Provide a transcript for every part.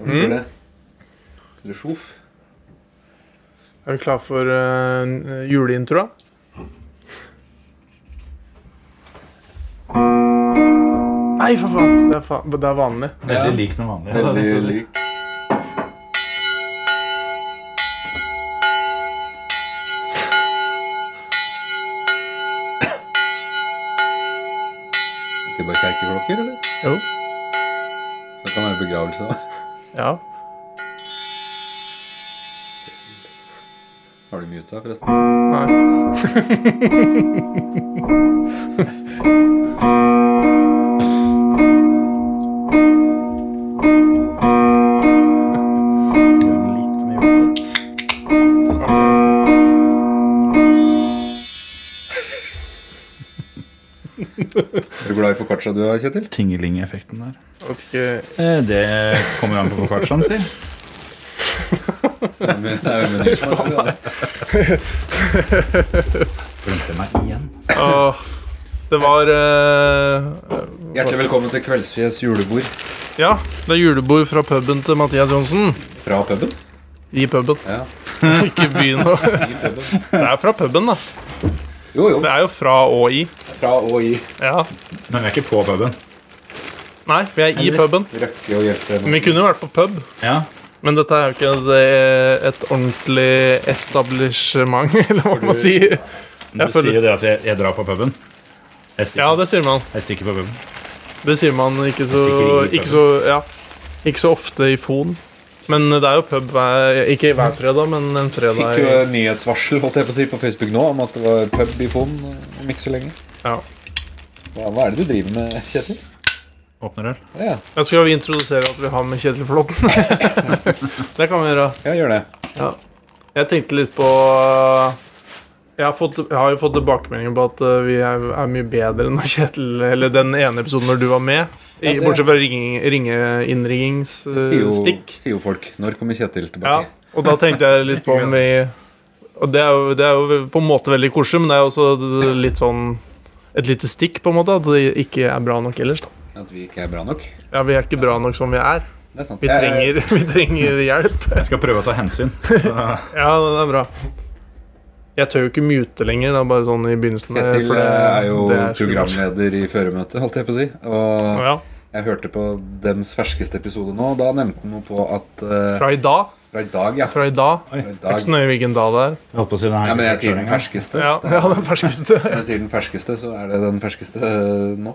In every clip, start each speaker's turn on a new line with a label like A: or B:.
A: Hvem gjør det? Eller sjof?
B: Er vi klar for uh, juleintroa? Nei, for faen! Det er, fa det er vanlig.
C: Veldig lik den vanlige.
A: Veldig lik. Ikke bare kjerkeklokker, eller?
B: Jo.
A: Så det kan være begravelse da.
B: Ja.
A: Har du muta, forresten?
B: Nei.
C: Litt med hjorte.
A: Er du glad i foccaccia du har, Kjetil?
C: Tingeling-effekten der.
B: Jeg vet ikke
C: Eh, Det kommer an på foccacciaen, si.
A: Det er jo menysmak, det.
C: Glemte meg igjen.
B: Åh. Det var eh,
A: Hjertelig velkommen til Kveldsfjes julebord
B: Ja, det er julebord fra puben til Mathias Johnsen.
A: fra puben.
B: I puben.
A: Ja.
B: Ikke i byen. Det
A: I puben.
B: er fra puben, da.
A: Jo, jo.
B: Det er jo fra og i.
A: Fra og i
B: Ja.
C: Men vi er ikke på puben.
B: Nei, vi er i puben.
A: Røkke og Gjelsten.
B: Men vi kunne jo vært på pub.
C: Ja.
B: Men dette er jo ikke et, eh, et ordentlig establishment, eller hva man sier.
C: Du
B: Jeg føler-
C: sier jo det at jeg, jeg drar på puben. Jeg stikker,
B: Ja, det sier man.
C: jeg stikker på puben.
B: Det sier man ikke så,
C: stikker i
B: ikke så, ja, ikke så ofte i Fon. Men det er jo pub hver, ikke hver fredag, men en
A: Fikk eh, jo
B: fredag.
A: nyhetsvarsel holdt jeg på å si på Facebook nå om at det var pub i Fon om ikke så lenge.
B: Ja.
A: Hva, hva er det du driver med, Kjetil?
C: Åpner øl.
A: Ja,
B: Jeg skal jo introdusere at vi har med Kjetil Flåtten. det kan vi gjøre.
A: ja gjør det.
B: Ja. Jeg tenkte litt på eh, jeg har, fått, jeg har jo fått tilbakemeldinger på at eh, vi er, er mye bedre enn når Kjetil Eller den ene episoden når du var med.
A: Ja,
B: I,
A: det-
B: bortsett fra ringing, ringe, innringingsstikk.
A: Sier jo,
B: Eh, stikk.
A: sier jo folk. Når kommer Kjetil
B: ja.
A: tilbake?
B: Og da tenkte jeg litt på om vi Og det er, jo, det er jo på en måte veldig koselig, men det er jo også litt sånn et lite stikk, på en måte. At det ikke er bra nok ellers. da
A: At vi ikke er bra nok?
B: Ja, Vi er ikke bra nok som vi er.
A: Det er sant.
B: Vi
A: Jeg-
B: trenger, vi trenger hjelp.
C: Jeg skal prøve å ta hensyn. Så-
B: Ja, det er bra. Jeg tør jo ikke mute lenger. Det er bare sånn i begynnelsen. der,
A: Kjetil
B: for det-
A: eh, er jo
B: det skummelt.
A: programleder i Føremøtet, holdt jeg på å si. Og
B: Ja,
A: jeg hørte på dems ferskeste episode nå. Da nevnte han noe på at eh,
B: fra i dag.
A: Fra i dag, ja.
B: Fra i dag.
A: Fra i
B: Det er ikke
A: dag.
B: så nøye hvilken dag det er.
C: Jeg holdt på å si den her
A: Ja, men jeg sier den ferskeste.
B: Ja, ja den ferskeste.
A: Når jeg sier den ferskeste, så er det den ferskeste eh, nå.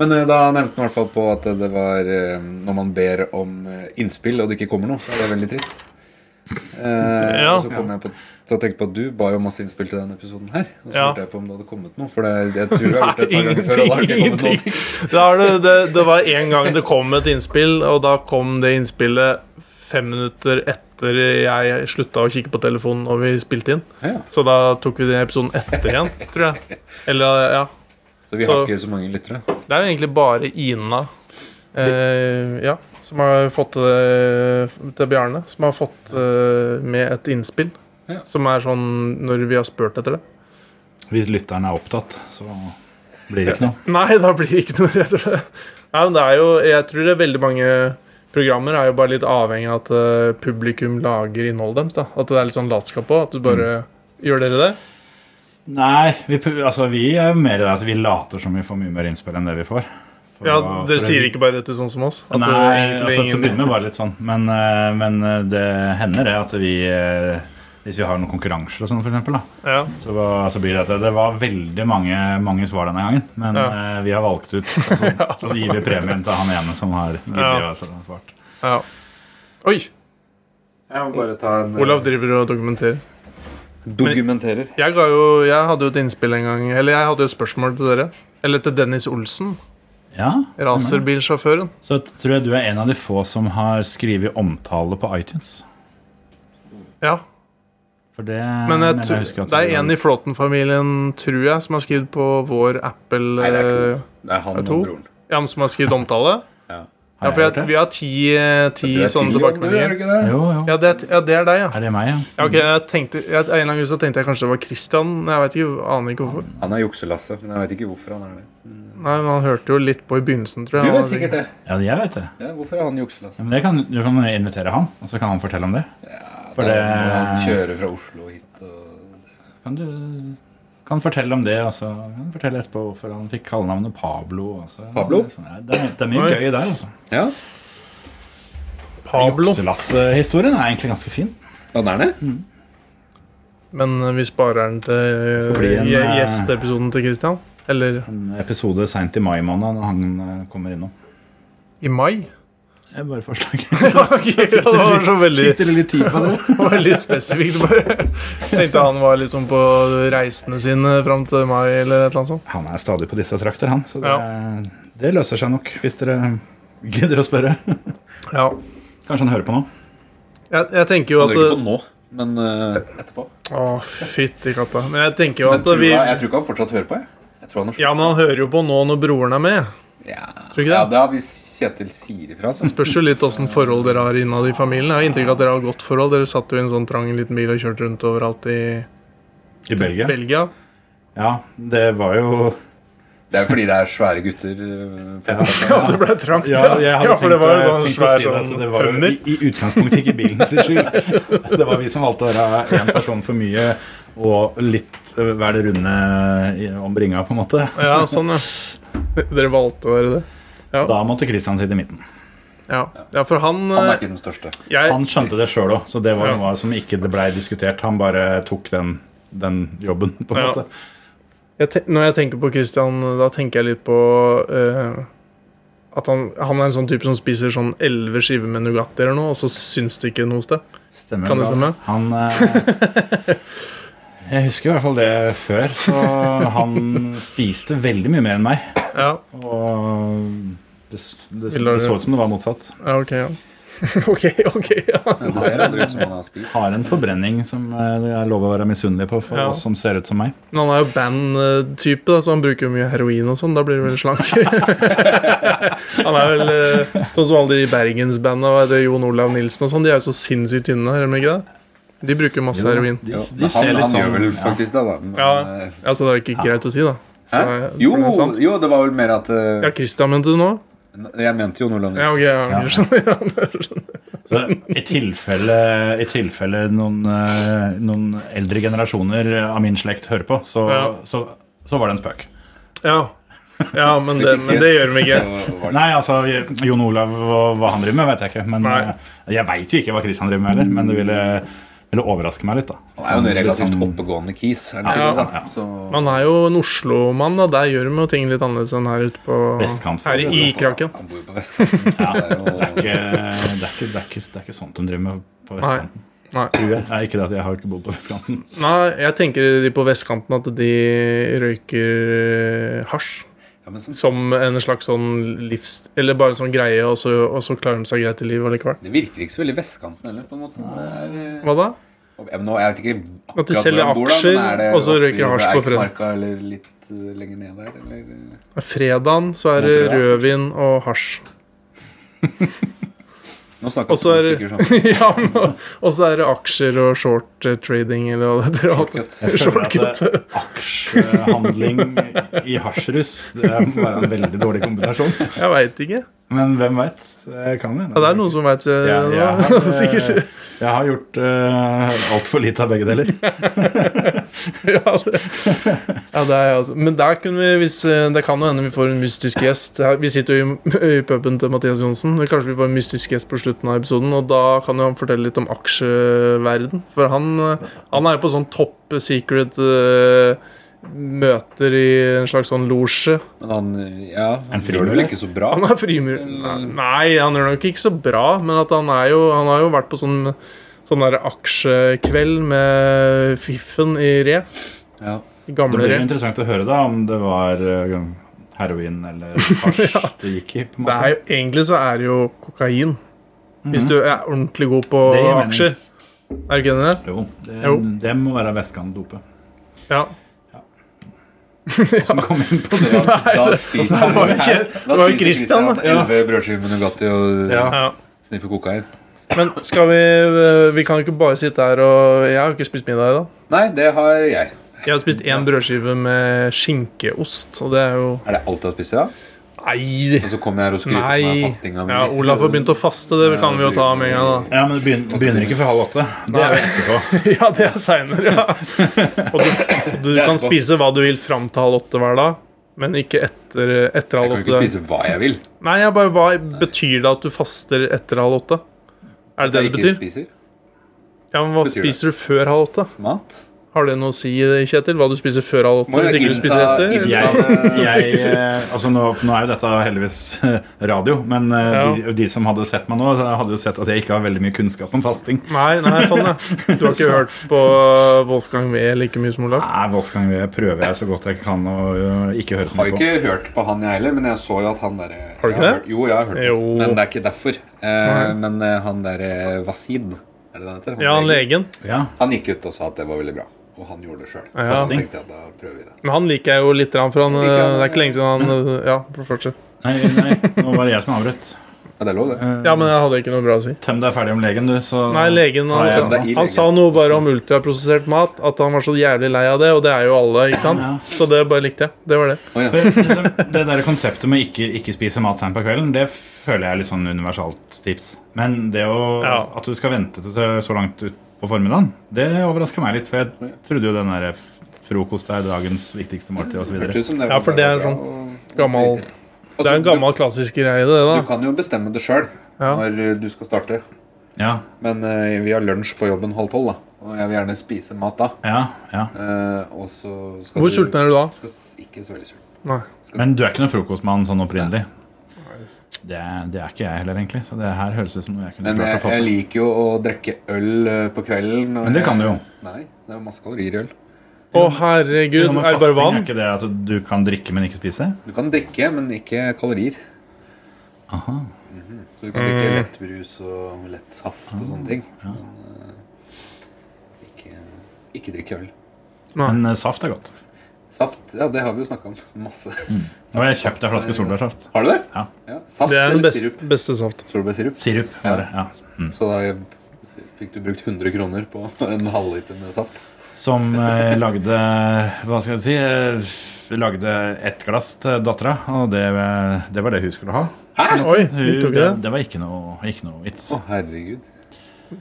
A: Men eh, da nevnte han i hvert fall på at det var eh, Når man ber om eh, innspill, og det ikke kommer noe, så er det veldig trist. Eh,
B: Ja.
A: Og så kom jeg på så tenkte jeg på at du ba jo masse innspill til denne episoden her. Og så
B: Ja.
A: lurte jeg på om det hadde kommet noe. For det, jeg tror jeg har gjort det et par ganger før. Og det har ikke kommet
B: Ingenting.
A: noen ting.
B: Da er det, det, det var en gang det kom et innspill, og da kom det innspillet fem minutter etter jeg slutta å kikke på telefonen og vi spilte inn.
A: Ja,
B: Så da tok vi den episoden etter igjen, tror jeg. Eller, ja.
A: så vi
B: Så-
A: har ikke så mange lyttere.
B: Det er jo egentlig bare Ina eh, ja, som har fått det til Bjarne. Som har fått eh, med et innspill.
A: Ja.
B: Som er sånn når vi har spurt etter det.
C: Hvis lytteren er opptatt, så blir det ikke noe.
B: Nei, da blir det ikke noe rett og slett. Nei, men det er jo, jeg tror det er veldig mange programmer er jo bare litt avhengig av at eh, publikum lager innholdet deres. da. At det er litt sånn latskap på. At du bare
C: Mm.
B: Gjør dere det?
C: Nei, vi, pu- altså, vi er mer i det at vi later som vi får mye mer innspill enn det vi får. For
B: Ja,
C: å-
B: Dere
C: for å-
B: sier ikke bare rett ut sånn som oss? At det
C: Nei,
B: egentlig
C: altså, til å
B: ingen-
C: begynne med var det litt sånn. Men, eh, men eh, det hender det at vi eh, Hvis vi har noen konkurranser og sånn, for eksempel, da,
B: ja.
C: så, var- så blir det at det- det var veldig mange, mange svar denne gangen. Men
B: Ja.
C: eh, vi har valgt ut, og så, og så gir vi premien til han ene som har giddet
B: Ja.
C: å sende svart.
B: ja. Oi!
A: Jeg må bare ta en eh,
B: Olav driver og dokumenterer.
A: Dokumenterer.
B: Jeg, ga jo, jeg hadde jo et innspill en gang Eller jeg hadde jo et spørsmål til dere. Eller til Dennis Olsen,
C: Ja, stemmer.
B: racerbilsjåføren.
C: Så tror jeg du er en av de få som har skrevet omtale på iTunes.
B: Ja,
C: For det
B: men jeg,
C: mener
B: tr-
C: Mm, husker at
B: det
C: du-
B: er en i Flåten-familien, tror jeg, som har skrevet på vår Apple
A: Nei, det er to.
B: eh,
A: Det er han
B: Er
A: og
B: det to?
A: broren.
B: Ja, men som har skrevet omtale.
A: Ja.
B: Ja,
C: Har
B: for
C: jeg
B: jeg,
C: gjort det?
B: vi har ti, eh, ti
A: Du er
B: sånne
A: tidlig om det, er
B: tilbakemeldinger.
A: du ikke det?
C: Jo, jo.
B: Ja det, er- ja, det er deg, ja.
C: Er det meg, ja?
B: ja ok, jeg tenkte, jeg, en eller annen gang så tenkte jeg kanskje det var Christian. men Jeg vet ikke, aner ikke hvorfor.
A: Han er jukselasse, men jeg vet ikke hvorfor han er det.
B: Nei, men han hørte jo litt på i begynnelsen, tror
A: Du
B: jeg.
A: vet sikkert det.
C: Ja, jeg vet det.
A: Ja, hvorfor er han jukselass?
C: Ja, men det kan, du kan invitere han, og så kan han fortelle om det.
A: Ja,
C: For
A: da
C: det-
A: må Han kjører fra Oslo hit og
C: Kan du kan fortelle om det, og så kan du fortelle etterpå hvorfor han fikk kallenavnet Pablo. og så-
A: Pablo?
C: Sånn, ja, Det, er, det er mye
B: Oi.
C: gøy der, altså.
A: Ja,
B: Pablo.
C: Jukselass-historien er egentlig ganske fin.
A: han er det?
B: Men eh, vi sparer den til
C: blir en,
B: gje-
C: eh,
B: gjesteepisoden til Christian. Eller
C: En episode seint i mai måned når han eh, kommer innom.
B: i mai.
C: Det er bare forslag.
B: Ok, det var så veldig,
C: Fikk dere litt tid på det?
B: veldig spesifikt. Bare. Tenkte han var liksom på reisene sine fram til mai, eller et eller annet sånt.
C: Han er stadig på disse trakter, han. Så det, det løser seg nok, hvis dere gidder å spørre.
B: Ja.
C: Kanskje han hører på nå.
B: Jeg, jeg tenker jo
A: Han
B: at
A: hører ikke på nå, men eh, etterpå.
B: Å, fytti katta. Men jeg tenker jo
A: Men
B: at
A: tror
B: vi
A: jeg, jeg tror ikke han fortsatt hører på. Jeg, jeg tror han har
B: Ja, men han hører jo på nå når broren er med.
A: Ja.
B: Tror du ikke det?
A: ja, det har vi Kjetil sier ifra. altså. Så.
B: Spørs jo litt åssen forhold dere har innad i familien. Jeg har inntrykk av at dere har godt forhold. Dere satt jo i en sånn trang liten bil og kjørte rundt overalt i
C: I Belgia.
B: Belgia.
C: Ja, det var jo
A: Det er fordi det er svære gutter. eh, for-
B: Ja, det ble trangt.
C: Ja, jeg hadde
B: Ja, for det var jo sånn
C: tenkt, tenkt å
B: svær
C: si det, at
B: sånn
C: det var jo i,
B: hummer.
C: I utgangspunktet ikke bilen sin skyld. Det var vi som valgte å være én person for mye og litt eh, være det runde i- om bringa, på en måte.
B: Ja, sånn, ja. Dere valgte å være det.
C: Da måtte Christian sitte i midten.
B: Ja, ja for han,
A: Han er
B: eh,
A: ikke den største.
B: jeg,
C: Han skjønte det sjøl òg, så det var
B: Ja.
C: noe som ikke blei diskutert. Han bare tok den, den jobben, på en
B: Ja.
C: måte.
B: jeg, ten- Når jeg tenker på Christian, da tenker jeg litt på eh, at han, han er en sånn type som spiser sånn elleve skiver med Nugatti eller noe, og så syns det ikke noe sted.
C: Stemmer
B: Kan det
C: da.
B: stemme?
C: Han eh, Jeg husker i hvert fall det før, så han spiste veldig mye mer enn meg.
B: Ja,
C: Og det, det,
B: Vil du-
C: det så ut som det var motsatt.
B: ja ok, ja. ok, ok, ja.
A: Men Det ser aldri ut som han har spist.
C: Har en forbrenning som eh, det er lov å være misunnelig på for
B: Ja.
C: oss som ser ut som meg.
B: Men han er jo band-type, da, så han bruker jo mye heroin og sånn. Da blir du vel slank. han er vel eh, sånn som alle de bergensbanda, hva heter det, Jon Olav Nilsen og sånn. De er jo så sinnssykt tynne, er de ikke det? De bruker masse heroin.
C: De,
A: Jo,
C: de
A: men
C: ser
A: han
C: litt
A: han
C: sånn
A: gjør vel
C: ja.
A: faktisk det, da. Men,
B: Ja.
A: eh,
B: Altså, det er ikke greit å si, da.
A: Hæ?
B: Nei,
A: Jo,
B: for det er sant.
A: jo, det var vel mer at eh,
B: Ja, Christian mente du nå?
A: Jeg mente jo noe langt.
B: Ja, ok, ja,
C: Ja.
B: jeg skjønner.
C: Så i tilfelle, i tilfelle noen, eh, noen eldre generasjoner av min slekt hører på, så,
B: Ja.
C: så, så var det en spøk.
B: ja. ja men, det, men det gjør de ikke.
A: Så var det-
C: Nei, altså, Jon Olav og hva han driver med, vet jeg ikke. Men
B: Nei.
C: eh, Jeg veit jo ikke hva Christian driver med heller, men det ville, ville overraske meg litt. da
A: Han er jo en
C: Sånn,
A: relativt
C: liksom-
A: oppegående kis. Er det
B: Ja,
A: ikke det,
C: ja.
A: da? Så,
B: Man er jo en Oslo-mann, da. Der gjør de jo ting litt annerledes enn her ute på
C: Vestkant.
B: Her i Kraken.
A: Han bor jo på vestkanten.
C: Ja, eh, det
A: Det
C: er
A: er jo-
C: ikke, det er ikke, det er ikke, det er ikke sånt de driver med på vestkanten.
B: Nei.
C: Tror jeg. Nei, ikke det at jeg har ikke bodd på vestkanten.
B: Nei, jeg tenker de på vestkanten at de røyker eh, hasj.
A: Ja, men som-
B: Som en slags sånn livs... Eller bare en sånn greie, og så, og så klarer de seg greit i livet allikevel.
A: Det virker ikke så veldig vestkanten heller, på en måte. Det er, eh,
B: Hva da?
A: Ja, men nå, jeg vet ikke
B: At de
A: akkurat
B: selger
A: hvor han bor, da,
B: aksjer,
A: men er det
B: og så
A: oppe i
B: røyker hasj på fredag.
A: Eiksmarka, Eller litt eh, lenger ned der, eller eh?
B: Fredagen så er det
C: Montreal.
B: rødvin og hasj.
A: Nå snakker
B: Og så er
A: vi
B: det
A: to stykker sammen.
B: ja, men- Og så er det aksjer og short eh, trading, eller hva det heter.
A: Shortcut.
C: Jeg føler at
B: Shortcut.
C: eh, aksjehandling i hasjrus det er bare en veldig dårlig kombinasjon.
B: Jeg veit ikke.
C: Men hvem veit? Det kan hende.
B: Ja, det er noen som veit
C: jeg, jeg,
B: det.
C: har,
B: Sikkert.
C: eh, jeg har gjort uh, altfor lite av begge deler.
B: Ja, det, ja, det er jeg altså. Men der kunne vi, hvis, eh, det kan jo hende vi får en mystisk gjest. Her- Vi sitter jo i, i puben til Mathias Johnsen. Men kanskje vi får en mystisk gjest på slutten av episoden. Og da kan jo han fortelle litt om aksjeverden For han, eh, han er jo på sånn topp secret eh, møter i en slags sånn losje.
A: Men han eh, ja, han
C: En
A: gjør det vel ikke så bra.
B: Han er frimur...
C: Mm.
B: Nei, han gjør det nok ikke så bra, men at han er jo Han har jo vært på sånn Sånn der aksjekveld med Fiffen i Re.
A: Ja.
C: Det
B: Gamle
C: blir
B: Re.
C: jo interessant å høre da om det var eh, heroin eller hasj det gikk i. på en
B: Det er
C: måte.
B: jo, egentlig så er det jo kokain. Hvis du er ordentlig god på
C: Det gir mening.
B: aksjer. Er du ikke enig i det?
C: Jo, det,
B: Jo.
C: det må være vestkantdopet.
B: Ja.
C: Som kom inn på det.
A: Ja, da spiser
B: det var jo ikke-
A: Hæ?
B: det var jo Christian, da. Ja.
A: Elleve brødskiver med Nugatti og eh,
C: Ja.
B: ja.
A: sniffer kokain.
B: Men eh, skal vi Vi kan jo ikke bare sitte her og Jeg har ikke spist middag i dag.
A: Nei, det har jeg.
B: Jeg har spist én brødskive med skinkeost, og det er jo
A: Er det alt du har spist i dag?
B: Nei!
A: Og så kommer jeg her og skryter på meg
B: Nei.
A: fastinga mi.
B: Ja, Olaf har begynt å faste, det kan vi jo ta med en gang.
C: Ja, men det begynner, begynner ikke før halv åtte. Det er jo etterpå.
B: da Ja, det er seinere, ja. Og du, du kan spise hva du vil fram til halv åtte hver dag, men ikke etter,
A: Jeg
B: etter halv
A: kan ikke
B: åtte.
A: spise hva jeg vil.
B: Nei, jeg bare, hva betyr det at du faster etter halv åtte? Er det det
A: Jeg
B: det
A: ikke
B: betyr?
A: spiser
B: Ja, men Hva
A: betyr det.
B: spiser du før halv åtte?
A: mat.
B: Har det noe å si, Kjetil? Hva du spiser før halv åtte?
A: Må
B: Hvis
A: jeg
B: ikke du
A: innta-
B: spiser etter?
A: innta-
B: eller?
C: Jeg, jeg, eh, altså nå, nå er jo dette heldigvis eh, radio, men eh, de, de som hadde sett meg nå, hadde jo sett at jeg ikke har veldig mye kunnskap om fasting.
B: Nei, nei, sånn ja. Du har ikke hørt på Wolfgang Wee like mye som Olav?
C: Nei, Wolfgang, jeg prøver jeg så godt jeg kan å eh, ikke høre
A: Har
C: meg
A: jo
C: på.
A: ikke hørt på han jeg heller, men jeg så jo at han der
B: Har du ikke
A: jeg
B: det?
A: hørt- Jo, jeg har hørt
B: Jo.
A: på han, men det er ikke derfor. Eh,
B: Nei.
A: men eh, han der eh, Wasid, er det det han heter?
B: Ja, han
A: legen.
B: legen.
C: Ja,
A: han gikk ut og sa at det var veldig bra, og han gjorde det sjøl.
B: Ja.
A: Så tenkte jeg at da prøver vi det.
B: Men han liker jeg jo litt, grann, for han,
A: Liker
B: eh,
A: han,
B: det er ikke lenge siden han eh, Ja, fortsett.
C: nei, nei, nå var det jeg som avbrøt.
A: Ja, det er lov, det.
C: Eh,
B: Ja, men jeg hadde ikke noe bra å si.
C: Tøm deg ferdig om legen, du, så
B: Nei, legen
C: Ja, ja.
B: han,
A: Det er i legen.
B: han sa noe bare om ultraprosessert mat, at han var så jævlig lei av det, og det er jo alle, ikke
C: Ja.
B: sant? Så det bare likte jeg. Det var det.
A: Å, ja.
C: For, liksom, det der konseptet med ikke, ikke spise mat seint på kvelden, det føler jeg er litt sånn universalt tips. Men det å,
B: Ja.
C: at du skal vente til så- så langt ut på formiddagen, det overrasker meg litt. For jeg trodde jo den der f- frokost er dagens viktigste måltid osv.
A: Hørte ut som det var
B: Ja, for det er
A: bra,
B: sånn
A: og-
B: gammel-
A: Altså,
B: Det er en gammel klassisk greie, det,
A: Du,
B: da.
A: du kan jo bestemme det sjøl
B: Ja.
A: når du skal starte.
C: Ja,
A: Men eh, vi har lunsj på jobben halv tolv, da. Og jeg vil gjerne spise mat da.
C: ja, ja.
A: Eh, og så skal
B: Hvor
A: du-
B: sulten er du da?
A: Skal s- ikke så veldig sulten.
B: Nei.
C: Men du er ikke noen frokostmann sånn opprinnelig? Det, er- det er ikke jeg heller, egentlig. Så det her høres ut som noe jeg kunne
A: Men
C: klart
A: jeg,
C: å
A: jeg
C: fatte.
A: liker jo å drikke øl eh, på kvelden. og
C: Men det kan du jo.
A: jeg- Nei, det er jo masse kalorier i øl.
B: Å, herregud,
C: Ja, men
B: er det bare
C: fasting
B: vann?
C: Er ikke det at du kan drikke, men ikke spise?
A: Du kan drikke, men ikke kalorier. Mhm.
C: Aha.
A: Så du kan
B: Mm.
A: drikke lettbrus og lett saft og
C: Ah,
A: sånne ting. Men eh, ikke, ikke drikke øl.
C: Men eh, saft er godt.
A: Saft, ja, det har vi jo snakka om. Masse.
C: Nå har jeg kjøpt ei flaske solbærsaft.
A: Har du det?
C: Ja.
A: Saft
B: Det er den
A: eller
B: beste,
A: sirup?
B: beste saft.
A: Solbærsirup.
C: Sirup.
A: Ja.
C: Bare. Ja. Mm.
A: Så da fikk du brukt 100 kroner på en halvliter med saft.
C: Som eh, lagde Hva skal jeg si? eh, Lagde ett glass til dattera, og det, det var det hun skulle ha.
B: Oi,
C: Hun,
B: likte du
C: det,
B: ikke det?
C: det var ikke noe, ikke noe vits.
A: Å, herregud.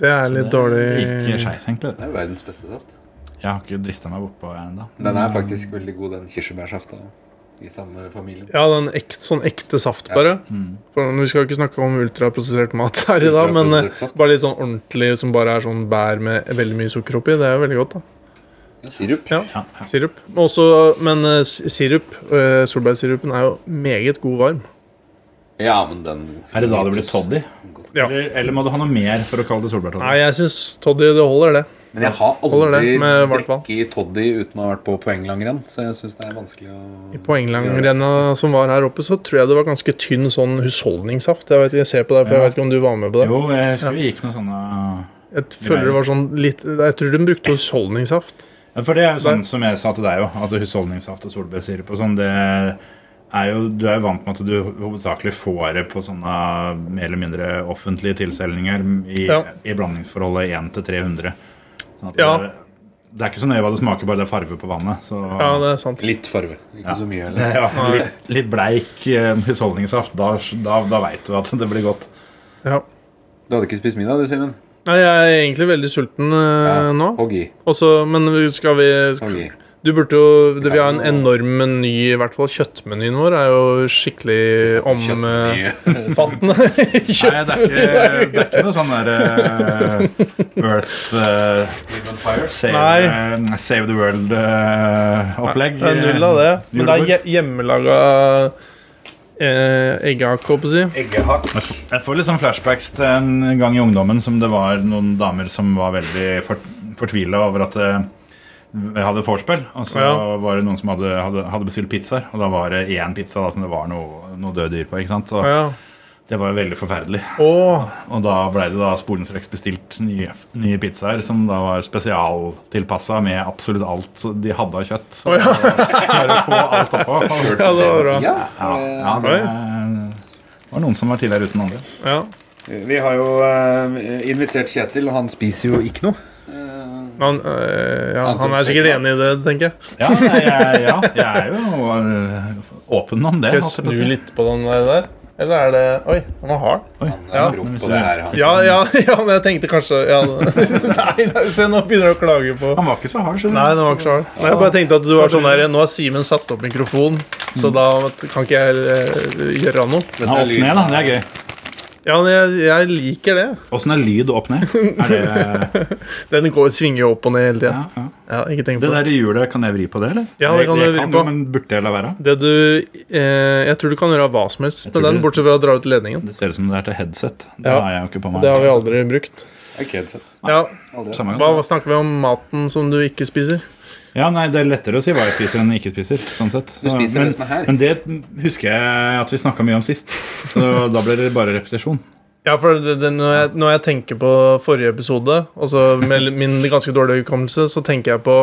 B: Det er litt
C: Ikke
B: dårlig
C: skeis, egentlig.
A: Det er jo verdens beste saft.
C: Jeg har ikke drista meg bortpå ennå.
A: Den er faktisk veldig god, den kirsebærsafta i samme familie.
B: Ja, den ekte, sånn ekte saft, bare.
C: Mm,
B: For Vi skal ikke snakke om ultraprosessert mat her i dag, men eh,
A: Ultraprosessert saft.
B: bare litt sånn ordentlig som bare er sånn bær med veldig mye sukker oppi. Det er jo veldig godt, da.
A: Ja, sirup.
B: Ja,
C: Ja, ja.
B: Sirup. Men Også, men eh, s- sirup, eh, solbærsirupen, er jo meget god varm.
A: Ja, men den
C: Er det da det blir toddy?
B: Ja.
C: Eller, eller må du ha noe mer for å kalle det solbærtoddy?
B: Nei, jeg syns Toddy, det holder, det.
A: Men jeg har
B: Holder
A: aldri
B: det med varmt vann?
A: drukket i toddy uten å ha vært på poenglangrenn, så jeg syns det er vanskelig å
B: På England-renna som var her oppe, så tror jeg det var ganske tynn sånn husholdningssaft. Jeg, vet, jeg ser på deg, for jeg
C: Ja.
B: vet ikke om du var med på det.
C: Jo, jeg husker vi gikk noen sånne
B: Jeg føler det var sånn litt Jeg tror de brukte husholdningssaft.
C: Ja, For det er jo sånn som jeg sa til deg òg, at husholdningssaft og solbærsirup og sånn, det er jo Du er jo vant med at du hovedsakelig får det på sånne mer eller mindre offentlige tilstelninger i,
B: Ja.
C: i blandingsforholdet 1 til 300. Sånn at
B: Ja.
C: det, det er ikke så nøye hva det smaker, bare det er farge på vannet. Så,
B: Ja, det er sant.
A: Litt farge. Ikke så mye heller.
C: Ja, litt, litt bleik eh, husholdningssaft, da, da, da veit du at det blir godt.
B: Ja.
A: Du hadde ikke spist middag, du, Simen?
B: Nei, jeg er egentlig veldig sulten eh, nå.
A: Hogg i.
B: Og så- men vi- skal vi
A: Hogg i.
B: Du burde jo det, Vi har en enorm meny, i hvert fall kjøttmenyen vår er jo skikkelig omfattende.
A: Kjøttmeny.
B: Kjøtt.
C: Nei, det er ikke, det er ikke noe sånn der eh, Earth eh, save,
B: Nei.
C: eh, save the eh, World-opplegg.
B: Det er null av
C: Eh,
B: det. Men det er hje- hjemmelaga eh, eggehake, holdt på å si.
A: Eggehakk.
C: Jeg får litt sånn flashbacks til en gang i ungdommen som det var noen damer som var veldig fort, fortvila over at eh, vi hadde vorspiel. Og så
B: Ja.
C: var det noen som hadde, hadde, hadde bestilt pizzaer, og da var det én pizza da, som det var noe, noe døde dyr på. ikke sant? Så
B: Ja.
C: det var jo veldig forferdelig.
B: Å,
C: Og da ble det da sporenstreks bestilt nye, nye pizzaer som da var spesialtilpassa med absolutt alt de hadde av kjøtt.
B: Å, ja.
C: Bare få alt oppå.
B: ja, det var bra.
A: Ja.
C: Ja,
B: Eh,
C: ja, det var noen som var tidligere uten andre.
B: Ja.
A: Vi har jo eh, invitert Kjetil, og han spiser jo ikke noe. Eh,
B: Han, øh, ja,
A: Anton
B: han er sikkert enig i det, tenker jeg.
C: Ja, nei, jeg, ja, jeg er jo øh, åpen om det.
B: Skal jeg
C: holdt jeg på å
B: snu
C: si.
B: litt på den der? der? Eller er det Oi, han er hard.
C: Oi.
A: Han er
B: Ja.
A: proff på det her, han.
B: Ja, ja, ja, men jeg tenkte kanskje ja, Nei, nei, se, nå begynner du å klage på
C: Han var ikke så hard, skjønner
B: Nei, den var ikke så hard. Nei, jeg bare tenkte at du var sånn der Nå har Simen satt opp mikrofon,
C: Mm.
B: så da kan ikke jeg eh, gjøre noe.
A: Dette
C: Ja,
A: er
C: opp ned,
A: lyden.
C: da. Det er gøy.
B: Ja, men jeg, jeg liker det.
C: Åssen er lyd opp ned? Er det,
B: Den går, svinger jo opp og ned hele
C: ja,
B: tida.
C: ja.
B: Ja, ikke tenk
C: det
B: på det.
C: der hjulet, kan jeg vri på det, eller?
B: Ja, det kan
C: Jeg-
B: du
C: jeg
B: vri på.
C: jo, Men burde jeg la være?
B: Det du eh, Jeg tror du kan gjøre hva som helst
C: Jeg
B: med
C: tror
B: den,
C: du-
B: bortsett fra å dra ut ledningen.
C: Det ser ut som det er til headset. Det
B: Ja.
C: har jeg jo ikke på meg.
B: Det har vi aldri brukt.
A: Ok, det er sant.
B: Ja,
A: Aldri.
C: Samme gang.
B: Hva snakker vi om maten som du ikke spiser?
C: Ja, nei, Det er lettere å si hva jeg spiser enn ikke spiser. sånn sett.
A: Du spiser
C: men,
A: det som er her.
C: men det husker jeg at vi snakka mye om sist. Så da ble det bare repetisjon.
B: Ja, for det, det, når, jeg, når jeg tenker på forrige episode, og så med l- min ganske dårlige hukommelse, så tenker jeg på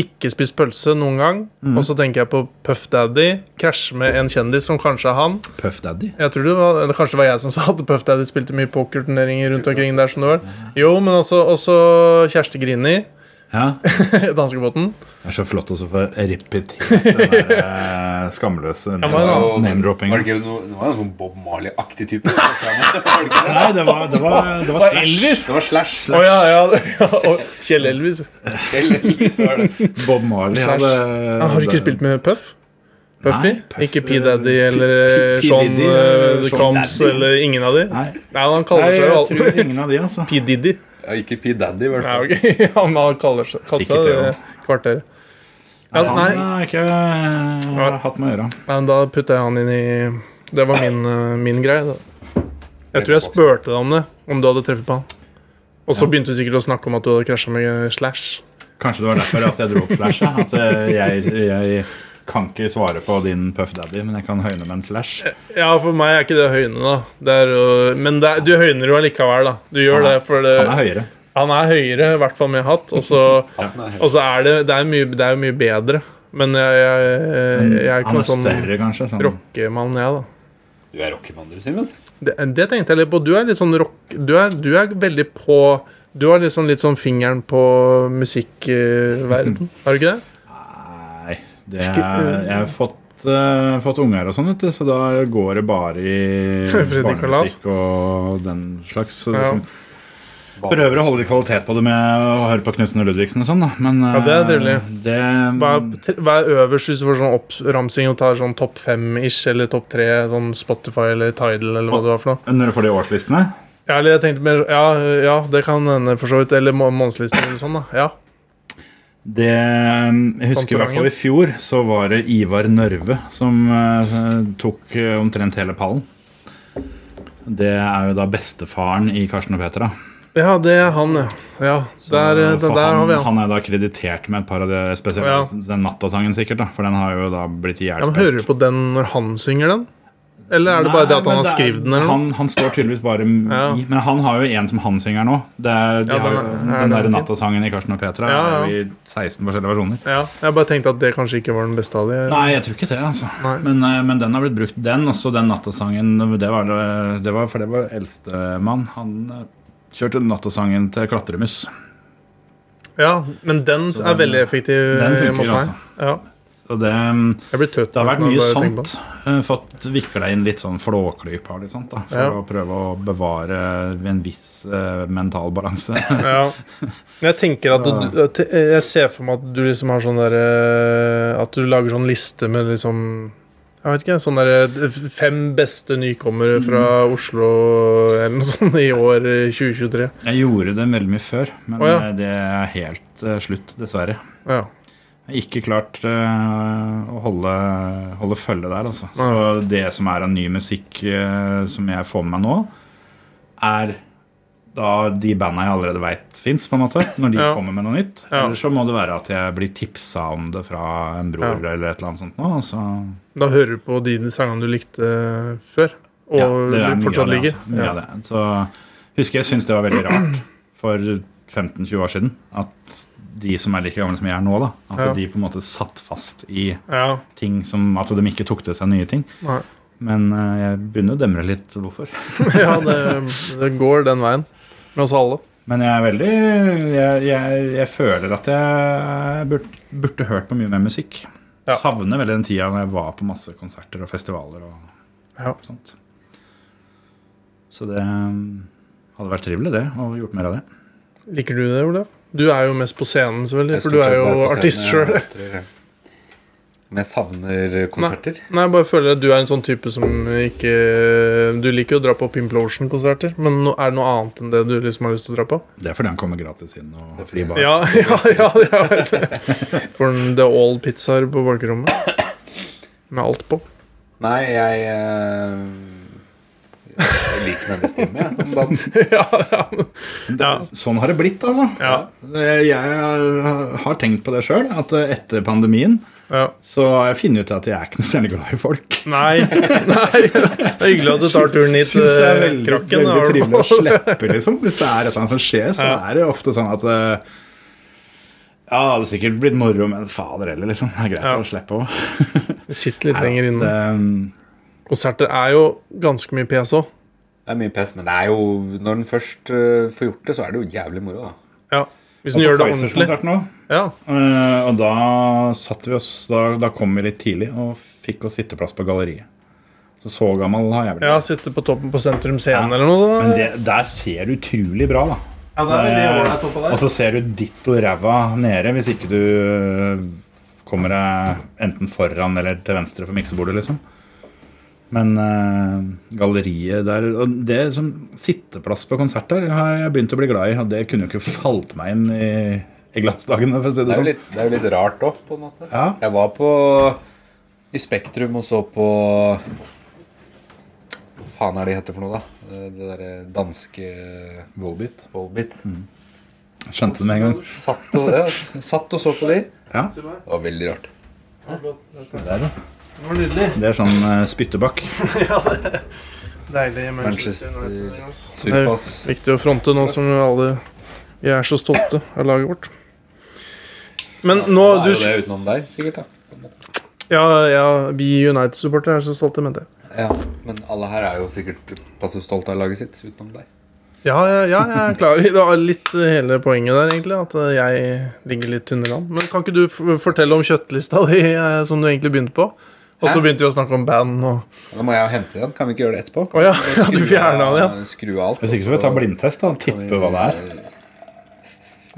B: ikke spist pølse noen gang. Og så tenker jeg på Puff Daddy krasje med en kjendis som kanskje er han.
C: Puff Daddy.
B: Jeg tror det var, eller Kanskje det var jeg som sa at Puff Daddy spilte mye pokerturneringer rundt omkring der. som det var. Jo, men også, også Kjersti Grini,
C: Ja,
B: danskebåten.
C: Det er så flott også å få repetert den der eh, skamløse
B: men-
A: Og-
C: name-droppinga.
A: Var det ikke noe, det var en sånn Bob Marley-aktig type? Var det ikke det?
C: Nei, det var, det var, det var Slash.
A: Det var Slash.
B: Å ja, ja, ja. Og Kjell Elvis.
A: Kjell Elvis var det.
C: Bob Marley
B: Slash.
C: hadde
B: Ja, Ah, har du ikke spilt med Puff? Puffy?
C: Nei, Puff-
B: ikke eh, P. Daddy
C: P-
B: eller
C: P- P-
B: Sean
C: Diddy,
B: eh, The
C: Sean
B: Combs
C: Daddy.
B: eller ingen av de? Nei,
C: Nei,
B: han
C: nei,
B: kaller seg jo
C: jeg
B: alltid
C: tror ingen av de, altså.
B: P. Diddy.
A: Ja, ikke P. Daddy, i hvert
B: Nei,
A: fall.
B: ok. Han har kaller seg, kalt
C: Sikkert
B: seg
C: det, ja.
B: det kvarteret. Ja,
C: Nei, han
B: nei,
C: har ikke eh, hatt med å gjøre.
B: nei, men da putter jeg han inn i Det var min, eh, min greie. Da. Jeg tror jeg spurte deg om det, om du hadde treffet på han. Og så begynte du sikkert å snakke om at du hadde krasja med eh, Slash.
C: Kanskje det var derfor at jeg dro opp Slash. ja. At eh, jeg, jeg kan ikke svare på din Puff Daddy, men jeg kan høyne med en Slash.
B: Ja, for meg er ikke det å høyne, da. Det er, å- men det er, du høyner jo allikevel, da. Du gjør
C: Han er-
B: det, for det,
C: Han er høyere.
B: Han er høyere, i hvert fall med hatt. Og så,
A: Hatten er helt-
B: og så er det, det, er mye, det er jo mye bedre. Men jeg, jeg, jeg, jeg er ikke noen
C: Mm, Han er
B: sånn
C: større, kanskje. Sånn.
B: rockemann, jeg, da.
A: Du er rockemann, du, Simen.
B: Det, det tenkte jeg litt på. Du er litt sånn rock Du er, du er veldig på Du har liksom litt sånn fingeren på musikkverden, har du ikke det?
C: Nei, det er, jeg har fått, eh, fått unger og sånn, vet du, så da går det bare i
B: Fredrik Kalas.
C: barnemusikk og den slags. så
B: Ja.
C: Liksom. Prøver å holde litt kvalitet på det med å høre på Knutsen og Ludvigsen og sånn, da. Men eh,
B: Ja, det er trivelig.
C: det-
B: Hva er, tre- hva er øverst hvis du får sånn oppramsing og tar sånn topp fem-ish eller topp tre? Sånn Spotify eller Tidal eller hva det var for noe?
C: eh, når du får de årslistene
B: Ja, eller jeg tenkte mer Ja, ja det kan hende, for så vidt. Eller må- månedslister eller sånn, da. Ja.
C: Det, eh, jeg husker i hvert fall i fjor så var det Ivar Nørve som eh, tok eh, omtrent hele pallen. Det er jo da bestefaren i Karsten og Petra.
B: Ja, det er han, ja. ja der, eh, den
C: For
B: der har vi han.
C: han er da kreditert med et par av de spesielt
B: Ja.
C: den nattasangen, sikkert. da For den har jo da blitt
B: Ja, men
C: ihjelspilt.
B: Hører du på den når han synger den? Eller er det bare det at han har skrevet den? eller noe?
C: Han, han står tydeligvis bare i
B: Ja.
C: Men han har jo en som han synger nå. Det er, de
B: Ja,
C: har,
B: den
C: jo-
B: er-
C: den,
B: er den
C: der
B: fin?
C: nattasangen i Karsten og Petra
B: Ja, ja.
C: er jo i 16 forskjellige versjoner.
B: Ja, jeg bare tenkte at det kanskje ikke var den beste av de.
C: Nei, jeg tror ikke det, altså.
B: Nei.
C: Men, eh, men den har blitt brukt. Den også, den nattasangen. Det var, det- det var, for det var eldstemann. Han eh, kjørte nattasangen til Klatremus.
B: Ja, men den
C: Så
B: er
C: den-
B: veldig effektiv
C: den funker,
B: eh, hos meg.
C: altså.
B: Ja,
C: Og det, mm,
B: jeg blir tøt.
C: det har vært
B: nesten
C: mye
B: av å bare tenke på
C: sånt. Eh, Fått vikla inn litt sånn flåklypa og litt sånt, da. For
B: Ja.
C: å prøve å bevare en viss eh, mental balanse.
B: den. Ja. Men Jeg tenker at du, at eh, Jeg ser for meg at du liksom har sånn der eh, At du lager sånn liste med liksom Jeg vet ikke, sånn der eh, fem beste nykommere fra
C: Mm.
B: Oslo eller noe sånt i år eh, 2023.
C: Jeg gjorde det veldig mye før, men
B: Å, ja.
C: eh, det er helt eh, slutt, dessverre.
B: Ja.
C: Jeg har ikke klart eh, å holde, holde følge der, altså. Så det som er av ny musikk eh, som jeg får med meg nå, er da de banda jeg allerede veit fins, på en måte. Når de
B: Ja.
C: kommer med noe nytt.
B: Ja.
C: Eller så må det være at jeg blir tipsa om det fra en bror
B: Ja.
C: eller et eller annet sånt nå. og Så
B: Da hører du på de sangene du likte eh, før, og
C: ja, det er mye
B: fortsatt
C: av det.
B: ligger.
C: Altså. Mye av det. Så husker jeg syntes det var veldig rart for 15-20 år siden at de som er like gamle som jeg er nå, da, at
B: Ja.
C: de på en måte satt fast i
B: Ja.
C: ting som At de ikke tok til seg nye ting.
B: Ja. Nei.
C: Men eh, jeg begynner å demre litt hvorfor.
B: ja, det, det går den veien med oss alle.
C: Men jeg er veldig Jeg, jeg, jeg føler at jeg burde, burde hørt på mye mer musikk.
B: Ja.
C: Savner veldig den tida når jeg var på masse konserter og festivaler og
B: Ja.
C: sånt. Så det um, hadde vært trivelig, det. Og gjort mer av det.
B: Liker du det, Ola? Du er jo mest på scenen, selvfølgelig.
A: Jeg
B: For du
A: stort
B: er
A: sett bare
B: jo
A: på scenen,
B: artist
A: jeg
B: sjøl.
A: hater det. Men jeg savner konserter.
B: Nei, jeg bare føler at du er en sånn type som ikke Du liker jo å dra på Pimplotion-konserter, men nå- er det noe annet enn det du liksom har lyst til å dra på?
C: Det er fordi han kommer gratis inn og
A: Det er fordi-
C: bare-
B: Ja, ja, ja, jeg vet det. For en The All Pizzaer på bakrommet. Med alt på.
A: Nei, jeg eh, Jeg liker meg best hjemme, jeg. om dagen.
B: Ja, ja.
C: Det er- Sånn har det blitt, altså.
B: Ja.
C: Jeg, jeg har tenkt på det sjøl, at etter pandemien
B: ja.
C: så har jeg funnet ut at jeg er ikke noe særlig glad i folk.
B: Nei, nei. Det er hyggelig at du tar turen hit
C: Syns det er
B: til
C: veldig,
B: krakken. da,
C: veldig
B: i
C: trivelig å
B: hvert fall.
C: slippe, liksom. Hvis det er et eller annet som skjer, så
B: Ja.
C: er det jo ofte sånn at eh, Ja, det hadde sikkert blitt moro, men fader heller, liksom. Det er greit
B: Ja.
C: å slippe Eh, òg.
B: Sitt litt lenger inne.
C: Det,
B: Konserter er jo ganske mye pes òg.
A: Det er mye pes, men det er jo når den først eh, får gjort det, så er det jo jævlig moro, da.
B: Ja. Hvis du gjør det ordentlig. Ja.
C: Eh, og da satt vi oss da, da kom vi litt tidlig og fikk oss sitteplass på galleriet. Så så gammel har jeg blitt.
B: ja, sitte på toppen på Sentrum Scene
C: Ja.
B: eller noe sånt.
C: Men det, der ser du utrolig bra, da.
B: ja, det er det året jeg tok på
C: Og
B: der.
C: så ser du ditt og ræva nede hvis ikke du øh, kommer deg enten foran eller til venstre for miksebordet, liksom. Men øh, galleriet der Og det som sitteplass på konsert der har jeg begynt å bli glad i. Og det kunne jo ikke falt meg inn i, i glansdagene, for å si
A: Det
C: det
A: er jo
C: sånn.
A: litt, det er jo litt rart òg, på en måte.
C: Ja.
A: Jeg var på i Spektrum og så på Hva faen er det de heter for noe, da? Det, det derre danske eh,
C: Volbit.
A: Volbit.
C: Skjønte det med en gang.
A: Satt, og, ja, satt og så på de.
C: Ja,
A: Det var veldig rart.
B: Det
C: der, da.
B: var nydelig.
C: Det er sånn øh, spyttebakk.
B: Deilig
A: Manchester United,
B: United.
A: Surpass.
B: Viktig å fronte nå som alle Vi er så stolte av laget vårt. Men nå
A: Da er
B: du,
A: jo det utenom deg, sikkert. da
B: ja, ja, Vi United-supportere er så stolte, mente jeg.
A: ja, Men alle her er jo sikkert passe stolt av laget sitt utenom deg.
B: Ja, ja, ja, jeg er klar. Det var litt eh, hele poenget der, egentlig. At eh, jeg ligger litt tynnere an. Men kan ikke du f- fortelle om kjøttlista di, eh, som du egentlig begynte på? Og så
A: Hæ?
B: begynte vi å snakke om band og
A: Da må jeg jo hente den. Kan vi ikke gjøre det etterpå?
B: Å ja, ja, du fjerna den, ja.
A: Skru av alt.
C: Hvis ikke så får vi ta blindtest da, og tippe hva det er.
A: eh,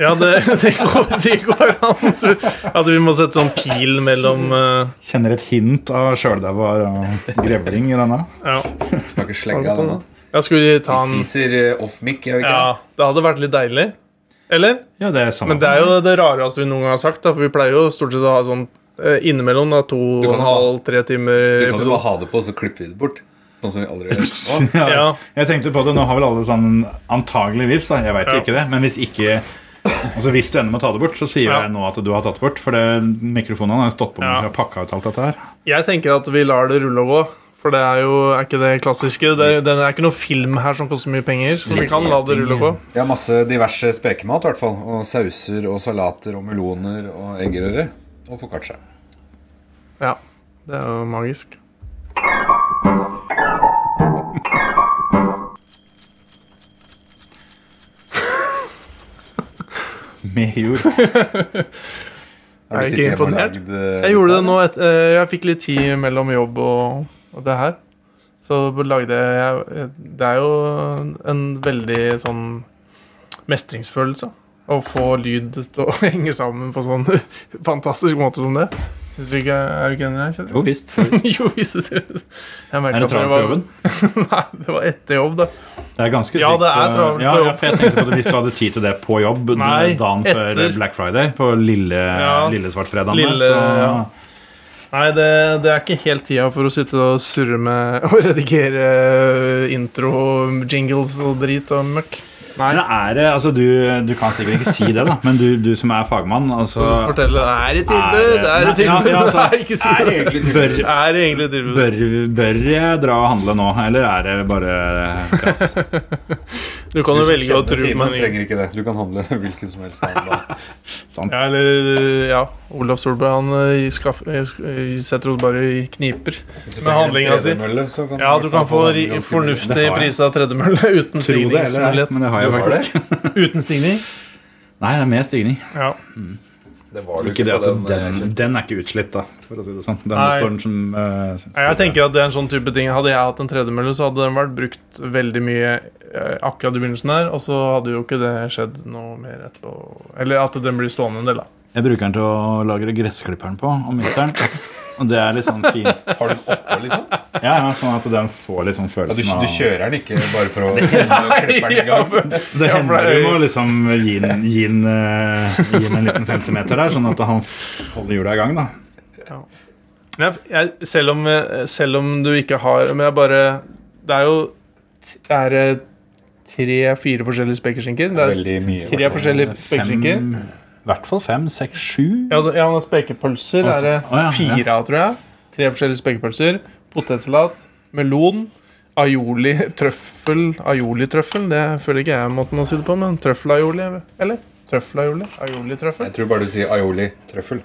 B: Ja, det, det, går, det går an. så- At vi må sette sånn pil mellom eh,
C: Kjenner et hint av sjøldaua og grevling i denne.
B: Ja.
A: Smaker slegge
B: sånn,
A: av den. da.
B: Jeg skulle ta
A: Vi
B: en
A: spiser eh, off-mic, gjør vi ikke?
B: Ja, det hadde vært litt deilig. Eller?
C: Ja, det er samme.
B: Men det er jo det rareste vi noen gang har sagt, da, for vi pleier jo stort sett å ha sånn eh, innimellom da, to
A: Du
B: og
A: kan
B: en
A: jo
B: halv, tre timer
A: Du kan jo
B: episode.
A: bare ha det på, så klipper vi det bort. Sånn som vi aldri gjør. Å,
C: ja.
B: Ja.
C: Jeg tenkte på det, nå har vel alle sånn antageligvis, da, jeg vet
B: Ja.
C: ikke det, men hvis ikke Altså Hvis du ender med å ta det bort, så sier
B: Ja.
C: jeg nå at du har tatt det bort. For det, mikrofonen har stått på mens
B: Ja.
C: jeg har pakka ut alt dette her.
B: Jeg tenker at vi lar det rulle og gå. For det er jo er ikke det klassiske. Det, det er ikke noe film her som koster mye penger. Så vi kan la det rulle og gå.
A: Vi har masse diverse spekemat, i hvert fall. Og sauser og salater og meloner og eggerøre. Og foccaccia.
B: Ja, Det er jo magisk.
C: Med jord.
A: Har du
B: Er
A: sittet
B: jeg ikke
A: hjemme og
B: imponert?
A: lagd, eh,
B: Jeg gjorde det
A: dessert?
B: nå et, eh, Jeg fikk litt tid mellom jobb og, og det her. Så lagde jeg jeg- Det er jo en veldig sånn mestringsfølelse. Å få lyd til å henge sammen på sånn fantastisk måte som det. Syns du ikke, er du ikke enig? Kjell?
C: Jo visst.
B: jo, visst. Jeg merket
C: Er det
B: at dere
C: travelt på
B: var-
C: jobben?
B: Nei, det var etter jobb, da.
C: Det er ganske
B: Ja,
C: sykt,
B: det er
C: eh,
B: travelt på
C: ja, ja,
B: jobb.
C: for jeg tenkte på det, Hvis du hadde tid til det på jobb
B: Nei,
C: dagen før
B: etter.
C: Black Friday, på lille,
B: Ja.
C: lille svartfredagen,
B: Lille-
C: der, så
B: ja. Nei, det, det er ikke helt tida for å sitte og surre med å redigere eh, intro, jingles og drit og møkk.
C: Men er det, altså du, du kan sikkert ikke si det, da, men du, du som er fagmann altså,
B: Så fortell det. Er det tilbud?
C: Er det-
B: Er det
C: Nei, ja,
B: tilbud?
C: ja, altså,
B: det er ikke så
A: Er det egentlig tilbud?
C: Bør-
B: Er det egentlig tilbud?
C: bør, bør jeg dra og handle nå, eller er det bare trass?
B: Du kan jo
A: som
B: velge å
A: kjenner
B: tro
A: Simen,
B: men
A: trenger ikke det. Du kan handle hvilken som helst. annen.
C: Sant.
B: Ja, eller Ja, Olav Solberg han eh, skaff- eh, sk- eh, setter oss bare i kniper.
A: Hvis du
B: Med
A: trenger en
B: handlinga si.
A: tredemølle, så kan
B: Ja,
A: i
B: du
A: hvert fall
B: kan få
A: den
B: ri-
A: ganske billig.
B: fornuftig
C: Det har jeg.
B: pris av tredemølle uten
C: Tro det eller ei,
B: stigningsmulighet.
C: men det har
A: Det
C: jeg
A: var
C: faktisk.
A: det.
B: Uten stigning?
C: Nei, det er mer stigning.
B: Ja.
A: Det var det
C: Ikke det
A: på
C: at den,
A: eh,
C: den, er ikke utslitt, da, for å si det sånn. Den
B: Nei.
C: motoren som eh, synes
B: Nei, Jeg
C: det-
B: tenker at det er en sånn type ting Hadde jeg hatt en tredemølle, så hadde den vært brukt veldig mye eh, akkurat i begynnelsen her, og så hadde jo ikke det skjedd noe mer etterpå. Eller at den blir stående en del, da.
C: Jeg bruker den til å lagre gressklipperen på om vinteren. Og det er litt sånn fin
A: kjø- Har du den oppå, liksom?
C: Ja, ja, sånn at den får litt sånn
A: Ja, du,
C: følelsen
A: du kjører den ikke bare for å klippe den i
B: Ja,
A: gang?
B: for-
C: Det
B: Ja, for det
C: hender
B: er-
C: du må liksom gi den, gi den, eh, gi den en liten centimeter der, sånn at han f- holder hjula i gang, da.
B: Men jeg, jeg, selv, om, eh, selv om du ikke har Men jeg bare Det er jo t- det er eh, tre-fire forskjellige spekeskinker. Det er
A: Veldig mye.
B: tre forskjellige spekeskinker.
C: Fem- I hvert fall fem, seks, sju.
B: Ja, altså, ja, men spekepølser
C: Å,
B: er det
C: så- å, ja,
B: fire av, tror jeg. Tre forskjellige spekepølser. Potetsalat. Melon. Aioli trøffel. Aioli trøffel, det føler ikke jeg måten å si det på, men trøffel-aioli, eller? Trøffel-aioli. Aioli-trøffel.
A: Jeg tror bare du sier aioli trøffel.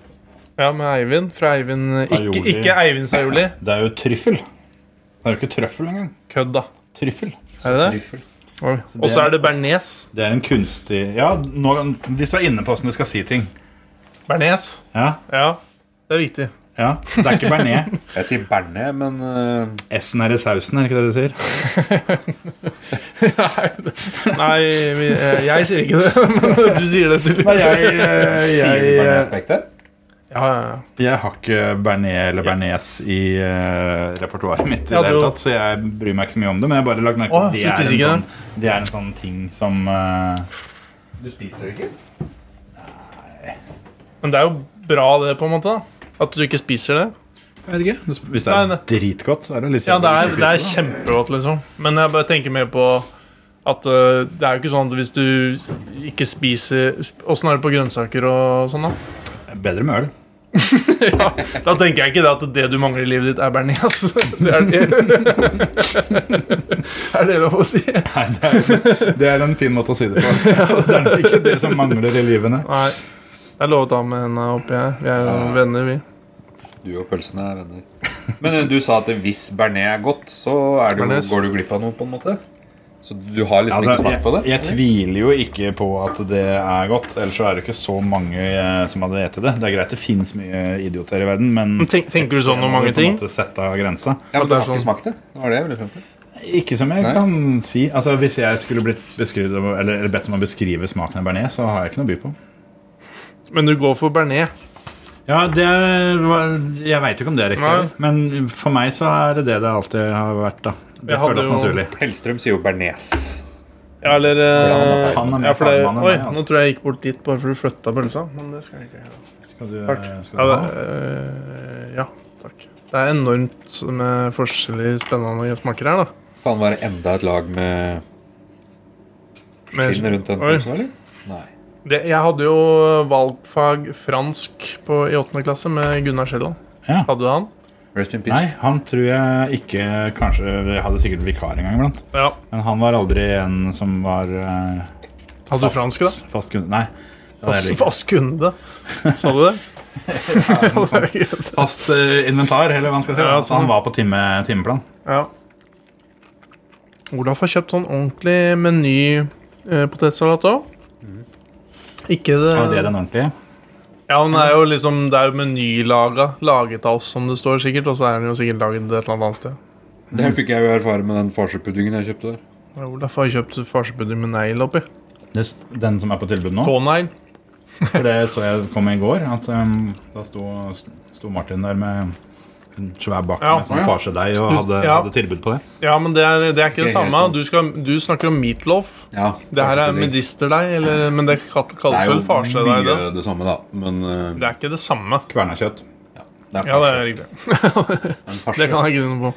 B: Ja, med Eivind. Fra Eivind Ikke,
C: Aioli.
B: ikke Eivinds aioli.
C: Det er jo tryffel. Det er jo ikke trøffel engang.
B: Kødd, da.
C: Tryffel.
B: Er det det?
A: Tryffel.
B: Oi. Og så er det bearnés.
C: Det er en kunstig Ja, nå, hvis du er inne på åssen du skal si ting.
B: Bearnés.
C: Ja,
B: Ja, det er viktig.
C: ja. Det er ikke bearnés.
A: Jeg sier bearnés, men eh,
C: S-en er i sausen, er det ikke det de sier?
B: Nei, Nei, vi- eh, jeg sier ikke det, men du sier det, du.
C: jeg,
B: Eh,
A: sier du bearnés-spekter?
B: Ja, ja, ja.
C: Jeg har ikke bearnés eller bearnés i eh, repertoaret mitt, i
B: Ja,
C: det
B: du-
C: hele tatt, så jeg bryr meg ikke så mye om det. Men jeg har bare lagt merke til
B: Å,
C: at det
B: så
C: er,
B: ikke
C: en sånn, det er en sånn ting som eh,
A: Du spiser ikke?
B: Men det er jo bra, det, på en måte. da At du ikke spiser det.
C: jeg vet ikke, Hvis det er
B: Nei, nei.
C: dritgodt, så er det litt
B: Ja, det er,
C: kjedelig
B: det er
C: å spise
B: kjempegodt, liksom. Men jeg bare tenker mer på at eh, det er jo ikke sånn at hvis du ikke spiser Åssen er det på grønnsaker og sånn, da?
C: det. Bedre med øl.
B: Ja, da tenker jeg ikke det at det du mangler i livet ditt, er bearnés. Det er det. Er det lov å si?
C: Nei, det, er, det er en fin måte å si det på. Det er ikke det som mangler i livene.
B: Nei. Det er lov å ta med henda oppi her. Vi er jo
A: Ja.
B: venner, vi.
A: Du og pølsene er venner. Men eh, du sa at hvis bearnés er godt, så er det jo,
B: Bearnés.
A: går du glipp av noe, på en måte? Så du har liksom
C: Altså,
A: ikke
C: jeg,
A: smakt på det?
C: jeg tviler jo ikke på at det er godt, ellers så er det ikke så mange eh, som hadde spist det. Det er greit det fins mye idioter i verden, men
B: Men tenk- tenker du sånn om mange
C: på en
B: ting?
C: måte sette av grensa.
A: Ja, men
B: Det
A: du
B: er
A: har ikke
B: sånn.
A: smakt det? Det var det jeg ville frem til.
C: Ikke som jeg
A: Nei.
C: kan si. Altså, Hvis jeg skulle blitt beskrevet, om- eller, eller bedt om å beskrive smaken av bearnés, så har jeg ikke noe å by på.
B: Men du går for bearnés.
C: Ja, det var, Jeg veit jo ikke om det er riktig,
B: Nei.
C: men for meg så er det det det alltid har vært. da Det
B: Jeg hadde
C: føles
B: jo-
C: naturlig.
A: Hellstrøm sier jo bearnés.
B: Ja, eller
A: eh,
C: Han er mer
B: ja, for det,
C: fagmann enn
B: Oi,
C: meg, altså.
B: nå tror jeg jeg gikk bort dit bare for du flytta pølsa. Men det skal jeg ikke gjøre.
C: Skal du,
B: Takk.
C: Skal du
B: Ja,
C: ha?
B: det, eh, ja, takk. Det er enormt med forskjellige spennende smaker her, da.
A: Faen, var det enda et lag med
B: Med-
A: skinn rundt den
B: Oi.
A: pølsen, eller? Nei.
B: Det, jeg hadde jo valgfag fransk på, i åttende klasse med Gunnar Skjelland.
C: Ja.
B: Hadde du han?
A: Rest in
C: Nei,
A: peace.
C: han tror jeg ikke Kanskje vi hadde sikkert vikar en gang iblant.
B: Ja.
C: Men han var aldri en som var eh,
B: Hadde du fransk, da?
C: fast kunde. Nei. det var heller
B: Fast,
C: ikke.
B: fast kunde. Sa du det? Ja, det er greit.
C: Fast eh, inventar, eller hva man skal si.
B: Ja,
C: da.
B: sånn.
C: Så han var på time, timeplan.
B: ja. Olaf har kjøpt sånn ordentlig meny eh, potetsalat òg. Ikke det
C: Det var det den ordentlige.
B: Ja, men det er jo liksom Det er jo menylaga. Laget av oss, som det står sikkert. Og så er den jo sikkert laget et eller annet sted.
A: Det fikk jeg jo erfare med den farsepuddingen jeg kjøpte der.
B: Ja, Olaf har kjøpt farsepudding med negl oppi.
C: Det s- Den som er på tilbud nå.
B: Tånegl.
C: For det så jeg kom i går. At um, Da sto, sto Martin der med en svær bakke
B: Ja.
C: med sånn farsedeig og hadde,
B: Ja.
C: hadde tilbud på det.
B: Ja, men det er, det er ikke det
A: Ikke helt
B: samme.
A: om.
B: Du, skal, du snakker om meatloaf.
A: Ja,
B: Det her er
A: farsepudding.
B: medisterdeig, eller- men det kall-
A: Det
B: kalles
A: er jo
B: vel
A: mye
B: farsedeig.
A: det,
B: Det.
A: samme, da. Men eh,
B: det er ikke det samme.
C: Kverna kjøtt.
A: det er
B: Ja, det
A: farse.
B: er riktig.
A: En farse.
B: Det kan jeg ikke noe på.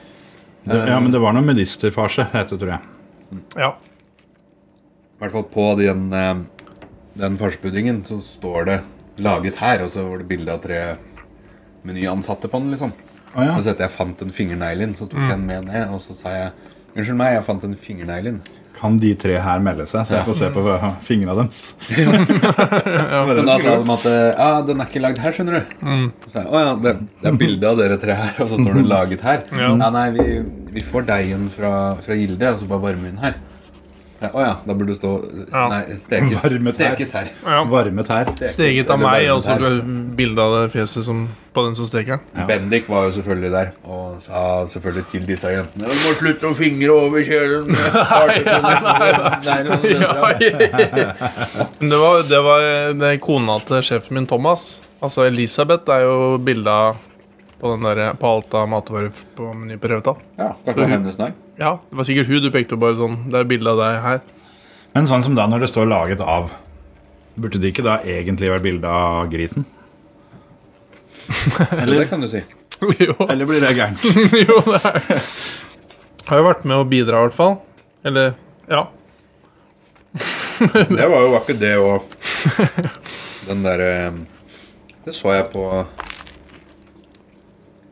C: Det, ja, men det var noe medisterfarse, het det, tror jeg.
B: Ja.
A: I hvert fall på den, eh, den farsepuddingen så står det 'laget her', og så var det bilde av tre menyansatte på den, liksom.
C: Å, ja. Mm.
A: Og så etter jeg fant en fingernegl inn, så tok jeg den med ned, og så sa jeg 'Unnskyld meg, jeg fant en fingernegl inn'.
C: Kan de tre her melde seg, så jeg får se på fingra deres?
A: Men da sa de at eh, ja, den er ikke lagd her, skjønner du.
C: Mm.
A: Så sa jeg, å ja, det, det er bilde av dere tre her, og så står det 'laget her'. Ja,
B: Ja.
A: nei, vi, vi får deigen fra, fra gildet, og så bare varmer vi den her. Ja, å ja, da burde det stå
B: Ja.
A: Nei, stekes,
C: Varmet her.
A: stekes her.
B: Ja.
C: Varmet her.
A: Stekes,
B: Steget av
A: eller
B: meg,
A: varmet
B: og så
A: her.
B: bilde av det fjeset som, på den som steker.
C: Ja.
A: Bendik var jo selvfølgelig der og sa selvfølgelig til disse jentene Du må slutte å fingre over kjelen!
B: Ja,
A: Nei,
B: Men det var, det var det er kona til sjefen min, Thomas. Altså Elisabeth er jo bilde av på, den der, på alt av matvarer på Meny på Revetal.
A: Ja, kanskje det var hennes navn.
B: Ja, det var sikkert hun du pekte på. bare sånn, Det er bilde av deg her.
C: Men sånn som da når det står 'laget av', burde det ikke da egentlig vært bilde av grisen?
A: Eller det kan du si.
B: jo,
C: Eller blir det gærent?
B: jo, det er Har jo vært med å bidra, i hvert fall. Eller Ja.
A: Det var jo vakkert, det òg. Den derre Det så jeg på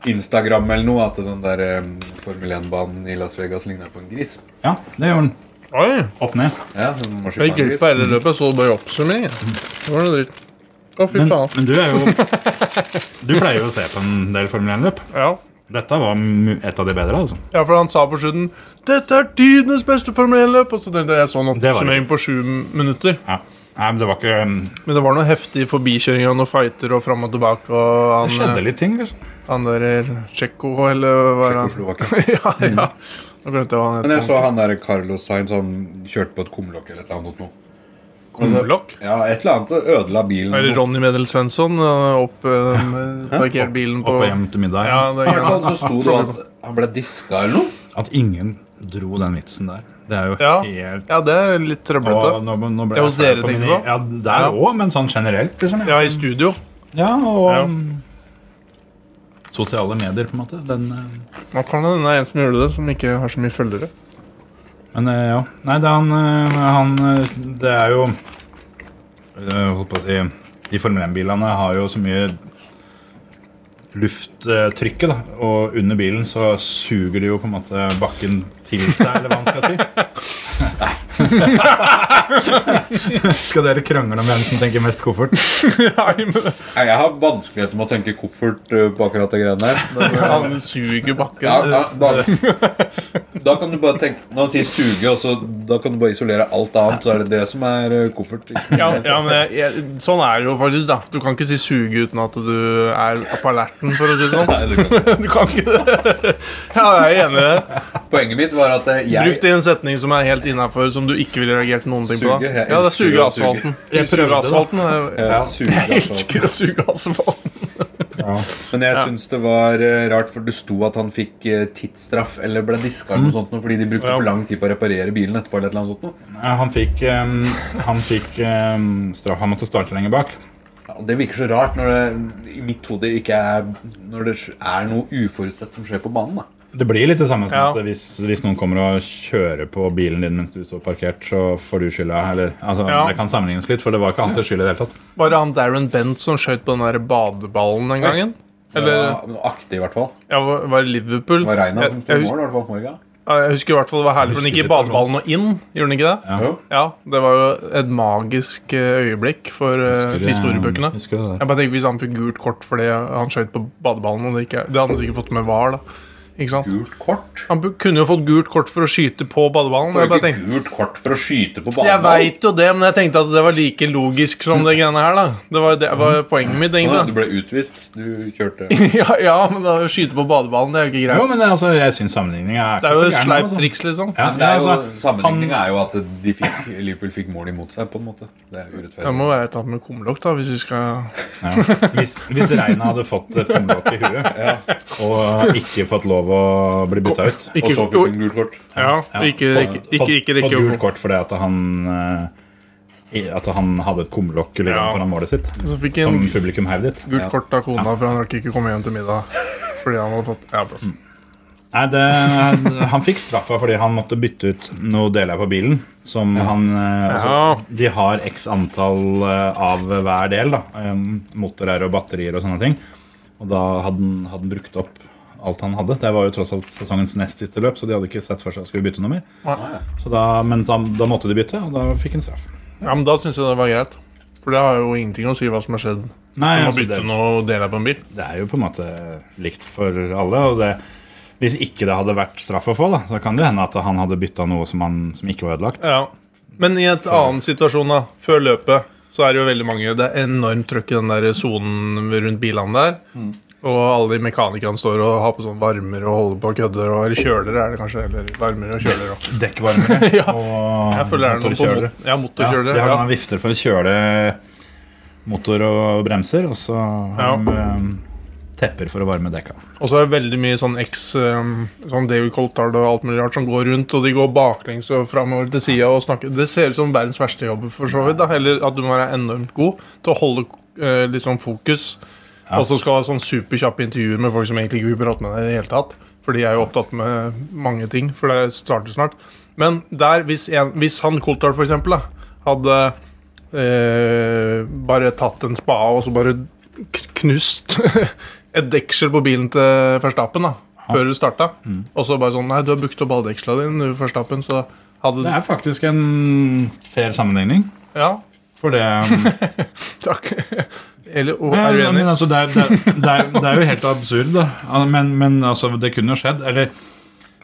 A: Instagram eller noe, at den der eh, Formel 1-banen i Las Vegas ligna på en gris.
C: Ja, det gjør den.
B: Oi!
C: Opp ned.
A: Ja, en
B: Jeg gikk
A: marsipangris.
B: ut på hele løpet, så bare oppsummering. jeg. Det var noe dritt. Å, fy
C: Men,
B: faen.
C: men du er jo Du pleier jo å se på en del Formel 1-løp.
B: Ja.
C: Dette var mu- et av de bedre, altså.
B: ja, for han sa på slutten 'Dette er tidenes beste Formel 1-løp'. Og så tenkte jeg jeg så en
C: Det var det.
B: oppsummering på sju minutter.
C: Ja. Nei, men det var ikke um,
B: Men det var noe heftig forbikjøring og noe fighter og fram og tilbake. Og
C: Det
B: han,
C: skjedde litt ting, liksom.
B: eh, han der Tsjekko, eller hva er han?
A: Tjekkoslovakia.
B: ja, ja.
C: Mm.
B: Nå glemte jeg hva han
A: Men jeg
B: het.
A: så han der Carlos Sainz han kjørte på et kumlokk eller et eller annet. Noe.
B: Kumlokk?
A: Ja, et eller annet og ødela bilen.
B: Er det Ronny Medel Svensson? eh, Opp, eh, med- parkert bilen
C: Opp
B: på
C: og hjem til middag.
B: Ja, det
A: I hvert
B: er greit.
A: fall så sto det at han ble diska eller noe.
C: At ingen dro den vitsen der. Det er jo
B: Ja.
C: helt
B: ja, det er litt
C: og,
B: trøblete.
C: nå, nå ble
B: Det er hos
C: jeg flau
B: dere,
C: på
B: tenker
C: min-
B: du på?
C: Ja, der
B: Ja.
C: òg, men sånn generelt, liksom.
B: Ja, i studio.
C: Ja, og
B: Ja.
C: um, Sosiale medier, på en måte. Den, uh,
B: Man kan hende det er en som gjorde det, som ikke har så mye følgere.
C: men uh, ja. Nei, det er han, uh, han uh, Det er jo uh, Holdt på å si De Formel 1-bilene har jo så mye lufttrykket, da. Og under bilen så suger de jo på en måte bakken til seg, eller hva man skal si. skal dere krangle om hvem som tenker mest koffert?
B: Nei, men
A: Nei, Jeg har vanskeligheter med å tenke koffert uh, på akkurat det greiene der. Men, uh,
B: Han suger
A: ja, ja,
B: bakken.
A: da, da kan du bare tenke Når han sier suge, og så, da kan du bare isolere alt annet, så er det det som er uh, koffert.
B: Ja, ja, men jeg, jeg, sånn er det jo faktisk. da Du kan ikke si 'suge' uten at du er på alerten, for å si det sånn.
A: Nei, det kan.
B: Du kan ikke det. Ja, jeg er enig i det.
A: Poenget mitt var at uh,
B: Bruk
A: jeg
B: det i en setning som er helt innafor, som du ikke ville reagert noen ting på.
A: Suge, jeg
B: Ja, det er
A: elsker
B: suge
A: å suge.
B: asfalten.
C: Jeg
B: Suge
C: prøvde det, da.
B: asfalten. Jeg,
A: uh, suge,
B: jeg
A: altså.
B: elsker å suge asfalten.
C: Ja.
A: Men jeg syns det var eh, rart, for det sto at han fikk eh, tidsstraff eller ble diska eller noe sånt noe, fordi de brukte
B: Mm. Ja.
A: for lang tid på å reparere bilen etterpå. eller et eller annet sånt noe.
C: Ja, Han fikk, um, han, fikk um, straff. han måtte starte lenger bak.
A: Ja, og det virker så rart når det i mitt hode ikke er Når det er noe uforutsett som skjer på banen. da.
C: Det blir litt det samme som
B: Ja.
C: at hvis, hvis noen kommer og kjører på bilen din mens du står parkert, så får du skylda. Eller, altså,
B: Ja.
C: Det kan sammenlignes litt, for det var ikke hans skyld i det hele tatt.
B: Var det han Darren Bent som skjøt på den der badeballen den gangen? Eller
A: Ja, noe aktig, i hvert fall.
B: ja, var var det Liverpool?
A: Det var Reina
B: Jeg,
A: som sto i
B: jeg, hus-
A: mål, i hvert fall. Morga.
B: jeg husker i hvert fall det var herlig, for den gikk i
C: Husker situasjonen.
B: badeballen og inn. Gjorde den ikke det?
C: Ja.
A: Jo.
B: Ja, det var jo et magisk eh, øyeblikk for eh,
C: Husker du-
B: historiebøkene.
C: Husker du det?
B: Jeg bare tenker Hvis han fikk gult kort fordi han skøyt på badeballen og det, ikke, det hadde han sikkert fått med var. da Ikke sant?
A: Gult kort.
B: Han bu- kunne jo fått gult kort for å skyte på badeballen.
A: Det
B: Jeg bare
A: var
B: tenkte
A: ikke gult kort for å skyte på
B: jeg
A: banen.
B: veit jo det, men jeg tenkte at det var like logisk som det greiene her. da Det var, det var poenget mitt.
A: Å, Du
B: egentlig da.
A: ble utvist. Du kjørte
B: Ja, ja, men da skyte på badeballen, det er jo ikke
C: Jo,
B: greit.
C: men det, altså, jeg syns sammenligninga er
B: Det er jo et
C: så gæren,
B: sleipt
C: altså.
B: triks, liksom.
C: Ja,
A: Men det er jo,
C: altså,
A: Sammenligninga er jo at de fikk, Liverpool fikk mål imot seg, på en måte. Det er
B: Det
A: urettferdig.
B: må være et eller annet med kumlokk, da, hvis vi skal
C: ja. Hvis, hvis Reina hadde fått et kumlokk i huet og ikke fått lov å bli bytta ut
A: Og
B: Ikke,
A: så fikk hun gult kort.
B: ja, ikke,
C: fått-
B: ikke, ikke, ikke
C: fått-
B: rekke
C: Fått
B: å
C: gult kort fordi at han eh, i- At han hadde et kumlokk liksom,
B: Ja.
C: foran målet sitt.
B: Så fikk en
C: Som publikum heivet.
B: Gult
A: Ja.
B: kort av kona, for han rakk ikke komme hjem til middag. Fordi han hadde fått ja, plass.
C: Nei, det, eh, han fikk straffa fordi han måtte bytte ut noen deler på bilen. Som han eh, altså, De har x antall eh, av hver del. da eh, Motorer og batterier og sånne ting. Og da hadde han, hadde han brukt opp alt han hadde. Det var jo tross alt sesongens nest siste løp, så de hadde ikke sett for seg å skulle bytte noe mer.
A: ja.
C: Så da, men da, da måtte de bytte, og da fikk han straff.
B: Ja, men da syns jeg det var greit. For det har jo ingenting å si hva som har skjedd.
C: Nei,
B: Du må
C: altså,
B: bytte
C: det,
B: noe deler på en bil.
C: det er jo på en måte likt for alle. og det hvis ikke det hadde vært straff å få, da, så kan det hende at han hadde bytta noe som, han, som ikke var ødelagt.
B: Ja. Men i et annen situasjon, da, før løpet, så er det jo veldig mange Det er enormt trøkk i den der sonen rundt bilene der. Og alle de mekanikerne står og har på sånn varmer og holder på og kødder. Og, eller kjølere, er det kanskje. Eller varmer og kjølere òg.
C: Dekkvarmere
B: Ja.
C: og
B: Jeg føler det er noen på mot,
C: motorkjølere.
B: ja,
C: Ja, de
B: motorkjølere.
C: har
B: Ja,
C: noen vifter for å kjøle motor og bremser, og så har
B: Ja.
C: de eh, tepper for å varme dekka.
B: Og så er det veldig mye sånn X, um, sånn David Coltard og alt mulig rart som går rundt, og de går baklengs og framover til sida og snakker. Det ser ut som verdens verste jobb, for så vidt. da Eller at du må være enormt god til å holde eh, litt sånn fokus.
C: Ja.
B: Og så skal du ha sånn superkjappe intervjuer med folk som egentlig ikke vil prate med deg i det hele tatt. For de er jo opptatt med mange ting, for det starter snart. Men der, hvis, en, hvis han Coltard for eksempel da, hadde eh, bare tatt en spade og så bare k- knust et deksel på bilen til Verstappen da, før du starta. Og så bare sånn Nei, du har brukt opp alle deksla dine, du, Verstappen, så hadde
C: Det er faktisk en fair sammenligning.
B: Ja,
C: For det, men,
B: takk. Eller og, er du enig?
C: men, altså, det, er, det, er, det, er, det er jo helt absurd, da. Al- Men, men altså, det kunne jo skjedd. Eller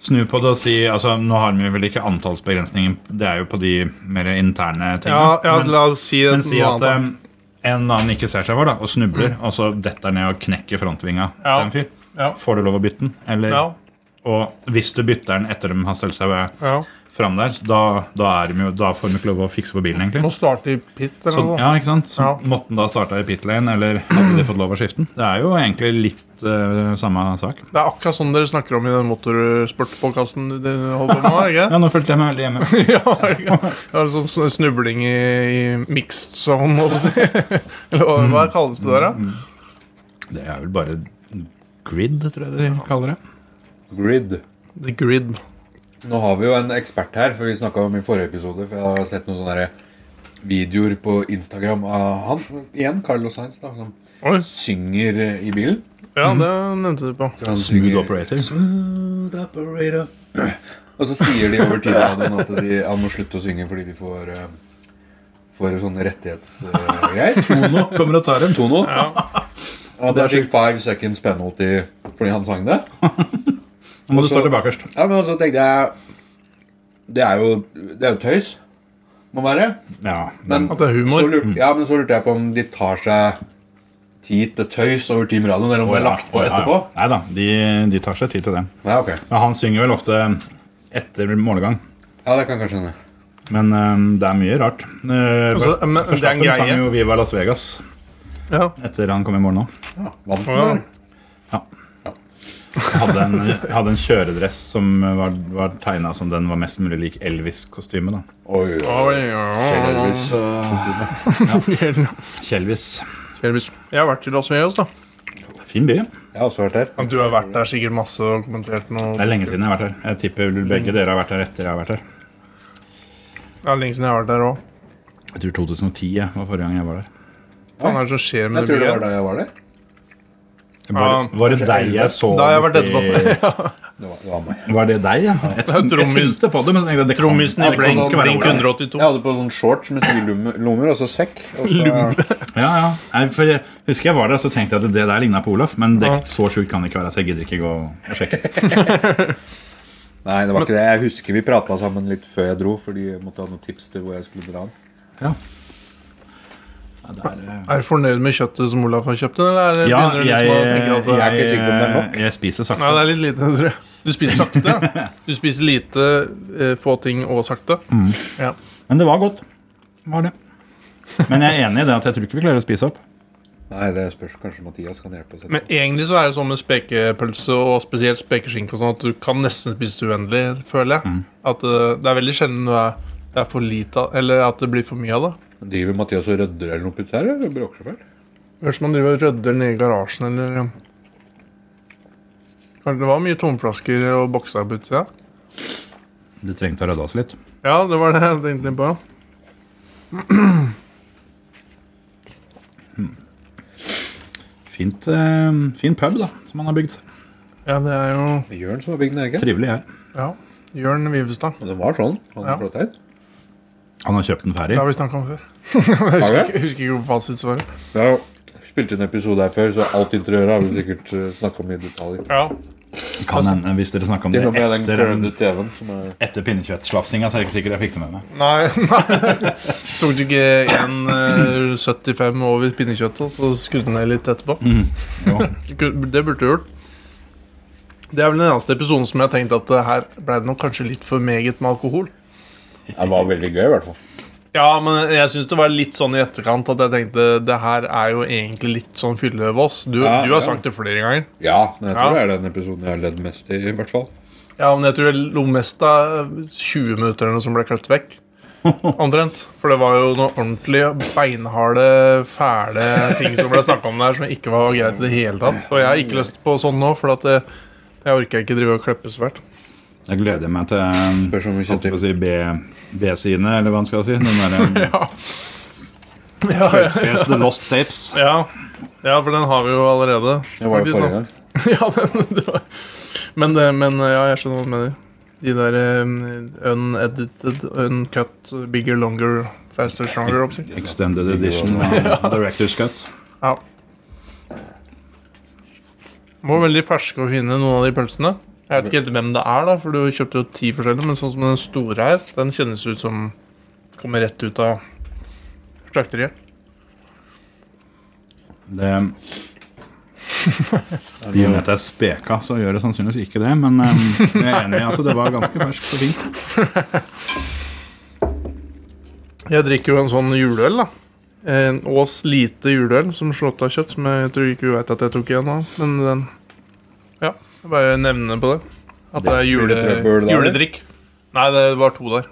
C: snu på det og si altså, Nå har vi vel ikke antallsbegrensningen, det er jo på de mer interne tingene.
B: Ja, ja,
C: Men-
B: la oss si
C: Men
B: et
C: si
B: noe
C: at
B: annet.
C: em, en annen ikke ser seg for, da, og snubler, og så detter ned og knekker frontvinga
B: Mm. Ja.
C: til en fyr.
B: Ja.
C: Får du lov å bytte den? Eller,
B: Ja,
C: Og hvis du bytter den etter de har stelt seg
B: ja.
C: fram der, da, da, er de jo, da får de ikke lov å fikse på bilen,
B: Må
C: egentlig.
B: starte i pit eller
C: Så,
B: noe.
C: Sånn, ja, ikke sant? så
B: Ja.
C: måtte den da starta i pit lane, eller hadde de fått lov å skifte den? Det er jo egentlig litt eh, samme sak.
B: Det er akkurat sånn dere snakker om i den motorsportpodkasten du holder på med? er det
C: Ja, nå følte jeg meg veldig hjemme.
B: ikke? ja, er det ikke? Det er en sånn sn- snubling i, i mixed zone, må du si. Eller hva- hva kalles det der, da?
C: Det er vel bare grid, tror jeg de kaller det.
A: Grid.
B: The grid.
A: Nå har vi jo en ekspert her, for vi snakka om i forrige episode. For jeg har sett noen sånne der videoer på Instagram av han igjen, Carlos Sainz, da, som
B: Oi.
A: synger eh, i bilen.
B: Ja, det nevnte du på.
A: Så han
C: Smooth
A: synger-
C: operator.
A: Smooth operator. Og så sier de over tideradioen at de, han må slutte å synge fordi de får, eh, får sånne rettighetsgreier.
C: Tono kommer og tar dem.
A: Tono.
B: Ja.
A: At han fikk five seconds penalty fordi han sang det.
C: Nå må du starte bakerst.
A: Ja, men så tenkte jeg Det er jo, det er jo tøys. Må være.
C: Ja,
A: Men,
B: At det er humor. Mm.
A: Så lurte, ja, men så lurte jeg på om de tar seg tid til tøys over Team Radio, eller om det er lagt på etterpå.
C: Nei da, de, de tar seg tid til det.
A: Ja, ok.
C: Men han synger vel ofte etter målgang.
A: Ja, det kan jeg kanskje hende.
C: Men eh, det er mye rart. Uh,
B: Altså, men det er en
C: Verstappen sang
B: greie.
C: jo Viva Las Vegas
B: ja.
C: etter han kom i mål nå.
A: Ja, vant den,
B: Ja.
A: eller?
C: Hadde en, hadde en kjøredress som var, var tegna som den var mest mulig lik Elvis-kostymet. da.
A: Oi, oi.
B: Oi,
A: Kjell
B: ja.
A: Elvis. eh,
C: Kjelvis.
B: Elvis. Jeg har vært i Las Vegas, da.
C: Fin by.
A: Jeg har også vært her.
B: Du har vært der sikkert masse og kommentert noe.
C: Det er lenge siden jeg har vært her. Jeg tipper begge dere har vært her etter jeg har vært her.
B: Ja, lenge siden jeg har vært der òg.
C: Jeg tror 2010 jeg, var forrige gang jeg var der.
B: Hva faen er det som skjer med
A: Jeg
B: det
A: tror det var
B: bygget?
A: da jeg var der.
C: Det Var,
B: Ja,
C: var det deg jeg så
B: Da har jeg vært
C: etterpå.
A: Det var, det var meg.
C: Var det deg, ja? Jeg, tenkte- jeg
B: trommis-
C: tenkte på det, men så tenkte jeg det kan,
B: Trommisen i
C: det sånn- kan
B: Blink,
C: ikke være
B: Blink
C: Ola.
B: 182.
A: Jeg hadde på sånn shorts med sivillommer og så sekk. Og så,
C: Ja, ja. Nei, for jeg husker jeg var der, så tenkte jeg at det der ligna på Olaf. Men det,
B: Ja.
C: så sjukt kan det ikke være, så jeg gidder ikke gå og sjekke.
A: nei, det var ikke det. Jeg husker vi prata sammen litt før jeg dro, fordi jeg måtte ha noen tips til hvor jeg skulle dra. den.
C: Ja. Ja, det er, eh,
B: Er du fornøyd med kjøttet som Olaf har kjøpt? Eller
C: ja,
B: begynner du
C: jeg,
B: liksom å tenke at det
A: er ikke
C: jeg,
A: sikker på om det er nok.
C: jeg spiser
B: Nei, det
C: sakte.
B: er litt lite, tror jeg. Du spiser sakte. ja. Du spiser lite, eh, få ting og sakte.
C: Mm.
B: Ja.
C: Men det var godt. Var det. Men jeg er enig i det at jeg tror ikke vi klarer å spise opp.
A: Nei, det spørs kanskje Mathias kan hjelpe oss. etterpå.
B: Men egentlig så er det sånn med spekepølse og spesielt spekeskinke og sånn at du kan nesten spise det uendelig, føler jeg.
C: Mm.
B: At eh, det er veldig sjelden det er, det er for lite av Eller at det blir for mye av det.
A: Driver Mathias og rydder eller noe putt her? eller bråker så fælt?
B: Høres man driver og rydder nede i garasjen eller ja. Kanskje det var mye tomflasker og bokser på utsida?
C: Du trengte å rydde oss litt.
B: Ja, det var det jeg tenkte på.
C: Fint, eh, fin pub da, som han har bygd.
B: Ja, det er jo
A: Jørn som har bygd den, er det ikke?
C: Trivelig, jeg.
B: Ja. Jørn Vivestad.
A: Men den var sånn. Han
B: Ja.
A: flott her.
C: Han har kjøpt den ferdig.
B: Det har vi snakka om før. jeg husker,
A: Har vi?
B: ikke- husker ikke fasitsvaret.
A: Vi har jo spilt inn episode her før, så alt interiøret har vi sikkert eh, snakket om i detalj.
B: Ja.
C: Kan hende, hvis dere snakka om
A: Det
C: det
A: er noe med den
C: etter,
A: krøllete TV-en som er
C: etter pinnekjøttslafsinga, så er jeg ikke sikker jeg fikk det med meg.
B: Nei, nei. Tok du ikke 1,75 over pinnekjøttet, så skrudde du ned litt etterpå?
A: Mm.
C: Jo.
B: Det burde du gjort. Det er vel den eneste episoden som jeg har tenkt at eh, her ble det nok kanskje litt for meget med alkohol.
A: Det var veldig gøy, i hvert fall.
B: Ja, men jeg syns det var litt sånn i etterkant at jeg tenkte det her er jo egentlig litt sånn fyllevås. Du,
A: Ja,
B: du har
A: ja.
B: sagt det flere ganger.
A: Ja, men jeg
B: Ja.
A: tror det er den episoden jeg har ledd mest i, i hvert fall.
B: Ja, men jeg tror jeg lo mest av 20 minutter eller noe som ble klippet vekk. Omtrent. For det var jo noe ordentlig beinharde, fæle ting som ble snakka om der som ikke var greit i det hele tatt. Og jeg har ikke lyst på sånn nå, for at eh, jeg orker ikke drive og klippe så fælt.
C: Jeg gleder meg til um,
A: Spørs om vi
C: holdt jeg
A: kjøper
C: på å si B- B-sidene, eller hva man skal si. Den der,
B: Ja. Ja, ja,
C: Here's the lost tapes.
B: ja. ja, for den har vi jo allerede.
A: Det var jo
B: faktisk nå.
A: forrige gang.
B: ja, den, det var. Men, det- men eh, ja, jeg skjønner hva du mener. De der eh, unedited, uncut, bigger, longer, faster, stronger oppsett.
C: Extended edition og Director's Cut.
B: Ja. Var veldig ferske og fine, noen av de pølsene. Jeg vet ikke helt hvem det er, da, for du kjøpte jo ti forskjellige, men sånn som den store her, den kjennes ut som kommer rett ut av slakteriet.
C: Det um, I og med at det er speka, så gjør det sannsynligvis ikke det. Men um, jeg er enig i at det var ganske ferskt og fint.
B: Jeg drikker jo en sånn juleøl, da. En Ås lite juleøl som slått av kjøtt, som jeg tror ikke hun veit at jeg tok igjen av. Men den Ja, jeg bare nevner på det. At det er
A: Blir
B: jule,
A: det trøbbel da, eller?
B: juledrikk. Nei, det var to der.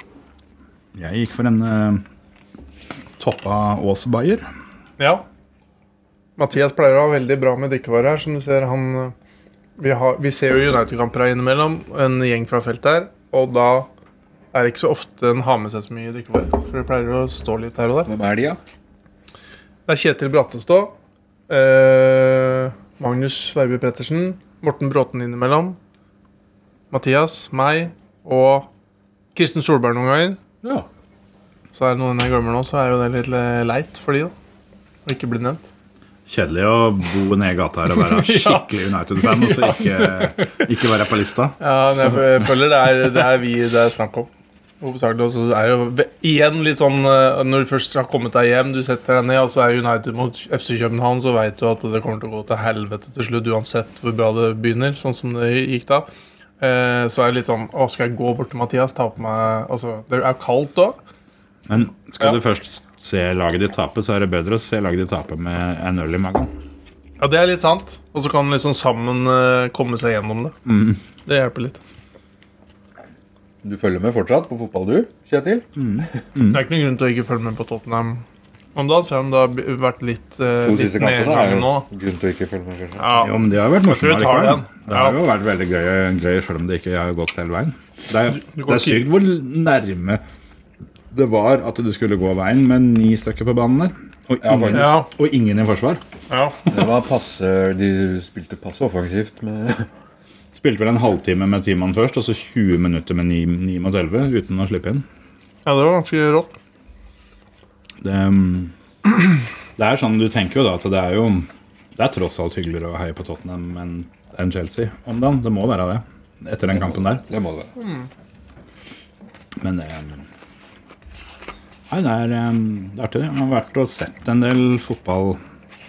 C: Jeg gikk for en uh, toppa Ås Bayer.
B: Ja. Mathias pleier å ha veldig bra med drikkevarer her, som du ser. Han eh, Vi, har, vi ser jo United-kamper her innimellom, en gjeng fra feltet her, og da er det ikke så ofte en har med seg så mye drikkevarer. For det pleier å stå litt her og der.
A: Hvem er de, da?
B: Det er Kjetil Brattestå. Eh, Magnus Weiby Pettersen. Morten Bråten innimellom. Mathias, meg og Kristen Solberg noen ganger.
A: Ja.
B: Så er det noen jeg glemmer nå, så er jo det litt le- leit for de da. Å ikke bli nevnt.
C: Kjedelig å bo nede i gata her og være skikkelig United-fan, og så ikke, ikke være på lista.
B: Ja, men jeg fø- jeg føler det er, det er vi det er snakk om. Hovedsakelig. Og så er det jo ve- igjen litt sånn eh, når du først har kommet deg hjem, du setter deg ned, og så er United mot FC København, så veit du at det kommer til å gå til helvete til slutt, uansett hvor bra det begynner, sånn som det gikk da. Eh, Så er det litt sånn Å, skal jeg gå bort til Mathias, ta på meg Altså, det er jo kaldt òg.
C: Men skal
B: Ja.
C: du først se laget ditt tape, så er det bedre å se laget ditt tape med en øl i magen.
B: Ja, det er litt sant. Og så kan man liksom sammen eh, komme seg gjennom det.
A: Mm.
B: Det hjelper litt.
A: Du følger med fortsatt på fotball, du, Kjetil? Mm.
B: Det er ikke noen grunn til å ikke følge med på Tottenham om dagen, selv om det har b- vært litt, eh,
A: To
B: litt
A: siste kampene er
B: nedgang
A: jo
B: nå.
A: grunn til å ikke følge med. kanskje.
B: Ja.
C: Jo, men de har jo vært
B: tror
C: morsomme
B: jeg tar
C: likevel.
B: den.
C: Det
B: Ja.
C: har jo vært veldig gøy, gøy selv om det ikke har gått hele veien. Det er,
B: du går
C: det er
B: ikke-
C: sykt hvor nærme det var at du skulle gå veien med ni stykker på banen der. Og
A: Ja,
C: ingen,
B: Ja.
C: og ingen i forsvar.
B: Ja.
A: Det var passe, De spilte passe offensivt, men
C: Spilte vel en halvtime med ti mann først, og så 20 minutter med ni, ni mot 11 uten å slippe inn.
B: ja, det var ganske rått.
C: Det, um, det er sånn, Du tenker jo da at det er jo Det er tross alt hyggeligere å heie på Tottenham enn enn Chelsea om dagen. Det må være det. Etter den kampen der.
A: det må det være.
C: Men det um, Nei, det er, um, det er artig. det. Jeg har vært og sett en del fotball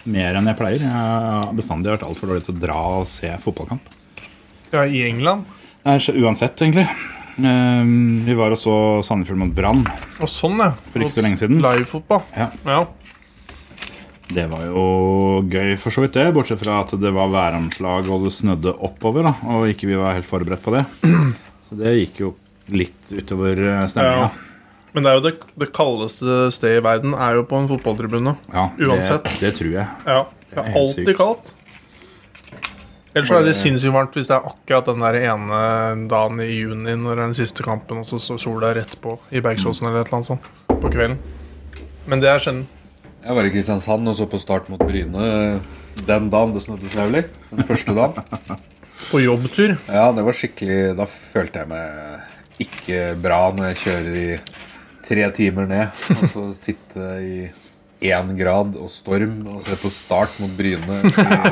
C: mer enn jeg pleier. Jeg har bestandig vært altfor dårlig til å dra og se fotballkamp.
B: Ja, I England.
C: Nei, så uansett, egentlig. Um, vi var og så Sandefjord mot Brann
B: Og sånn, ja.
C: for ikke så lenge siden.
B: Livefotball.
C: Ja.
B: Ja.
C: Det var jo gøy, for så vidt det. Bortsett fra at det var væromslag og det snødde oppover. da, Og ikke vi var helt forberedt på det. Så det gikk jo litt utover eh, stemninga.
B: Ja. Men det er jo det, det kaldeste stedet i verden er jo på en fotballtribune.
C: Ja, det-
B: Uansett.
C: Det tror jeg.
B: Ja. Det
C: er
B: er
C: helt
B: alltid
C: sykt.
B: kaldt. Ellers så er det sinnssykt varmt hvis det er akkurat den der ene dagen i juni når det er den siste kampen, og så står sola rett på i Bergsåsen eller et eller annet sånt på kvelden. Men det er sjelden.
A: Jeg var i Kristiansand og så på start mot Bryne den dagen det snødde så jævlig. Den første dagen.
B: På jobbtur.
A: Ja, det var skikkelig Da følte jeg meg ikke bra når jeg kjører i tre timer ned. Og så sitte i én grad og storm og se på start mot Bryne i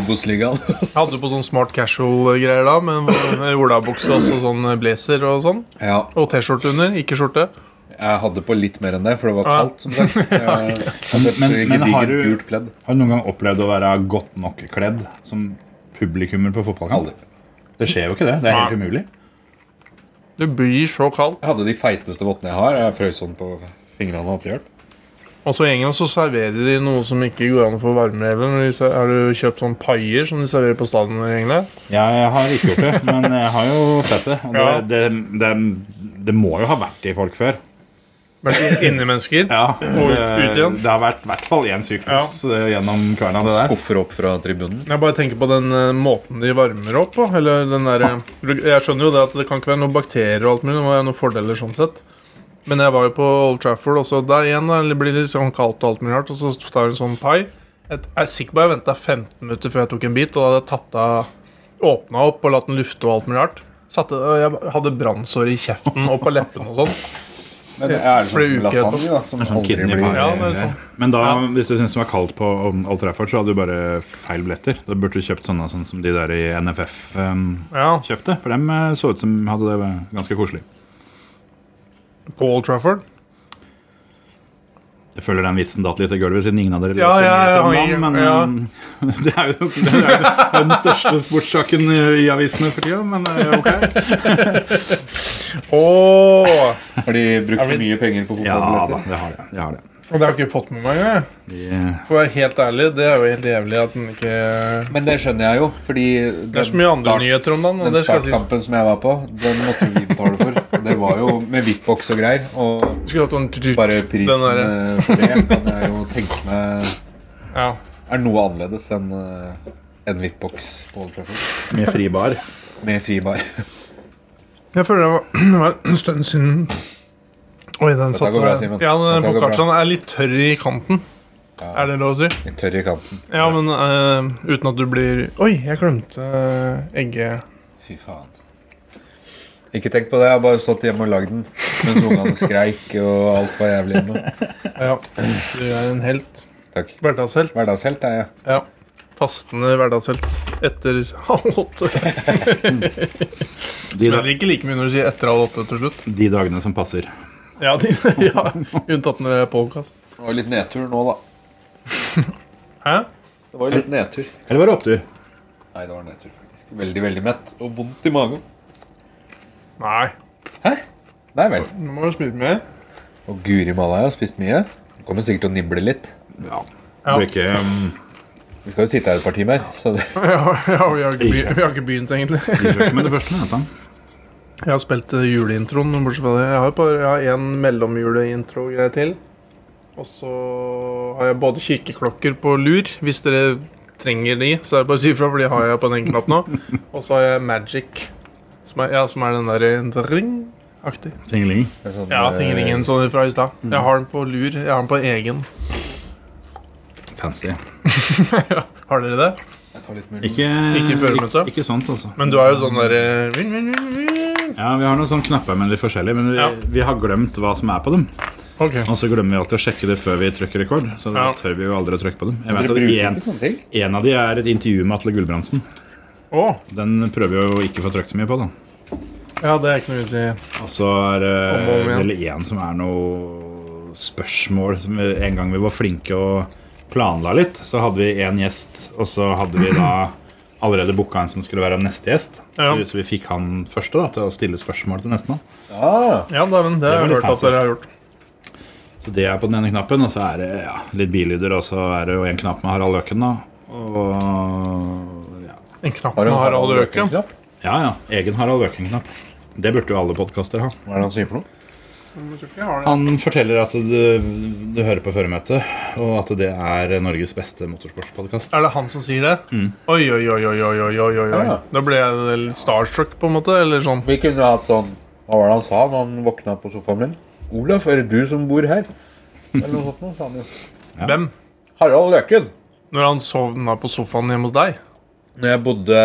A: Obos-ligaen.
B: Jeg hadde på sånn smart casual-greier da, med en olabukse og så sånn blazer og sånn.
A: Ja,
B: Og T-skjorte under, ikke skjorte.
A: jeg hadde på litt mer enn det, for det var
B: Ja.
A: kaldt, som sagt. Jeg, jeg
C: Men-
A: men,
C: men har du-
A: gult pledd.
C: Har du noen gang opplevd å være godt nok kledd som publikummer på fotballkamp?
A: Aldri.
C: Det skjer jo ikke det. Det er helt
B: Nei.
C: umulig.
B: Det blir så kaldt.
A: Jeg hadde de feiteste vottene jeg har. Jeg frøs sånn på fingrene og alt hjelp.
B: Og så i England så serverer de noe som ikke går an å få varmere heller. når de ser- Har du kjøpt sånn paier som de serverer på stadion i England?
C: Jeg har ikke gjort det, men jeg har jo sett det. Og det,
B: Ja.
C: det, det, det må jo ha vært i folk før.
B: Vært inni mennesker?
C: og
B: ut- ut igjen.
C: Det har vært i hvert fall én syklus eh, gjennom kverna. Det der.
A: Skuffer opp fra tribunen.
B: Jeg bare tenker på den eh, måten de varmer opp på. Eller den der, eh, jeg skjønner jo det at det kan ikke være noen bakterier og alt mulig. Det må være noen fordeler sånn sett. Men jeg var jo på Old Trafford, og så der igjen da, det blir det litt sånn kaldt og alt mulig rart. Og så tar hun sånn pai. Jeg jeg er sikker på jeg venta 15 minutter før jeg tok en bit, og da hadde jeg tatt av Åpna opp og latt den lufte og alt mulig rart. Satte, og jeg hadde brannsår i kjeften og på leppene og sånn.
A: Men det er
B: For det er
A: sånn
B: uke etterpå.
A: lasagne, da, som aldri
C: kidney
A: blir
C: pie.
B: Ja, det er sånn.
C: Men da, hvis du syntes det var kaldt på Old Trafford, så hadde du bare feil billetter. Da burde du kjøpt sånne sånn som de der i NFF em,
B: Ja,
C: ehm, kjøpte. For dem eh, så ut som hadde det ganske koselig.
B: På Old Trafford.
C: Jeg føler den vitsen datt litt i gulvet, siden ingen av dere
B: Ja,
C: leser
B: ja, ja,
C: nyheter om
B: ja, ja.
C: ham. Men eh, det er jo det er jo- det er den største sportssaken i avisene for tida, men eh, ok.
B: Ååå!
A: Har de brukt for mye penger på
C: Ja da,
A: fotballbilletter?
C: det har det. det, har det.
B: Og det har jeg ikke fått med meg engang. jeg.
C: Vi, eh,
B: For å være helt ærlig, det er jo helt jævlig at den ikke
A: Men det skjønner jeg jo, fordi
B: Det er så mye andre nyheter om dagen. og
A: Den
B: det skal sies.
A: startkampen som jeg var på, den måtte vi betale for. Det var jo med hvittboks og greier. Og
B: Skulle hatt sånn
A: bare prisen
B: Den
A: eh, for det kan jeg jo tenke meg
B: Ja.
A: er noe annerledes enn eh, en hvittboks på Old Trafford.
C: med fri bar.
A: Med fri bar.
B: Jeg føler det var, det var en stund siden Oi, den satt
A: går bra, Simon.
B: Ja, den
A: Dette går
B: foccacciaen er litt tørr i kanten. Er det lov å si?
A: Litt Tørr i kanten.
B: Ja, men eh, uten at du blir Oi, jeg glemte eh, egget.
A: Fy faen. Ikke tenk på det, jeg har bare stått hjemme og lagd den mens ungene skreik og alt var jævlig hjemme.
B: Ja. Du er en helt.
A: Takk.
B: Hverdagshelt.
A: Hverdagshelt er jeg.
B: Ja. Fastende hverdagshelt etter halv åtte.
C: De, da,
B: Smeller ikke like mye når du sier etter halv åtte til slutt.
C: de dagene som passer.
B: Ja, de, ja Unntatt når det er podkast.
A: Det var litt nedtur nå, da.
B: Hæ?
A: Det var litt nedtur.
C: Eller var det opptur?
A: Nei, det var nedtur, faktisk. Veldig, veldig mett. Og vondt i magen.
B: Nei.
A: Hæ? Nei vel.
B: Nå må du smile mer.
A: Og guri malla, jeg har spist mye. Kommer sikkert til å nible litt.
C: Ja.
B: Ja.
C: Det ble ikke, um,
A: Vi skal jo sitte her et par timer. Så det,
B: Ja, ja vi, har ikke begynt, vi har ikke begynt, egentlig.
C: de kjørte med det første. vet du.
B: Jeg har spilt eh, juleintroen, men bortsett fra det. Jeg har jo bare- jeg har en mellomjuleintro-greie til. Og så har jeg både kirkeklokker på lur. Hvis dere trenger de, så er det bare å si ifra, for de har jeg på en egen knapp nå. Og så har jeg Magic, som er, ja, som er den der ring-aktig.
C: Tingeling.
A: det er sånn,
B: Ja,
A: eh,
B: tingelingen sånn fra i stad. Jeg har den på lur. Jeg har den på egen.
C: Fancy.
B: Har dere det?
A: Jeg tar litt mul.
C: Ikke,
B: Ikke førermøte?
C: ikke, ikke sånt, altså.
B: Men du har jo sånn derre vin, vin, vin, vin.
C: Ja, Vi har noen sånne knapper med litt forskjellig, men vi,
B: Ja.
C: vi har glemt hva som er på dem.
B: Ok.
C: Og så glemmer vi alltid å sjekke det før vi trykker rekord. Så da
B: Ja.
C: tør vi jo aldri å trykke på dem. Jeg
A: Dere
C: vet
A: bruker
C: at en,
A: ikke sånne ting?
C: en av de er et intervju med Atle Gulbrandsen.
B: Å!
C: Den prøver vi jo ikke å få trykt så mye på, da.
B: Ja, det er ikke noe vits i.
C: Og så er det
B: Om og om igjen.
C: vel én som er noe spørsmål som vi- En gang vi var flinke og planla litt, så hadde vi én gjest, og så hadde vi da allerede booka en som skulle være neste gjest.
B: Ja.
C: Så vi fikk han første da, til å stille spørsmål til neste. Da.
A: Ah,
B: Ja, det, men det, har jeg
C: var
B: hørt
C: litt
B: at
C: fancy.
B: dere har gjort.
C: Så det er på den ene knappen, og så er det ja, litt bilyder, og så er det jo en knapp med Harald Løken, da. Og ja,
B: En knapp
A: har
B: med
A: du
B: Harald Røken.
A: Hva
C: ja. ja egen Harald Løken-knapp. Det burde jo alle podkaster ha.
A: er det han sier for noe?
C: Han forteller at du, du hører på føremøtet, og at det er Norges beste motorsportspodkast.
B: Er det han som sier det? Oi, oi, oi, oi, oi, oi, oi, oi.
A: Ja.
B: Da ble jeg litt starstruck, på en måte. Eller sånn.
A: Vi kunne hatt sånn Hva var det han sa da han våkna på sofaen min? Olaf, er det du som bor her? Eller noe sånt noe, sa han jo.
C: Ja.
B: Hvem?
A: Harald Løken.
B: Når han sovna på sofaen hjemme hos deg?
A: Når jeg bodde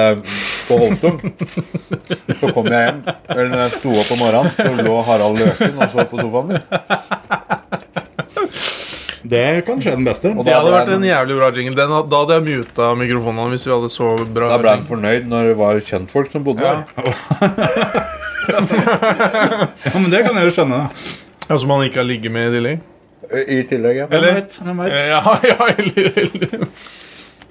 A: på Holtum. Så kom jeg hjem. Eller når jeg sto opp om morgenen, så lå Harald Løken og så på sofaen min.
C: Det er kanskje den beste.
A: Og
B: Det
A: da
B: hadde
A: ble
B: vært en
A: han-
B: jævlig bra jingle. Den, had- da hadde jeg muta mikrofonene hvis vi hadde så bra
A: Da ble han fornøyd når det var kjentfolk som bodde
B: Ja.
A: der.
C: Ja, men det kan jeg jo skjønne. da.
B: Ja, Som han ikke har ligget med i tillegg.
A: I tillegg, ja.
B: Eller-
C: Hvem vet, hvem vet.
B: Ja, ja, eller, eller.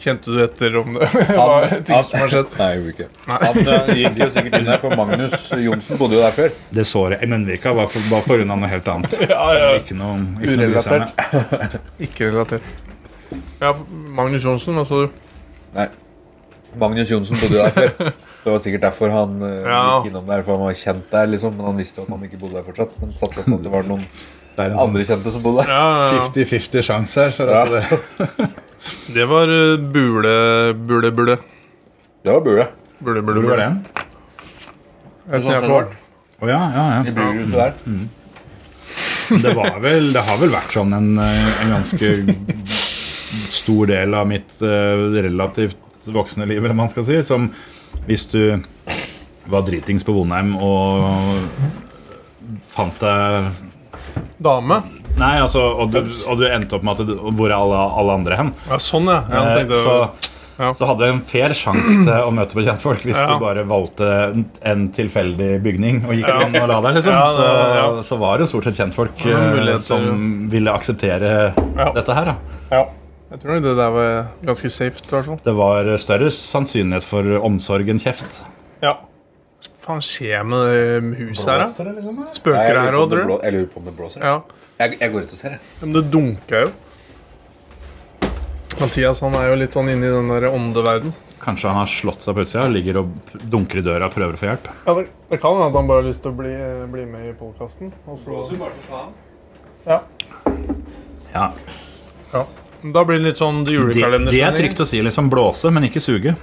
B: Kjente du etter om det? Hva
A: Han-
B: ting som har skjedd?
A: Nei, jeg gjorde ikke. Han eh, gikk jo sikkert inn der, for Magnus Johnsen bodde jo der før.
C: Det såret i munnvika var for- bare pga. noe helt annet.
B: Ja, ja.
C: Ikke noe, ikke noe å bry seg med.
B: Ikke relatert. Ja, Magnus Johnsen, hva sa du?
A: Magnus Johnsen bodde jo der før. Så det var sikkert derfor han eh,
B: Ja.
A: gikk innom der, for han var kjent der, liksom. Men han visste jo at han ikke bodde der fortsatt. Men satsa på at det var noen
C: Det er en sånn
A: andre kjente som bodde der.
B: Ja, ja, ja.
C: 50-50 sjanse her. For
A: Ja.
C: at det,
B: Det var eh, bule, bule, bule.
A: Det var bua.
B: Bule, bule, bule.
C: hvor var det?
B: Vet du hva jeg får?
C: Å ja, ja, ja.
A: I burhuset der.
C: Det, var vel, det har vel vært sånn en, eh, en ganske stor del av mitt eh, relativt voksne liv, eller hva man skal si, som hvis du var dritings på Vonheim og fant deg
B: Dame?
C: Nei, altså, og du, og du endte opp med at du, Hvor er alle, alle andre hen?
B: Ja, sånn, ja. ja jeg
C: Eh,
B: tenkte,
C: så,
B: ja.
C: så hadde du en fair sjanse til å møte bekjentfolk hvis
B: Ja.
C: du bare valgte en- en tilfeldig bygning og gikk inn og la deg, liksom.
B: Ja, det- ja.
C: Så, så var det jo stort sett kjentfolk
B: Ja,
C: eh,
B: muligheter,
C: som ville akseptere
B: Ja.
C: dette her. Da.
B: ja. Jeg tror nok det der var ganske safe, i hvert fall.
C: Det var større sannsynlighet for omsorg enn kjeft.
B: Ja. Hva faen skjer med det huset her, da?
C: Nei,
A: Nei,
B: Spøker
A: Jeg
B: det her
A: lurer på
B: òg,
A: om det
B: tror du?
A: blå- jeg lurer på om det blåser.
B: Ja.
A: Jeg, jeg går ut og ser, jeg.
B: Men det dunka jo. Mathias han er jo litt sånn inne i den der åndeverden.
C: Kanskje han har slått seg på utsida, ligger og dunker i døra og prøver å få hjelp.
B: Ja, det, det kan hende at han bare har lyst til å bli, eh, bli med i altså. podkasten. Ja.
C: Ja.
B: Ja. Da blir det litt sånn
C: Det,
B: julekalender.
C: det er trygt å si, liksom. Blåse, men ikke suge.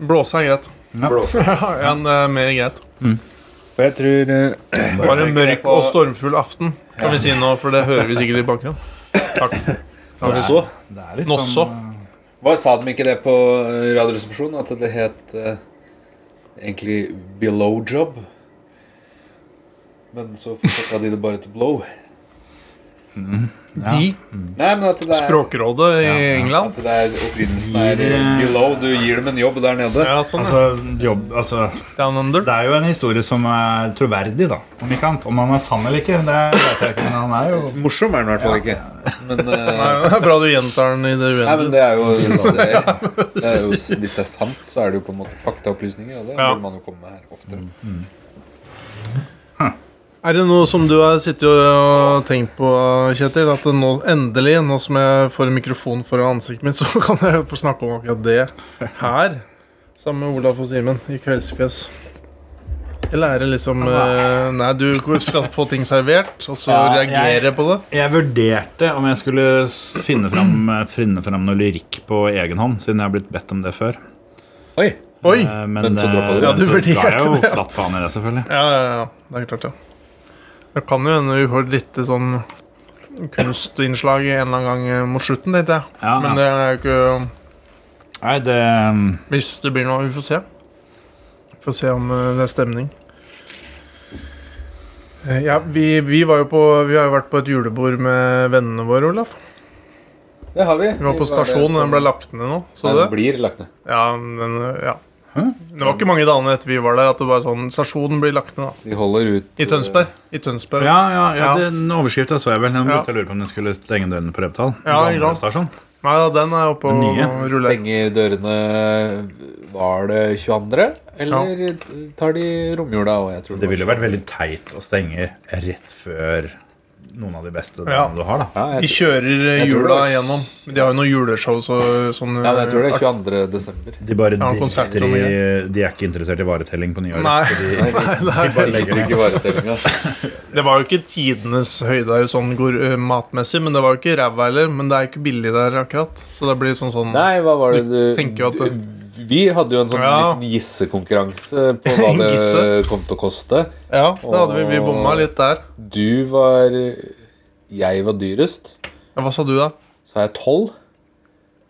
B: Blåse er greit.
A: Blåser.
B: Ja, en, eh, mer greit.
C: Mm.
A: For jeg tror eh,
B: Bare
A: tenker
B: en
A: jeg
B: mørk
A: på-
B: og stormfull aften, kan vi si nå, for det hører vi sikkert i bakgrunnen. Takk.
A: Også
C: Det er litt
B: Nosso.
A: Hva Sa de ikke det på eh, Radioresepsjonen? At det het eh, egentlig below job? Men så fortsatte de det bare til blow.
C: Ja.
B: De,
A: Nei, men at det er
B: Språkrådet i
C: Ja, ja.
B: England.
A: At det er opprinnelsen er
C: Gir, eh,
A: below. Du gir dem en jobb der nede.
B: Ja, sånn. ja.
C: Altså, jobb, altså,
B: Down under.
C: det er jo en historie som er troverdig, da. Om ikke annet. Om han er sann eller ikke, det vet jeg ikke. Men han er jo
A: Morsom er den i hvert fall ikke. Men,
B: Nei,
A: eh,
B: det er bra du gjentar den i det
A: nei, men
B: uendelige.
A: det er jo, det er jo Hvis det er sant, så er det jo på en måte faktaopplysninger. Og det
B: Ja. Mm.
A: burde man jo komme med her oftere.
B: Er det noe som du har sittet og tenkt på, Kjetil? At nå, endelig, nå som jeg får en mikrofon foran ansiktet mitt, så kan jeg få snakke om akkurat det her. Sammen med Olaf og Simen i Kveldsfjes. Eller er det liksom eh, Nei, du skal få ting servert, og så
C: Ja, jeg-
B: reagere på det?
C: Jeg vurderte om jeg skulle s- finne fram, finne fram noe lyrikk på egen hånd, siden jeg har blitt bedt om det før.
A: Oi!
B: Oi!
C: Eh,
B: Ja,
A: men så droppet
C: eh,
A: du det.
B: Ja, du
C: men så ga
B: vurderte
C: jeg jo
B: det, ja.
C: flatt faen i det, selvfølgelig.
B: ja, ja. Det er klart, ja. Det kan jo hende vi får et lite sånn kunstinnslag en eller annen gang eh, mot slutten, tenkte jeg.
C: Ja,
B: Men
C: ja.
B: det er jo ikke
C: Nei, det um,
B: Hvis det blir noe, vi får se. Vi får se om eh, det er stemning. Eh, Ja, vi, vi, var jo på, vi har jo vært på et julebord med vennene våre, Olaf.
A: Det har vi.
B: Vi var på stasjonen, den ble lagt ned nå. Så
A: Den
B: du det?
A: blir lagt ned.
B: Ja, den, eh, ja.
C: Hæ?
B: Det var ikke mange dagene etter vi var der at det var sånn Stasjonen blir lagt ned, da.
A: De holder ut
B: I Tønsberg. I Tønsberg.
C: Ja, ja, ja,
B: Ja.
C: den overskrifta så jeg vel.
B: Ja.
C: Jeg begynte å lure på om jeg skulle stenge dørene på Revetal.
B: Ja, ikke
C: Gamle
B: sant.
C: stasjon.
B: Nei, ja, den er jo på
C: Den nye.
B: ruller.
A: Stenger dørene Var det 22.? Eller tar de romjula òg? Jeg tror
C: Det
A: var
C: ville jo vært veldig teit å stenge rett før noen av de beste
B: Ja.
C: damene du har, da.
A: ja,
B: De
A: jeg, tror-
B: kjører eh,
A: Jeg tror det
B: jula
A: var-
B: gjennom. De har jo noen juleshow så, sånn
A: ja, men jeg tror det
B: eh,
A: er 22. desember.
C: De bare
B: Ja, konserter
C: driter
B: og
C: i De er ikke interessert i varetelling på nyåret.
B: Nei.
C: så de-
A: Nei, vi-
B: Nei,
A: vi legger ikke varetellinga.
B: Det var jo ikke tidenes høyder sånn går, eh, matmessig, men det var jo ikke ræva heller. Men det er ikke billig der akkurat. Så det blir sånn sånn
A: Nei, hva var det du
B: tenker jo at
A: Vi hadde jo en sånn
B: Ja.
A: liten gissekonkurranse på hva
B: Gisse?
A: det kom til å koste.
B: Ja, da hadde vi, vi bomma litt der.
A: Du var Jeg var dyrest.
B: Ja, hva sa du, da?
A: Så er jeg tolv.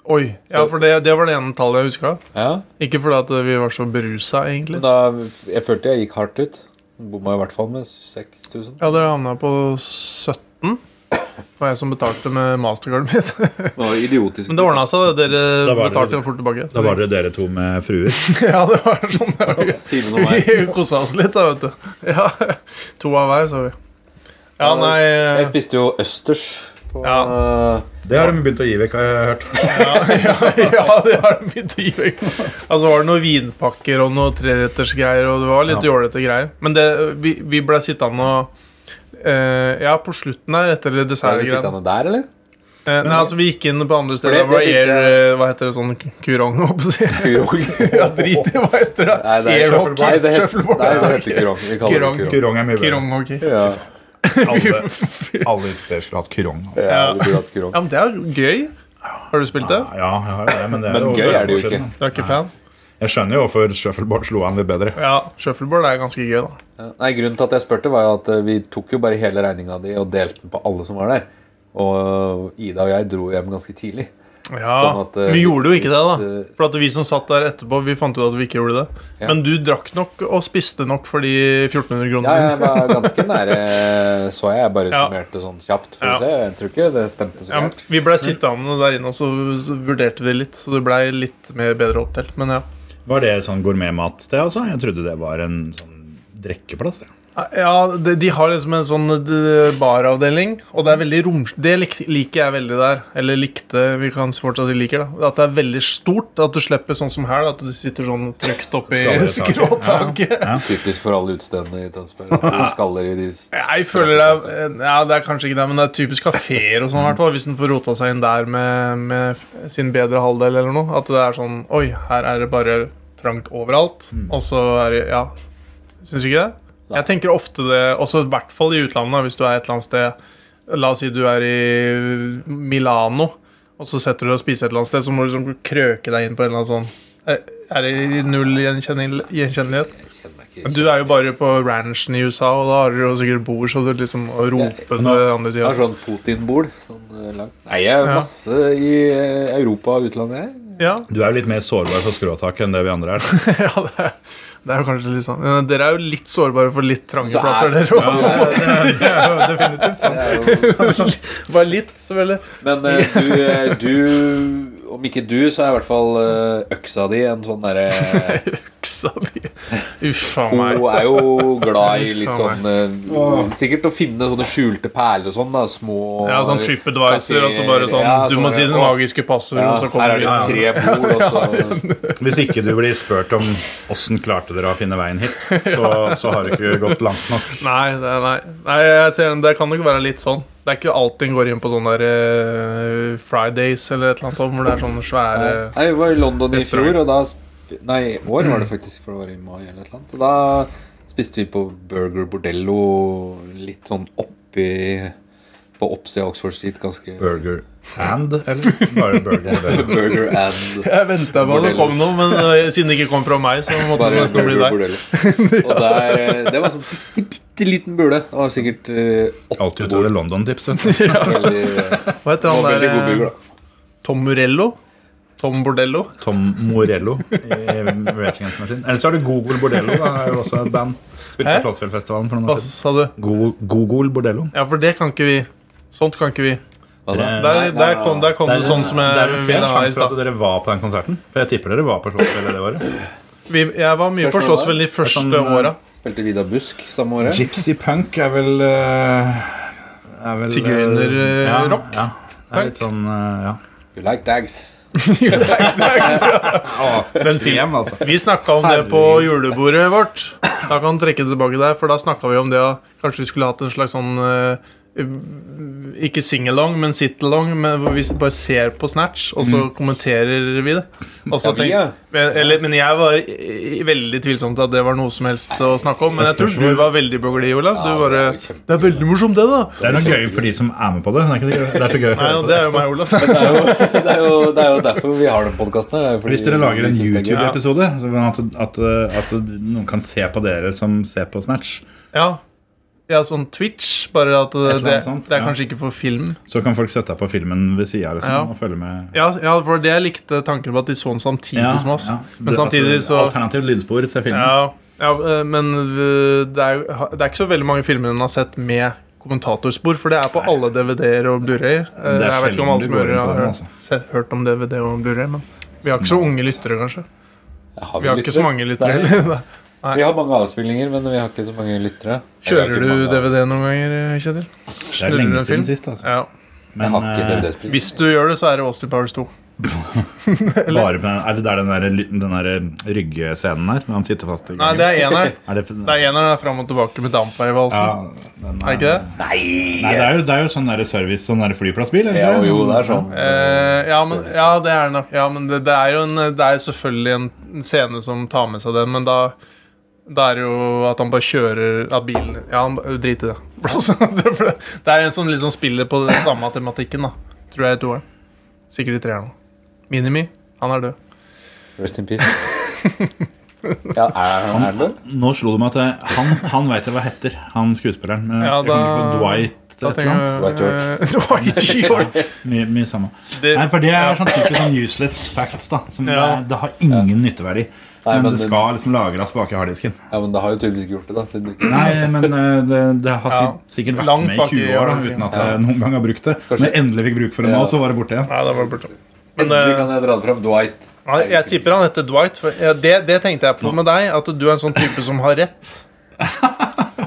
B: Oi. Ja, for det, det var det ene tallet jeg huska.
A: Ja,
B: Ikke fordi at vi var så berusa,
A: men
B: egentlig.
A: da, Jeg følte jeg gikk hardt ut. Bomma i hvert fall med 6000.
B: Ja, dere havna på 17. Det var jeg som betalte med mastercardet mitt.
A: Det var idiotisk.
B: Men det ordna seg. det. Dere
C: Da var det-
B: betalte jo fort tilbake.
C: Da var det dere to med fruer.
B: Ja, det var sånn det var.
A: Simen og meg.
B: Vi kosa oss litt, da, vet du. Ja, To av hver, sa vi. Ja,
A: Ja,
B: nei eh,
A: Jeg spiste jo østers. På, eh,
B: Ja.
D: Det har de begynt å gi vekk, har jeg hørt.
B: Ja, ja det har de begynt å gi vekk. Altså var det noen vinpakker og noen trerettersgreier, og det var litt jålete greier. Men det, vi, vi ble sittende og eh, Ja, på slutten der, etter
A: Er vi
B: dessertgreiene.
A: sittende der, eller?
B: Eh, nei, altså Vi gikk inn på andre
A: det-
B: steder. Det var
A: det
B: air,
A: tenkte
B: eh, hva heter det sånn kurong? holdt jeg på å si.
A: Kurong.
B: Ja, drit i hva heter det.
A: Nei, det er
B: Airhockey.
A: Nei, det heter,
B: Shuffleboard.
A: nei, det heter kurong. Vi kaller det
B: Kurong.
A: kurong.
D: Kurong er mye bedre.
B: Kuronghockey.
A: Ja,
D: Alle, alle utesteder skulle hatt kurong. Altså.
A: ja, det burde hatt kurong.
B: Ja, men det er jo gøy. Har du spilt det?
C: Ja, jeg har jo det, men det er
A: Men
C: jo
A: gøy er det jo
C: veldig
A: ikke.
C: sjelden.
B: Du er ikke fan?
C: Jeg skjønner jo hvorfor shuffleboard slo an litt bedre.
B: Ja, shuffleboard er ganske gøy, da.
A: Ja. Nei, Grunnen til at jeg spurte, var jo at eh, vi tok jo bare hele regninga di og delte den på alle som var der. Og eh, Ida og jeg dro hjem ganske tidlig.
B: Ja,
A: Sånn at, eh,
B: Vi gjorde jo ikke det, da.
A: hvis, eh,
B: For at vi som satt der etterpå, vi fant ut at vi ikke gjorde det.
A: Ja.
B: Men du drakk nok og spiste nok for de 1400
A: Ja,
B: kronene.
A: jeg var ganske nære, eh, så jeg. Jeg bare
B: Ja.
A: summerte sånn kjapt. For
B: Ja.
A: å se. Jeg tror ikke det stemte så
B: Ja, men
A: gærent.
B: vi blei sittende der inne, og så så vurderte vi litt. Så det blei litt mer bedre oppdelt. Men ja.
C: Var det sånn gourmetmatsted, altså? Jeg trodde det var en sånn drikkeplass. jeg.
B: Ja, de, de har liksom en sånn eh, baravdeling, og det er veldig roms... Det lik, liker jeg veldig der. Eller likte, vi kan fortsatt si liker, da. At det er veldig stort. At du slipper sånn som her, da, at du sitter sånn trygt oppi
C: Skal i taket.
B: skråtaket.
A: Typisk for alle utestedene i Tønsberg. At du skaller i de s-
B: Jeg føler det er, eh, ja, det er kanskje ikke det, men det er typisk kafeer og sånn, i hvert fall. Hvis en får rota seg inn der med, med sin bedre halvdel eller noe. At det er sånn Oi, her er det bare trangt overalt. Og så er det Ja. Syns du ikke det?
A: Nei.
B: Jeg tenker ofte det, også i hvert fall i utlandet, hvis du er et eller annet sted La oss si du er i Milano, og så setter du deg og spiser et eller annet sted, så må du liksom krøke deg inn på en eller annen sånn Er, er det null gjenkjennel- gjenkjennelighet?
A: Jeg kjenner meg ikke
B: Men Du er jo bare på ranchen i USA, og da har dere jo sikkert bord, så du liksom og roper til andre
A: Jeg har
B: sida.
A: sånn Putin-bord. Sånn eh, langt. Nei, jeg er
B: Ja.
A: masse i eh, Europa og utlandet, jeg.
B: Ja,
C: Du er jo litt mer sårbar for skråtak enn det vi andre er.
B: ja det, er, det er jo kanskje litt sånn. Men Dere er jo litt sårbare for litt trange
A: Så er-
B: plasser, dere òg.
A: Det er jo
B: Bare litt, selvfølgelig.
A: Men eh, du, eh, du Om ikke du, så er i hvert fall eh, øksa di en sånn derre
B: Øksa di. Uff a meg.
A: Hun er jo glad i litt
B: Faen
A: sånn eh, Sikkert å finne sånne skjulte perler og sånn, da. Små
B: Ja, sånn TripAdvisor, og så bare sånn
A: Ja,
B: Du må si det
A: å,
B: magiske passordet,
A: ja,
B: og så
A: Her
B: kommer
A: er
B: vi
A: det
B: inn.
A: tre bord, og så
C: Hvis ikke du blir spurt om åssen klarte dere å finne veien hit, så, så har du ikke gått langt nok.
B: Nei, det, er- nei. nei jeg ser, den. det kan nok være litt sånn. Det er ikke alltid en går inn på sånne der, eh, Fridays eller et eller annet sånt, hvor det er sånne svære
A: Nei, vi var i London i
B: Restaurant.
A: fjor, og da sp- Nei, i år var det faktisk, for det var i mai eller et eller annet. Og da spiste vi på Burger Bordello litt sånn oppi På oppsida av Oxford Street, ganske
C: Burger and, eller? Bare burger. det.
A: Burger and
B: Jeg venta på at det kom noe, men eh, siden det ikke kom fra meg, så måtte det
A: Bare
B: nesten bli deg.
A: bordeller. Og der, eh, det var en sånn bitte, bitte liten bule. Det var sikkert eh,
C: Alt
A: åtte
C: utover
A: bord.
C: London-tips, vet du.
A: Veldig, eh,
B: Hva heter
A: det
B: han
A: var veldig god
B: der?
A: burger,
B: eh,
A: da.
B: Tom Morello? Tom Bordello?
C: Tom Morello i Raging Against the Machine. Eller så har du Gogol Bordello, da er jo også et band. Spilte
B: Hæ?
C: på Slottsfjellfestivalen for noen
B: Hva
C: år siden.
B: sa du?
C: Go- Gogol Bordello.
B: Ja, for det kan ikke vi. Sånt kan ikke vi.
A: Hva da?
C: Nei,
B: Der, der kom, der kom
C: Det
B: det
C: er,
B: sånn som
C: det er
B: jeg
C: en fair
B: ville ha i
C: sjanse for
B: stad.
C: at dere var på den konserten. For jeg tipper dere var på Slottsfjellet det året.
B: Vi- Jeg var mye på
A: Spørsmålet
B: Slåssfjell de
C: sånn,
B: første
C: eh,
B: åra.
A: Spilte Vidar Busk samme året.
C: Gypsy punk er vel eh, er vel, eh,
B: Sigøynerrock?
C: Ja, ja. Det er litt sånn eh, ja.
A: You like dags.
B: Den filmen.
C: altså.
B: Vi snakka om det på julebordet vårt. Da kan han trekke det tilbake der, for da snakka vi om det at kanskje vi skulle hatt en slags sånn eh, Ikke singalong, men sit-along, men hvor vi bare ser på Snatch, og så kommenterer vi det. Og så
A: Mm. Ja, vi,
B: tenk-
A: ja.
B: men, eller, men jeg var i, i, veldig tvilsom til at det var noe som helst å snakke om. Men jeg tror du var veldig på glid, Olav.
A: Ja,
B: Du bare
A: det er jo kjempe-
B: Det er veldig morsomt, det, da!
C: Det er noe gøy for de som er med på det. Det er, ikke sikkert- det er så gøy å
B: Nei,
C: høre
B: og
C: på
B: det
C: det.
B: er jo meg, Olav.
A: Det er, jo, det, er jo, det er jo derfor vi har den podkasten her. det er fordi
C: Hvis dere lager
A: vi
C: en
A: synes det er gøy.
C: YouTube-episode, så vil jeg at, at, at noen kan se på dere som ser på Snatch
B: Ja. Ja, sånn Twitch, bare at det,
C: eller
B: det,
C: annet sånt,
B: det er
C: ja.
B: kanskje ikke for film.
C: Så kan folk sette deg på filmen ved sida liksom,
B: Ja.
C: og følge med.
B: Ja, ja, for det jeg likte tanken på at de så den samtidig som oss.
C: ja.
B: Men samtidig
C: altså,
B: så
C: Alternativt lydspor til filmen.
B: ja, ja, eh, Men eh, det er, jo- det er ikke så veldig mange filmer hun har sett med kommentatorspor, for det er på alle DVD-er og Blu-ray. Eh,
C: Det er
B: Jeg vet ikke om
C: sjelden
B: alle
C: du
B: som
C: går
B: hører,
C: inn på
B: har
C: den,
B: hørt,
C: altså.
B: sett, hørt om DVD og Blu-ray, men vi har ikke så unge lyttere, kanskje.
A: Jeg har
B: Vi har
A: vel
B: ikke
A: lyttere.
B: så mange lyttere
A: Nei.
B: heller.
A: Vi har mange avspillinger, men vi har ikke så mange lyttere. Eller, vi har
B: Kjører
A: ikke
B: du
A: mange av-
B: DVD noen ganger, eh, Kjetil?
C: det er
B: snurrer
C: lenge
B: en
C: siden
B: film.
C: sist, altså.
B: Ja.
A: Jeg
C: Men
A: har ikke
C: eh,
A: DVD-spill.
B: Hvis du gjør det, så er det Austin Powers 2.
C: eh, bare på den, er det der den der, ly- den der ryggescenen der, når han sitter fast
B: Nei,
C: i gangen?
B: det er eneren.
C: er det,
B: Det er eneren der fram og tilbake med dampveivalsen.
C: den
B: Er det ikke det?
C: Nei, det er jo, det er jo sånn der service, sånn der flyplassbil. eller?
A: Ja, jo, det er sånn.
B: Eh, ja, men, ja, det er det nok. Ja, men det, det er jo en, det er jo selvfølgelig en scene som tar med seg den, men da da er det jo at han bare kjører At bilen Ja, han bare- drit i det. Det ble- det er en som liksom spiller på den samme tematikken, da. Tror jeg i toeren. Sikkert i treeren. Minimi. Han er død.
A: Rest in peace. Ja, er han er det?
B: sånn.
C: Nå slo det meg at eh, han, han veit jeg hva heter, han skuespilleren. Men
B: Ja,
C: jeg kommer
B: da-
C: ikke på Dwight
B: Da
C: et eller annet.
A: Dwight York.
B: eh, Dwight York.
C: Ja, Mye, mye samme.
B: Det-
C: Nei, for det er sånn typisk sånn useless facts, da. Som
B: Ja.
C: det, det har ingen nytteverdi.
A: Nei,
C: men
A: men
C: det
A: det-
C: skal liksom lagres bak i harddisken.
A: Ja, men det har jo tydeligvis ikke gjort det, da. Siden du ikke
C: Nei, men eh, det, det har
B: Ja.
C: si- sikkert vært
B: Langt
C: med i
B: bak i
C: 20 år da,
B: harddisken.
C: uten at jeg noen gang har brukt det.
A: Kanskje-
C: Men endelig fikk bruk for det nå,
A: Ja.
C: så var det borte igjen.
B: Nei, det var borte. Men,
A: Endelig
B: eh,
A: kan jeg dra det fram. Dwight.
B: Nei, jeg tipper han heter Dwight. For ja, det, det tenkte jeg på med deg. At du er en sånn type som har rett.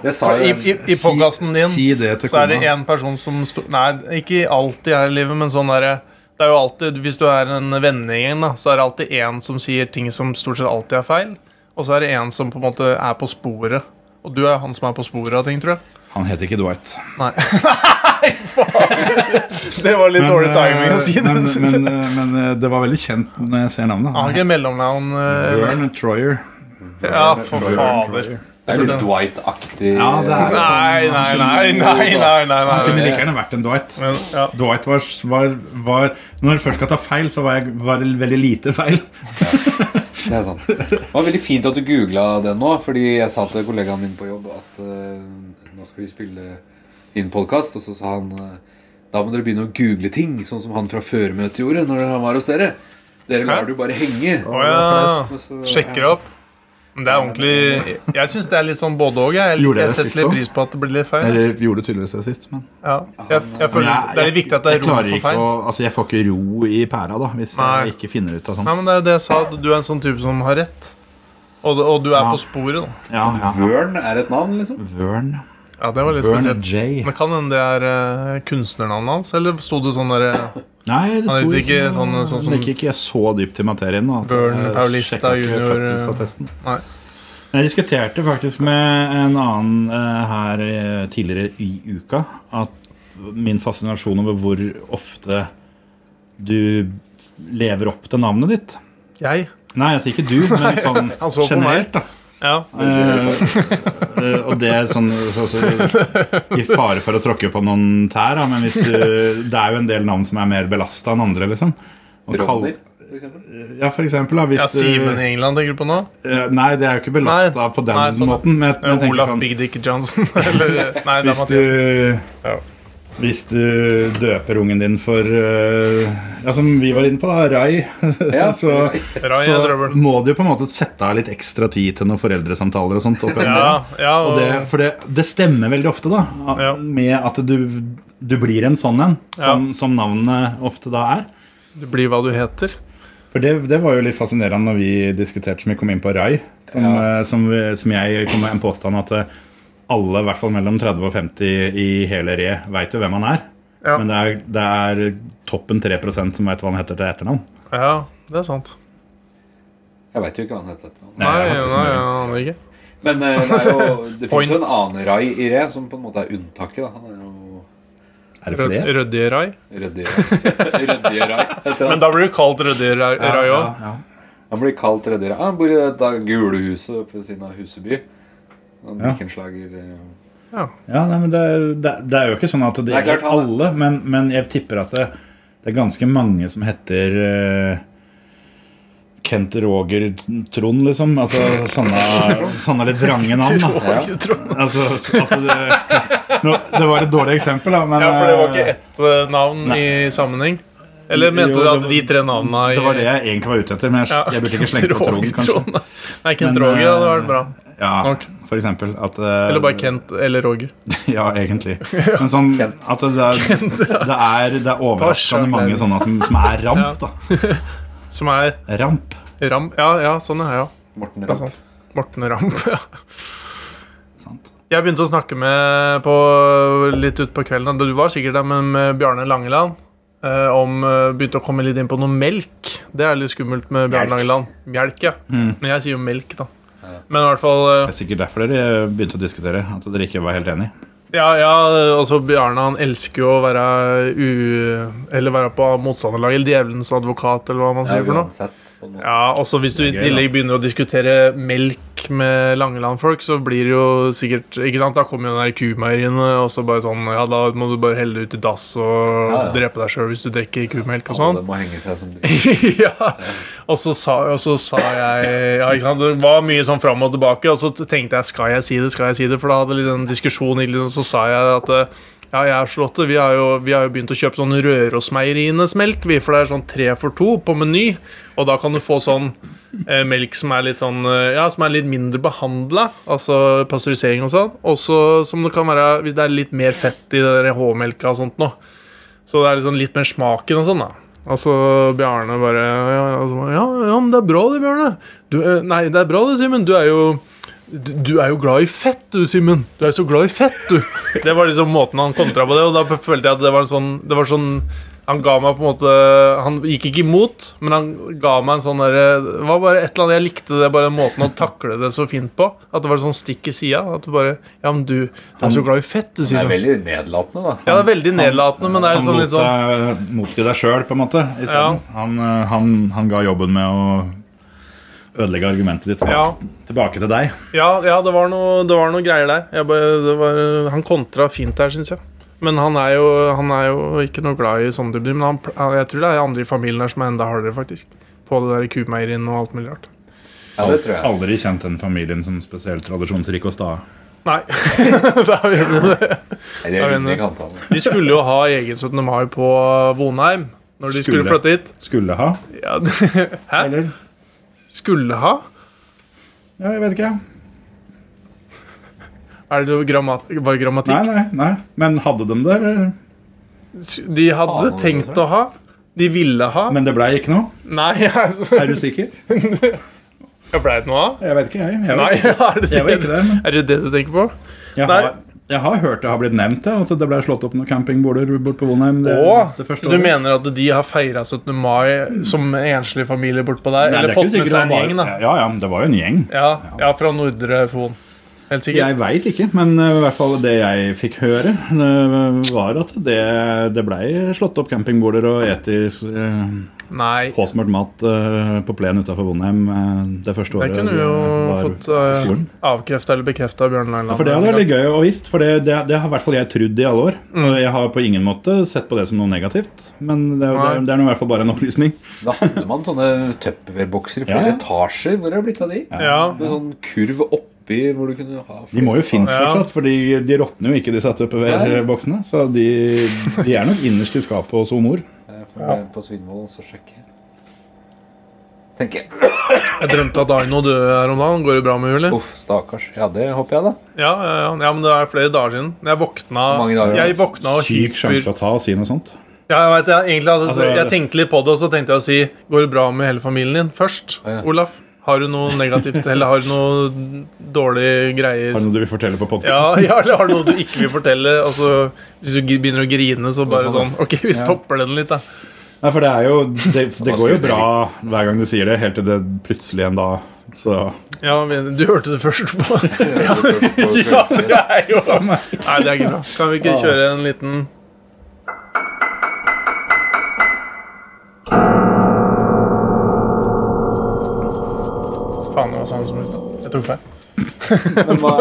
A: Det sa
B: I,
A: jeg.
B: i, i podkasten din
C: Si det til
B: så er det
C: kona.
B: en person som sto, Nei, ikke alltid her i livet, men sånn derre det er jo alltid, Hvis du er en vennegjeng, da, så er det alltid én som sier ting som stort sett alltid er feil. Og så er det én som på en måte er på sporet. Og du er han som er på sporet av ting, tror jeg.
C: Han heter ikke Dwight.
B: Nei, Nei, faen! Det var litt dårlig timing å si det.
C: eh, men, men, men, eh, det var veldig kjent når jeg ser navnet.
B: Han har ikke mellomnavn. eh,
C: Vern Troyer.
B: Ja, for fader.
A: Det er litt Dwight-aktig.
C: Ja, det er-
B: Nei, nei, nei, nei, nei, nei,
C: Han
B: nei.
C: kunne like gjerne vært en Dwight.
B: Men, ja.
C: Dwight var, var, var Når jeg først skal ta feil, så var jeg var det veldig lite feil.
A: Det er sant. Det var veldig fint at du googla det nå, fordi jeg sa til kollegaen min på jobb at eh, nå skal vi spille inn podkast, og så sa han eh, da må dere begynne å google ting, sånn som han fra førmøtet gjorde når han var hos dere. Dere lar det jo bare henge.
B: Å ja.
A: Og så-
B: Sjekker det opp. Men det er ordentlig Jeg syns det er litt sånn både òg. Jeg,
C: Gjorde jeg
B: jeg
C: det
B: setter
C: sist
B: litt
C: også?
B: pris på at det blir litt feil.
C: Eller gjorde tydeligvis det sist, men
B: Ja. Jeg, jeg føler Det er litt viktig at det er rom for feil.
C: altså Jeg får ikke ro i pæra da hvis
B: Nei.
C: jeg ikke finner ut av sånt.
B: Nei, men Det er jo det jeg sa. at Du er en sånn type som har rett. Og, og du er
C: Ja.
B: på sporet, da.
C: Ja, ja.
A: Vørn er et navn, liksom.
C: Vern.
B: Ja, det var litt
C: Vern
B: spesielt.
C: J.
B: Men Kan hende det er eh, kunstnernavnet hans? Eller sto det sånn derre
C: Nei, det
B: Han
C: sto
B: heter ikke sånn- sånn som-
C: Jeg gikk ikke så dypt i materien. Da, at
B: Vern
C: jeg
B: Paulista
C: sjekket ikke
B: junior, eh,
C: fødselsattesten.
B: Nei.
C: Jeg diskuterte faktisk med en annen eh, her eh, tidligere i uka at min fascinasjon over hvor ofte du lever opp til navnet ditt.
B: Jeg?
C: Nei, altså ikke du, men sånn
B: Han så på
C: generelt. da
B: Ja.
C: Eh, eh, og det er sånn altså, I fare for å tråkke på noen tær, da, men hvis du, det er jo en del navn som er mer belasta enn andre. liksom Og kall-
A: Ronny, for eksempel.
C: Ja, for eksempel. Da, hvis
B: Ja, Simen
C: du,
B: i England tenker du på nå?
C: Eh, nei, det er jo ikke belasta
B: Nei,
C: på den
B: nei, sånn.
C: måten. Men, jeg- men jeg
B: Eh,
C: tenker
B: Olaf
C: sånn,
B: Big Dick Johnson? Eller eh, Nei, det er
C: hvis
B: Mathias.
C: du,
B: Ja.
C: hvis du døper ungen din for eh, Ja, som vi var inne på, da, Rai.
A: Ja.
C: så
B: Rai er
C: så
B: drøvel.
C: må du jo på en måte sette av litt ekstra tid til noen foreldresamtaler og sånt. oppi
B: Ja, ja,
C: Og det, for det, det stemmer veldig ofte, da. at-
B: Ja.
C: Med at du, du blir en sånn en, som, som navnet ofte da er.
B: Du blir hva du heter.
C: For det, det var jo litt fascinerende når vi diskuterte som vi kom inn på Rai. Som, eh, som, vi- som jeg kom med en påstand at eh, alle, i hvert fall mellom 30 og 50 i hele Re, veit jo hvem han er.
B: Ja.
C: Men det er, det er toppen 3 som veit hva han heter til etternavn.
B: Ja, det er sant.
A: Jeg veit jo ikke hva han heter. etter navn.
B: Nei,
C: Nei, jeg
B: nei,
C: har ikke så
B: nei,
C: mye.
B: aner ikke.
A: Men eh, det, er jo, det finnes jo en
B: Point.
A: annen Rai i Re som på en måte er unntaket. Da. Han er jo
C: Er det
B: Rød-
C: flere?
B: Rødje Rai.
A: Rødje Rødje Rai. heter han.
B: Men da blir du kalt Rødje Rai òg.
C: ja, ja.
A: Han blir kalt tredje rad. Han bor i dette gule huset oppe ved siden av Huseby. Han
C: Ja.
A: Blikkenslager eh,
C: Ja, nei, men det, er, det, er- det er jo ikke sånn at det,
A: Nei, klart
C: gjelder
A: han-
C: alle, men, men jeg tipper at det, det er ganske mange som heter eh, Kent Roger Trond, liksom. Altså, sånne, sånne litt vrange navn. Da.
B: Roger Trond.
C: Altså, at det, nå, det var et dårlig eksempel, da, men
B: Ja, for det var ikke ett eh, navn i sammenheng? Eller mente
C: Jo,
B: du
C: det
B: at
C: var-
B: de tre navnene i
C: Det var det jeg egentlig var ute etter, men jeg,
B: Ja,
C: jeg burde ikke slenge på Trond,
B: Roger
C: kanskje.
B: Trond. Nei, Kent
C: Men,
B: Roger
C: eh,
B: hadde vært bra.
C: Ja,
B: Nok.
C: for eksempel. At, eh,
B: Eller bare Kent eller Roger.
C: Ja, egentlig. Men sånn
A: Kent.
C: at det er, det er, det er overraskende
B: Pasha,
C: mange
B: Glenn.
C: sånne som, som er ramp, da.
B: Som er
C: Ramp.
B: Ram... Ja, ja, sånn er jeg, ja.
A: Morten
B: Det er
A: Rapp.
B: sant. Morten Ramp, ja.
C: Sant.
B: Jeg begynte å snakke med på, litt utpå kvelden, du var sikkert der, men med Bjarne Langeland. eh, om eh, Begynte å komme litt inn på noe melk. Det er litt skummelt med Bjarne
A: Mjelk.
B: Langeland. Mjelk, ja.
C: Mm.
B: Men jeg sier jo melk, da. Men i hvert fall eh,
C: Det er sikkert derfor dere begynte å diskutere, at dere ikke var helt enige.
B: Ja, ja, altså Bjarne han elsker jo å være u... Eller være på motstanderlaget, eller djevelens advokat, eller hva man
A: Det
B: sier
A: er
B: for noe.
A: uansett på en måte.
B: Ja, også hvis du i
C: Det er gøy,
B: tillegg begynner å diskutere melk med Langeland-folk, så blir det jo sikkert Ikke sant, da kommer jo den der kumeieriene, og så bare sånn Ja, da må du bare helle det ut i dass og
A: Ja, ja.
B: drepe deg sjøl hvis du drikker kumelk og sånn.
A: Alle må henge seg som dritt.
B: ja. Og så sa, og så sa jeg ja, ikke sant? Det var mye sånn fram og tilbake, og så t- tenkte jeg skal jeg si det, skal jeg si det? For da hadde litt en diskusjon, ikke sant? så sa jeg at eh, ja, jeg og Charlotte vi har, jo, vi har jo begynt å kjøpe sånn Rørosmeierienes melk, vi, for det er sånn tre for to på Meny. Og da kan du få sånn eh, melk som er litt sånn eh, Ja, som er litt mindre behandla, altså pasteurisering og sånn. Og så som det kan være hvis det er litt mer fett i den H-melka og sånt nå. Så det er liksom litt mer smaken og sånn, da. Og så Bjarne bare ja, ja, og så bare, ja, ja, men det er bra det, Bjarne. Du, eh, nei, det er bra det, Simen. Du er jo du, du er jo glad i fett, du, Simen. Du er så glad i fett, du. Det var liksom måten han kontra på det, og da følte jeg at det var en sånn Det var sånn han ga meg på en måte Han gikk ikke imot, men han ga meg en sånn derre Det var bare et eller annet Jeg likte det, bare måten å takle det så fint på. At det var sånn stikk i sida. At du bare Ja, men du, du er så glad i fett, du,
A: Det er
B: Simen.
A: veldig nedlatende, da.
B: Ja, det er veldig nedlatende, men det er
C: Han
B: sånn
C: lot
B: litt sånn
C: deg motsi deg sjøl, på en måte. i stedet.
B: Ja.
C: Han, eh, han, han ga jobben med å ødelegge argumentet ditt
B: Ja.
C: tilbake til deg.
B: Ja, ja det, var noe, det var noe greier der. Jeg bare, det var, han kontra fint der, syns jeg. Men han er, jo, han er jo ikke noe glad i sånne dybder. Men han, pl- han- jeg tror det er andre i familien her som er enda hardere, faktisk. På det der kumeieriet og alt mulig rart.
A: Ja, det tror jeg.
C: Aldri kjent den familien som spesielt tradisjonsrik og sta.
B: Nei. da gjør vi det.
A: Nei, Det er
B: Er du
A: rundt i
B: enig?
A: kantene.
B: De skulle jo ha egen 17. mai på Vonheim. Når de skulle,
C: Skulle.
B: flytte hit.
C: Skulle ha.
B: Ja, Hæ?
C: Eller?
B: Skulle ha?
C: Ja, jeg vet ikke.
B: Er det noe grammat var det
C: Nei,
B: grammatikk?
C: nei, nei. Men hadde de det? eller?
B: De hadde
A: Faen,
B: tenkt å ha. De ville ha.
C: Men det blei ikke noe?
B: Nei, altså
C: Er du sikker?
B: Blei det noe av?
C: Jeg vet ikke, jeg. Jeg,
B: Nei,
C: vet ikke.
B: er det
C: jeg, vet
B: det?
C: ikke det, men
B: Er det det du tenker på?
C: jeg,
B: Nei.
C: har, jeg har hørt det har blitt nevnt, ja, at det ble slått opp noen campingborder bort på Vonheim. Det,
B: Åh,
C: det
B: så
C: første
B: du
C: året.
B: mener at de har feira 17. mai som enslig familie bortpå der?
C: Nei, det er
B: eller
C: ikke
B: fått med
C: sikkert
B: seg
C: det
B: en
C: var-
B: gjeng, da?
C: Ja, ja, men det var jo en gjeng.
B: Ja, ja, fra Nordre Fon. Helt sikkert.
C: Jeg veit ikke, men eh, i hvert fall det jeg fikk høre, det var at det, det blei slått opp campingborder og etisk eh,
B: Nei.
C: påsmurt mat eh, på plen utafor Vonheim eh, det
B: Det
C: første året.
B: kunne
C: vi
B: vi jo
C: var
B: fått
C: på
B: uh,
C: skolen.
B: avkrefta eller bekrefta av Bjørn Langland.
C: Ja, for Det hadde vært litt gøy å visst, for det, det, det har i hvert fall jeg trodd i alle år.
B: Mm.
C: Og Jeg har på ingen måte sett på det som noe negativt, men det, det,
B: Nei.
C: det er nå i hvert fall bare en opplysning.
A: Da hadde man sånne tupperwarebokser i flere
C: Ja.
A: etasjer. Hvor er det blitt av de?
B: Ja.
A: Med sånn kurv oppi hvor du kunne ha
C: De må jo finnes
B: Ja.
C: fortsatt, for de, de råtner jo ikke, de Setupware-boksene. Så de, de er nok innerst i skapet hos Omor.
A: Jeg får gå på Svinvoll og så sjekke. Tenker jeg.
B: Jeg drømte at Aino døde her om dagen. Går det bra med henne? eller?
A: Uff, stakkars. Ja, det håper jeg, da.
B: Ja, ja, ja. ja, men det er flere dager siden. Jeg våkna
A: Mange dager,
B: Jeg
A: altså.
B: våkna og
C: Syk
B: hyper
C: sjanse å ta og si noe sånt.
B: Ja, jeg vet, jeg, egentlig hadde,
C: Altså,
B: jeg tenkte litt på det, og så tenkte jeg å si Går det bra med hele familien din først?
A: Ja.
B: Olaf, har du noe negativt, eller har du noe dårlige
C: Har
B: greier?
C: du noe du vil fortelle på
B: Ja,
C: podkasten?
B: ja, eller har du noe du ikke vil fortelle? Altså, hvis du gi- begynner å grine, så bare sånn Ok, vi stopper den litt, da.
C: Nei, for det er jo Det, det går
A: skulle
C: jo
A: det
C: bra hver gang du sier det, helt til det plutselig en dag så
B: Ja, men du hørte det først på
A: Ja,
B: Ja, det er jo Nei, det er ikke bra. Kan vi ikke kjøre en liten Faen, det var sånn som Jeg tok feil.
A: Men hva,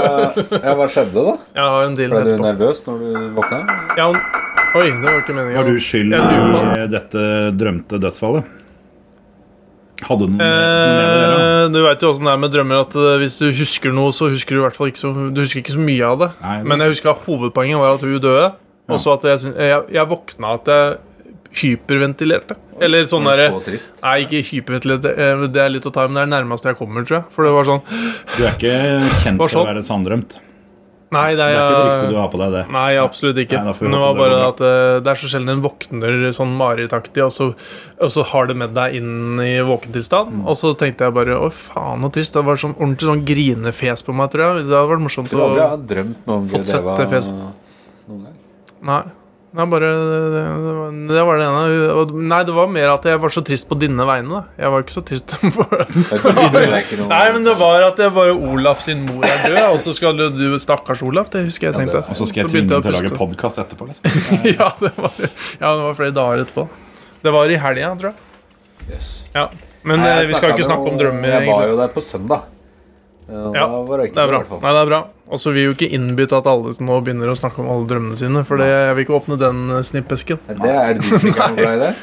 A: ja, hva skjedde, da?
B: Jeg har en deal
A: Ble du
B: etterpå.
A: nervøs når du våkna?
B: Ja, hun- Oi, det var ikke Eh, meninga.
C: Har du skyld
B: Jeg lurer
C: i dette drømte dødsfallet? Hadde du noe, noe med det å gjøre?
B: Eh, du veit jo åssen det er med drømmer. At eh, Hvis du husker noe, så husker du i hvert fall ikke så, du husker ikke så mye av det.
C: Nei, det-
B: Men jeg husker at hovedpoenget var at hun døde. Og så at jeg, syn- jeg, jeg våkna at jeg hyperventilerte. Eller sånn derre
A: Så trist.
B: Nei, ikke hyperventilerte. eh, Det er litt å ta i, men det er det nærmeste jeg kommer, tror jeg. For det var sånn
C: Du er ikke kjent
B: Var
C: for å
B: sånn.
C: være sanndrømt. Det
B: Nei, det
C: er ikke det ryktet
B: er
C: du har på deg, det.
B: Nei, absolutt ikke.
C: Nei, da får vi
B: Men det
C: håpe
B: var
C: det
B: bare
C: går
B: at eh, det er så sjelden en våkner sånn marerittaktig, og, så- og så har det med deg inn i våkentilstand.
C: Mm.
B: Og så tenkte jeg bare å faen, så trist. Det var sånn ordentlig sånn grinefjes på meg, tror jeg. Det hadde vært morsomt
A: Tror aldri jeg
B: å
A: har drømt noe om
B: Fått sett
A: Greva
B: det fjes.
A: noen gang.
B: Nei. Nei, bare, det, det, var- det var det ene. Og, nei, det var mer at jeg var så trist på dine vegne. da Jeg var ikke så trist for
A: Det er ikke- det er ikke noe-
B: Nei, men det var at det var Olaf sin mor er død, og så skal du, du Stakkars Olaf, det husker jeg
A: Ja, det-
B: tenkte.
C: Og så skal jeg tvinge
B: begynte
C: dem til å lage
B: puste.
C: podkast etterpå. Liksom.
B: ja, det var, ja, det var flere dager etterpå. Det var i helga, tror jeg.
A: Yes.
B: Ja. Men
A: Nei,
B: eh,
A: jeg
B: vi skal
A: snakket
B: ikke snakke
A: med-
B: om drømmer,
A: Jeg var
B: egentlig.
A: jo der på søndag. Ja,
B: Ja,
A: da var det,
B: Det er bra. Nei, det er bra. Og så vil jo ikke innbytte at alle som nå begynner å snakke om alle drømmene sine, for det, jeg vil ikke åpne den eh, snippesken.
A: Det er du som ikke er noe glad i det?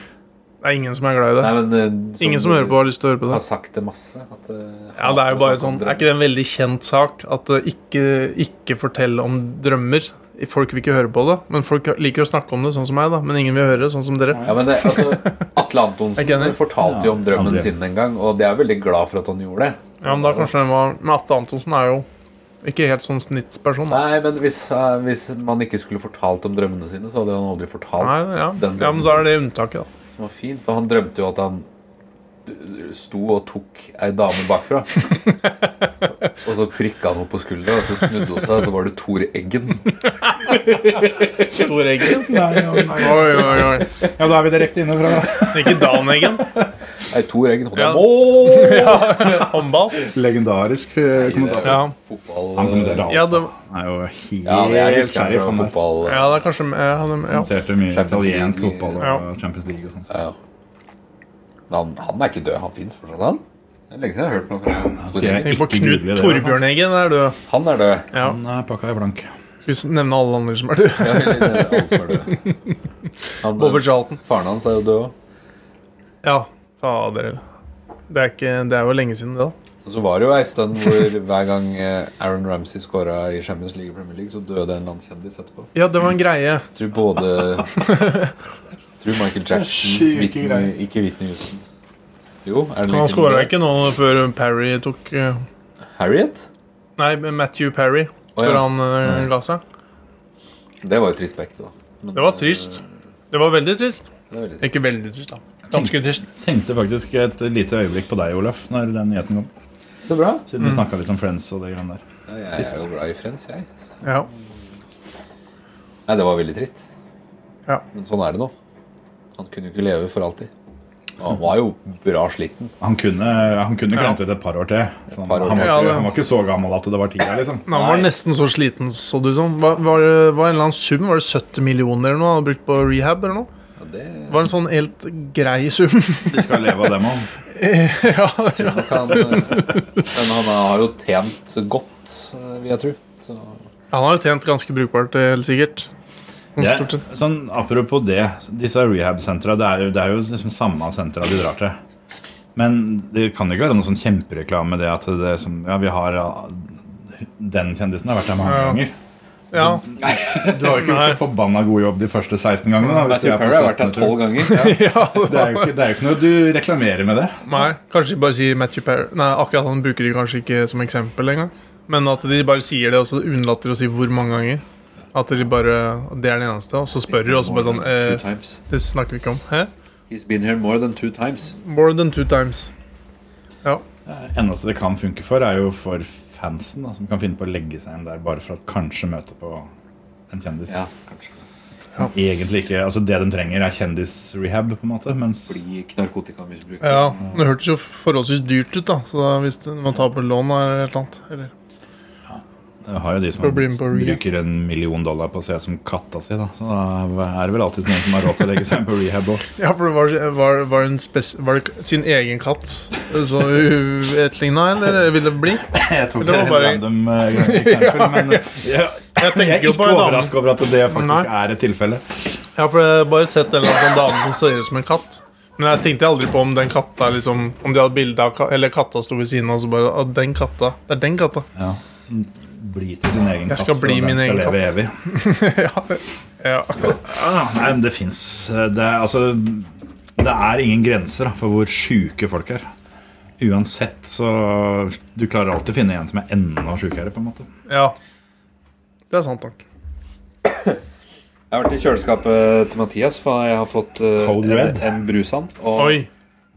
B: Det er ingen som er glad i det.
A: Nei, men, eh,
B: Ingen som hører på, har lyst til å høre på
A: har
B: det.
A: sagt det masse. At, eh,
B: Ja, det er jo bare sånn,
A: hater å snakke om
B: er ikke det en veldig kjent sak at eh, ikke, ikke fortell om drømmer? Folk vil ikke høre på det, men folk liker å snakke om det, sånn som meg, da. Men ingen vil høre, sånn som dere.
A: Ja, men det, altså, Atle
B: Er ikke
A: Antonsen
B: enig?
A: fortalte jo om drømmen
C: Aldri.
A: sin en gang, og det er jeg veldig glad for at han gjorde det.
B: Ja, men da kanskje den var Men Atle Antonsen er jo ikke helt sånn snittsperson, da.
A: Nei, men hvis, eh, hvis man ikke skulle fortalt om drømmene sine, så hadde han aldri fortalt
B: Nei, ja.
A: altså, den
B: ja, men
A: drømmen
B: da er det unntaket, da.
A: som var fin. For han drømte jo at han d- sto og tok ei dame bakfra. og så prikka han henne på skuldra, og så snudde hun seg, og så var det Tor Eggen.
B: Tor Eggen.
D: Nei, ja, nei.
B: Oi, oi, oi.
D: Ja, da er vi direkte inne fra
B: Ikke Dan Eggen.
A: Nei, Tor Eggen hadde
B: Ja.
A: mål!
B: Håndball.
D: Legendarisk eh, kommentator.
B: Ja.
A: Fotball
C: Han kommenterer alt.
B: Ja, det,
C: Han er jo helt
A: Ja, det er husker jeg
C: sheriff.
A: fra
C: Han der.
A: fotball.
B: ja, det er kanskje ja, han- ja.
C: Kommenterte mye
A: Champions
C: italiensk
A: League.
C: fotball og
B: Ja.
C: Champions League og sånn.
A: Ja. Men han, han er ikke død. Han fins fortsatt, han. Det er lenge siden jeg har hørt noe fra han.
C: Skal jeg
B: Tenk på
C: ikke
B: Knut
C: google det? da?
B: Torbjørn Eggen er død.
A: Han er død.
B: Ja.
C: Han er pakka i blank.
B: Skal vi nevne alle andre som er døde?
A: Ja, eller, eh, alle som er døde. Han,
B: Bobber Charlton.
A: faren hans er jo død òg.
B: Ja. Fader. Det er, ikke, det er jo lenge siden, det, da.
A: Og så var det jo ei stund hvor hver gang eh, Aaron Ramsey scora i Champions League og Premier League, så døde en eller annen kjendis etterpå.
B: Ja, det var en greie.
A: Jeg tror både jeg Tror Michael Jackson
D: Sjuke
A: Whitney-
D: greier.
A: Ikke Whitney Houston. Jo, er det liksom
B: Han
A: lenge siden
B: skåra
A: det?
B: ikke nå før Parry tok eh,
A: Harriet?
B: Nei, Matthew Parry.
A: Å,
B: Før
A: ja.
B: han eh, ga seg.
A: Det var jo trist begge, da. Men,
B: Det var trist. Det var veldig
A: eh,
B: trist.
A: Det var veldig trist.
B: Ikke veldig trist, da. Ganske trist.
C: Tenkte faktisk et lite øyeblikk på deg, Olaf, når den nyheten kom.
A: Så bra.
C: Siden
B: Mm.
C: vi snakka litt om Friends og det greiene der.
A: Ja, jeg er jo glad i Friends, jeg. Så.
B: Ja.
A: Nei, det var veldig trist.
B: Ja.
A: Men sånn er det nå. Han kunne jo ikke leve for alltid. Og han var jo bra sliten.
C: Han kunne, han kunne
B: Ja.
C: klemt ut et par år til. Så han,
A: par år
C: han, var
B: til. Ja,
C: ikke,
B: det-
C: han var ikke så gammel at det var tida, liksom.
B: Men han var nesten så sliten, så du sånn. Var, var, det- var en eller annen sum? Var det 70 millioner eller noe han hadde brukt på rehab? eller noe?
A: Ja, det
B: Det var en sånn helt grei sum.
C: De skal leve av dem òg.
B: ja,
A: tror nok han eh, Men han har jo tjent godt, eh, vil jeg tro. Så
B: Han har jo tjent ganske brukbart, eh, helt sikkert. Sånn
C: Det-
B: Stort sett.
C: Sånn, apropos det, disse rehab-sentra, det, er jo- det er jo liksom samme sentra de drar til. Men det kan jo ikke være noe sånn kjempereklame det at det som, ja, vi har ja, den kjendisen har vært der mange
B: Ja.
C: ganger.
B: Ja.
C: Du har jo ikke gjort så forbanna god jobb de første 16 gangene. Da, hvis de
A: Matthew
C: er på
A: Perry har vært der
C: 17,
A: tolv
C: tror jeg.
A: ganger.
B: ja.
C: det er, jo ikke, det er jo ikke noe du reklamerer med det.
B: Nei, kanskje de bare sier Matthew Perry Nei, akkurat han bruker de kanskje ikke som eksempel engang. Men at de bare sier det, og så unnlater å si hvor mange ganger. At de bare, Det er det eneste. Og så spør de, og så bare sånn
A: Two
B: eh,
A: times.
B: Det snakker vi ikke om. Hæ?
A: He's been here more than two times.
B: More than two times. Ja.
C: Det eneste det kan funke for, er jo for fansen, da, som kan finne på å legge seg inn der bare for at kanskje møte på en kjendis.
A: Ja, kanskje.
C: Egentlig ikke, altså Det de trenger, er kjendisrehab, på en måte. Mens
A: Bli narkotikamisbruker.
B: ja. men Det hørtes jo forholdsvis dyrt ut, da. Så da hvis du må ta opp et lån eller et eller annet. Eller.
C: Jeg har jo de som
B: For å bli med på rehab.
C: bruker en million dollar på å se ut som katta si, da. Så da er det vel alltid noen som har råd til å legge seg inn på rehab òg.
B: Ja, for det var, var, var, en spes var det sin egen katt som etterligna, eller ville det bli?
C: Jeg tok
B: Det var
C: et
B: bare-
C: random eh, eksempel, men jeg,
B: Jeg
C: jeg er
B: tenker jo
C: ikke
B: på en annen
C: overraska over at det faktisk
B: Nei.
C: er et tilfelle.
B: Ja, for jeg har bare sett en eller annen sånn dame som ser ut som en katt. Men jeg tenkte aldri på om den katta liksom Om de hadde bilde av ka Eller katta sto ved siden av, og så bare «Å, den katta. Det er den katta.
C: Ja. Bli til sin egen
B: Jeg skal
C: katt,
B: bli
C: og
B: min
C: den
B: egen
C: skal leve
B: katt.
C: evig.
B: ja. ja.
C: Ja, nei, men det fins. Det, er- altså, det er ingen grenser da, for hvor sjuke folk er. Uansett, så Du klarer alltid å finne en som er enda sjukere, på en måte.
B: ja. Det er sant nok.
A: Jeg har vært i kjøleskapet til Mathias, for jeg har fått eh,
C: Cold
A: en,
C: Red.
A: en brus han. Og
B: Oi.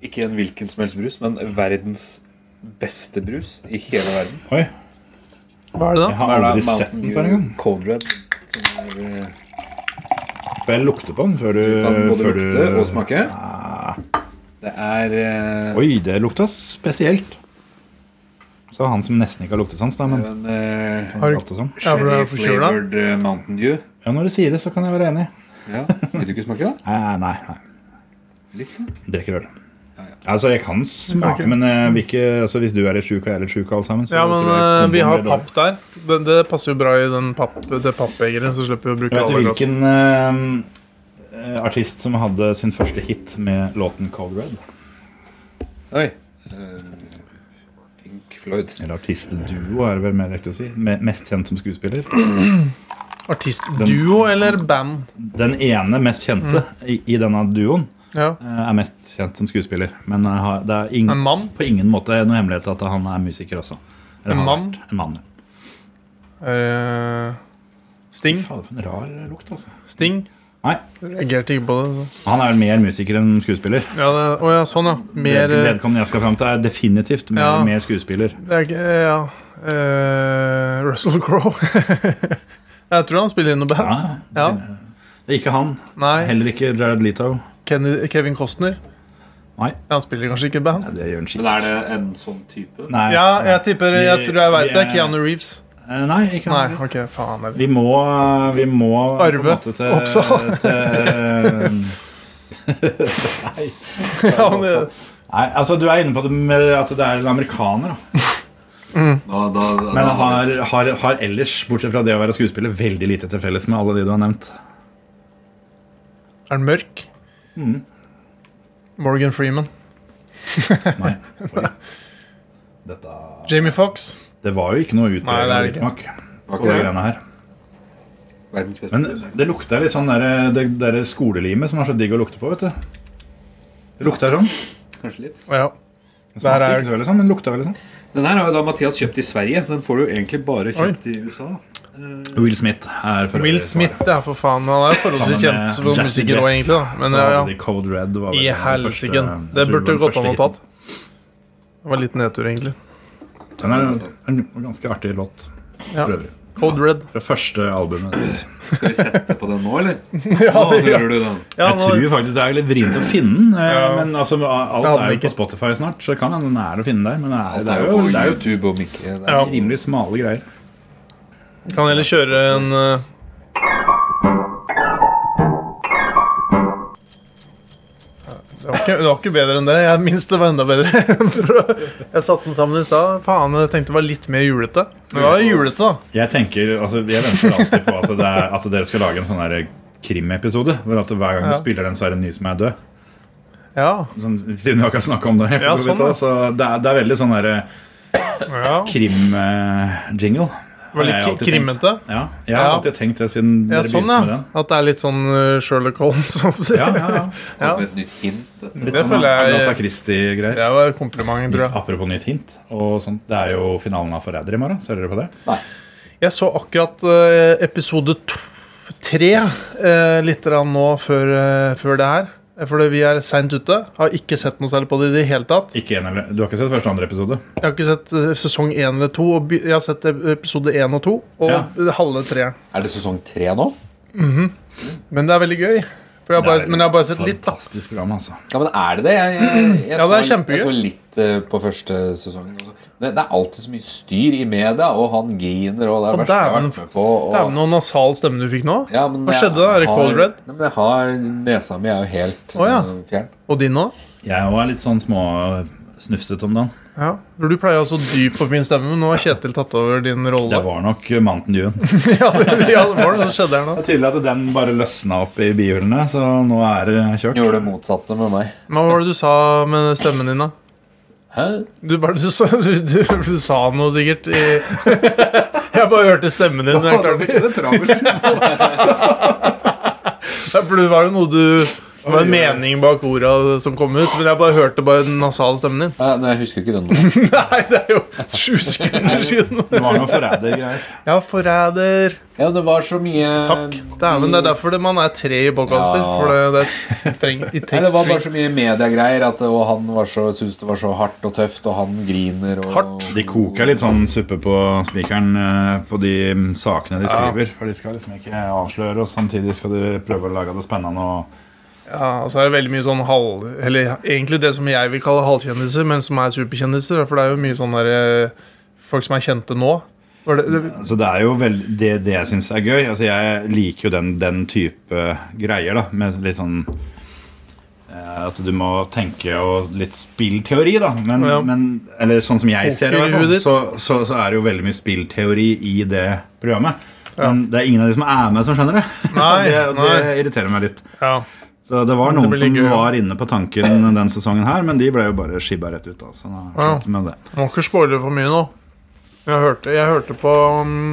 A: ikke en hvilken som helst brus, men verdens beste brus i hele verden.
C: Oi,
B: Hva er det
C: jeg
B: da?
C: har
A: Som er da
C: aldri sett
A: Mountain
C: den
A: Dew
C: før engang.
A: Cold Red. Som er, eh,
C: Får jeg lukte på den før du,
A: kan både
C: Eh, før du Ah.
A: lukte og smake. Det er eh,
C: Oi, det lukta spesielt. Så han som nesten ikke har luktesans, da, men
A: en eh,
B: Har du-
C: lukter sånn.
B: Ja, for du er forkjøla?
A: sherry-flavored eh, Mountain Dew.
C: Ja, når du sier det, så kan jeg være enig.
A: Ja. Vil du ikke smake, da?
C: Nei, nei, nei.
A: Litt? da?
C: Drikker øl. Altså, jeg kan smake, men eh, vi ikke, altså, hvis du er litt sjuk og jeg er litt sjuk, alle sammen så
B: Ja,
C: tror
B: men
C: jeg
B: eh,
C: komboen
B: vi har
C: blir dårlig.
B: papp der. Det, det passer jo bra i den papp, det pappegeret, så slipper vi å bruke
C: Jeg vet
B: alle
C: du
B: glassene.
C: hvilken eh, eh, artist som hadde sin første hit med låten Cold Red?
A: Oi. Eh, Pink Floyd.
C: Eller artistduo, er det vel mer riktig å si. Me- Mest kjent som skuespiller.
B: Artistduo eller band?
C: Den ene mest kjente
B: Mm.
C: i, i denne duoen
B: Ja.
C: eh, er mest kjent som skuespiller. Men eh, har- det er
B: En
C: ingen,
B: mann?
C: på ingen måte noe hemmelighet at han er musiker også. Eller
B: En
C: har
B: mann?
C: vært En mann. ja.
B: Eh, Sting?
C: Fader, for en rar lukt, altså.
B: Sting?
C: Nei,
B: Reagerte ikke på det. så.
C: han er vel mer musiker enn skuespiller.
B: Ja, det, å ja, sånn, ja. Mer
C: Det
B: eh,
C: Vedkommende jeg skal fram til, er definitivt mer,
B: Ja.
C: mer skuespiller.
B: Det er ikke Ja. Eh, Russell Crowe. jeg tror han spiller i noe band.
C: Ja.
B: Ja.
C: Det er ikke han.
B: Nei.
C: Heller ikke Jared Leto.
B: Kenny, Kevin Costner.
C: Nei.
B: Han spiller kanskje ikke i band.
C: Nei, det gjør han
A: Men
C: skikkelig.
A: er det en sånn type?
C: Nei,
B: Ja, jeg tipper Jeg tror jeg veit det.
C: Vi- vi er-
B: Keanu Reeves.
C: Eh, Nei, ikke
B: Nei,
C: han.
B: ok, faen. eller-
C: Vi må, eh, vi må på en
B: Arve
C: måte til, eh,
B: Oppsal.
C: til
B: Ja, han er-
C: Nei, altså Du er inne på det med at det er en amerikaner. Da.
A: Da, da, da,
C: Men
A: da
C: har, har, har ellers, bortsett fra det å være skuespiller, veldig lite til felles med alle de du har nevnt.
B: er han mørk?
C: Mm.
B: Morgan Freeman.
C: Nei. Oi. Dette
B: Jamie Fox.
C: Det var jo ikke noe
B: Nei,
C: utredet
B: det er det
C: smak
A: var
C: på
A: ikke
C: de
A: det.
C: greiene her.
A: Verdens beste.
C: Men det lukta litt sånn der, det der skolelimet som er så digg å lukte på, vet du. Det lukta sånn.
A: Kanskje litt.
B: Ja.
C: Det
B: Der
C: smakte
B: er-
C: ikke så veldig sånn, men det lukta veldig sånn.
A: Den her har jo da Mathias kjøpt i Sverige. Den får du jo egentlig bare kjøpt i USA. da.
C: Will Smith er for
B: Will Smith, ja, for faen. Han er jo forholdsvis
C: Sammen med
B: kjent som
C: Jazzy
B: musiker
C: Jeff,
B: òg, egentlig. da Men
C: Men,
B: ja, ja.
C: The Cold Red var vel
B: I
C: den første-
B: helsike. Det
C: jeg tror
B: burde
C: den
B: gått
C: første
B: an å
C: hiten.
B: tatt. Det var litt nedtur, egentlig.
C: Den er en ganske artig låt.
B: Ja.
C: For øvrig.
B: Cold Red.
C: Fra første albumet deres.
A: Skal vi sette på den nå, eller? ja, nå hører du den.
B: Ja,
C: Jeg tror faktisk det er litt vrient å finne den. eh,
B: Ja.
C: Men altså, alt
B: hadde
C: er jo
B: ikke.
C: på Spotify snart, så det kan hende den er å finne der. Men det er,
A: Det er jo på YouTube om ikke det er
B: Ja.
C: rimelig smale greier.
B: Kan heller kjøre en eh, det var, ikke, det var ikke bedre enn det. Jeg minst det var enda bedre. jeg satte den sammen i stad. Faen, jeg tenkte det var litt mer julete. Men det var jo julete, da.
C: Jeg tenker, altså jeg venter alltid på at, det er, at dere skal lage en sånn der krimepisode. Hvor at hver gang
B: Ja.
C: du spiller den, så er det en ny som er død.
B: Ja.
C: Sånn, siden vi har ikke snakket om det. for
B: Ja,
C: så vidt,
B: sånn, ja.
C: da. så det, er, det er veldig sånn der
B: ja.
C: krim-jingle.
B: Det var litt krimmete.
C: Ja, jeg har
B: Ja.
C: alltid tenkt det siden
B: Ja,
C: dere
B: sånn,
C: begynte med
B: ja.
C: den.
B: At det er litt sånn eh, Sherlock Holmes. som sier.
C: Ja, ja, ja.
A: ja.
B: Ja.
A: et nytt hint. Dette.
C: Litt
B: Det
C: sånn
B: føler jeg-
C: Agatha Christie-greier.
B: Det var komplimenten, tror jeg.
C: Apropos nytt hint. Og sånt. Det er jo finalen av Forræder i morgen. Ser dere på det?
B: Jeg så akkurat eh, episode to, tre eh, litt grann nå før, eh, før det her. For vi er seint ute. Har ikke sett noe særlig på det i det hele tatt.
C: Ikke en eller, du har ikke sett første og andre episode?
B: Jeg har ikke sett eh, sesong én eller to. Og by- jeg har sett ep- episode én og to, og
C: Ja.
B: halve treeren.
A: Er det sesong tre nå?
B: Men det er veldig gøy. For jeg har bare, men jeg har bare sett litt, da.
C: Fantastisk program, altså.
A: Ja, men er det det? Jeg, jeg, jeg,
B: Ja, det er
A: så,
B: kjempegøy.
A: jeg så litt eh, på første sesongen. også. Det, det er alltid så mye styr i media, og han griner, og det er
B: Og
A: verst jeg har
B: dæven-
A: vært med på. Og,
B: Dæven, noe nasal stemme du fikk nå.
A: Ja, men
B: Hva
A: jeg
B: skjedde da? Er det
A: har-
B: Cold Red?
A: Nei, men jeg har, Nesa mi er jo helt
B: Å, ja.
A: eh, fjern.
B: Og din nå?
C: Jeg var litt sånn småsnufset øh, om dagen.
B: Ja. For du pleier å ha så dyp og fin stemme, men nå har Kjetil tatt over din rolle.
C: Det var nok Mountain Dewen. Det
B: ja, det, ja, det var det som skjedde her nå.
C: er tydelig at den bare løsna opp i bihulene, så nå er det kjørt.
E: Gjorde det motsatte med meg.
B: Men Hva var det du sa med stemmen din, da?
E: Hæ?
B: Du, bare, du, sa- du, du, du sa noe sikkert i Jeg bare hørte stemmen din. men Jeg klarte ikke Ja, for det var jo noe du Det var en mening bak orda som kom ut, men jeg bare hørte bare den nasale stemmen din.
E: Eh, Nei, jeg husker ikke den nå.
B: Nei, det er jo sju sekunder siden!
C: Det var noe forrædergreier.
B: Ja, forræder.
E: Ja, det var så mye
B: Takk. Dæven, det er derfor det, man er tre i podkaster.
E: Ja.
B: For det, det trenger i
E: Nei,
B: tekst.
E: det var bare så mye mediegreier, at, og han var så, syntes det var så hardt og tøft, og han griner og
B: Hardt?
C: De koker litt sånn suppe på spikeren eh, på de sakene de skriver. For de skal liksom ikke avsløre, og samtidig skal de prøve å lage det spennende. Og
B: Ja, og så er det veldig mye sånn halv... Eller egentlig det som jeg vil kalle halvkjendiser, men som er superkjendiser. For det er jo mye sånn der eh, Folk som er kjente nå. Var det, det,
C: Så det er jo vel, det, det jeg syns er gøy. Altså jeg liker jo den, den type greier, da. Med litt sånn eh, At du må tenke og litt spillteori, da. Men,
B: Ja.
C: men, eller sånn som jeg ser det, i
B: Poker i
C: hvert
B: huet ditt.
C: fall, så, så, så er det jo veldig mye spillteori i det programmet. Men det er ingen av de som er med, som skjønner det.
B: Nei,
C: det, det
B: nei.
C: irriterer meg litt.
B: ja.
C: Så det var
B: Det
C: noen
B: blir
C: som
B: gøy, ja.
C: var inne på tanken den sesongen her, men de ble jo bare skibba rett ut. altså. da, Så da
B: Ja.
C: slutt med det.
B: Må ikke spoile for mye nå. Jeg hørte, jeg hørte på mm,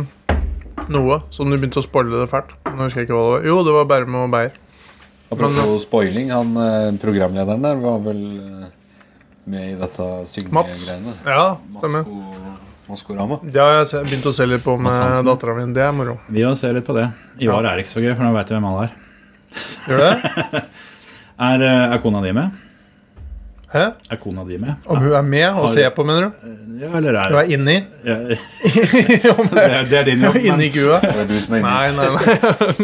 B: noe som du begynte å spoile det fælt. Nå husker jeg ikke hva det var. Jo, det var Bærum og Beyer.
E: Apropos spoiling, han eh, programlederen der var vel eh, med i dette syngegreiene.
B: Ja, stemmer.
E: Masko- Maskorama.
B: Det har jeg se- begynt å se litt på med
C: Hansen.
B: dattera mi. Det er moro.
C: Vi må se litt på det. I år er det ikke så gøy, for nå veit du hvem alle er.
B: Gjør det?
C: Er, eh, er kona di med?
B: Hæ?
C: Er kona di med?
B: Om hun er med og ser på, mener du?
C: Ja, eller
B: Hun
C: er
B: er inni?
C: ja, det, er- det er din jobb, men
B: Inni kua?
E: Det var du som er inne.
B: Nei, nei,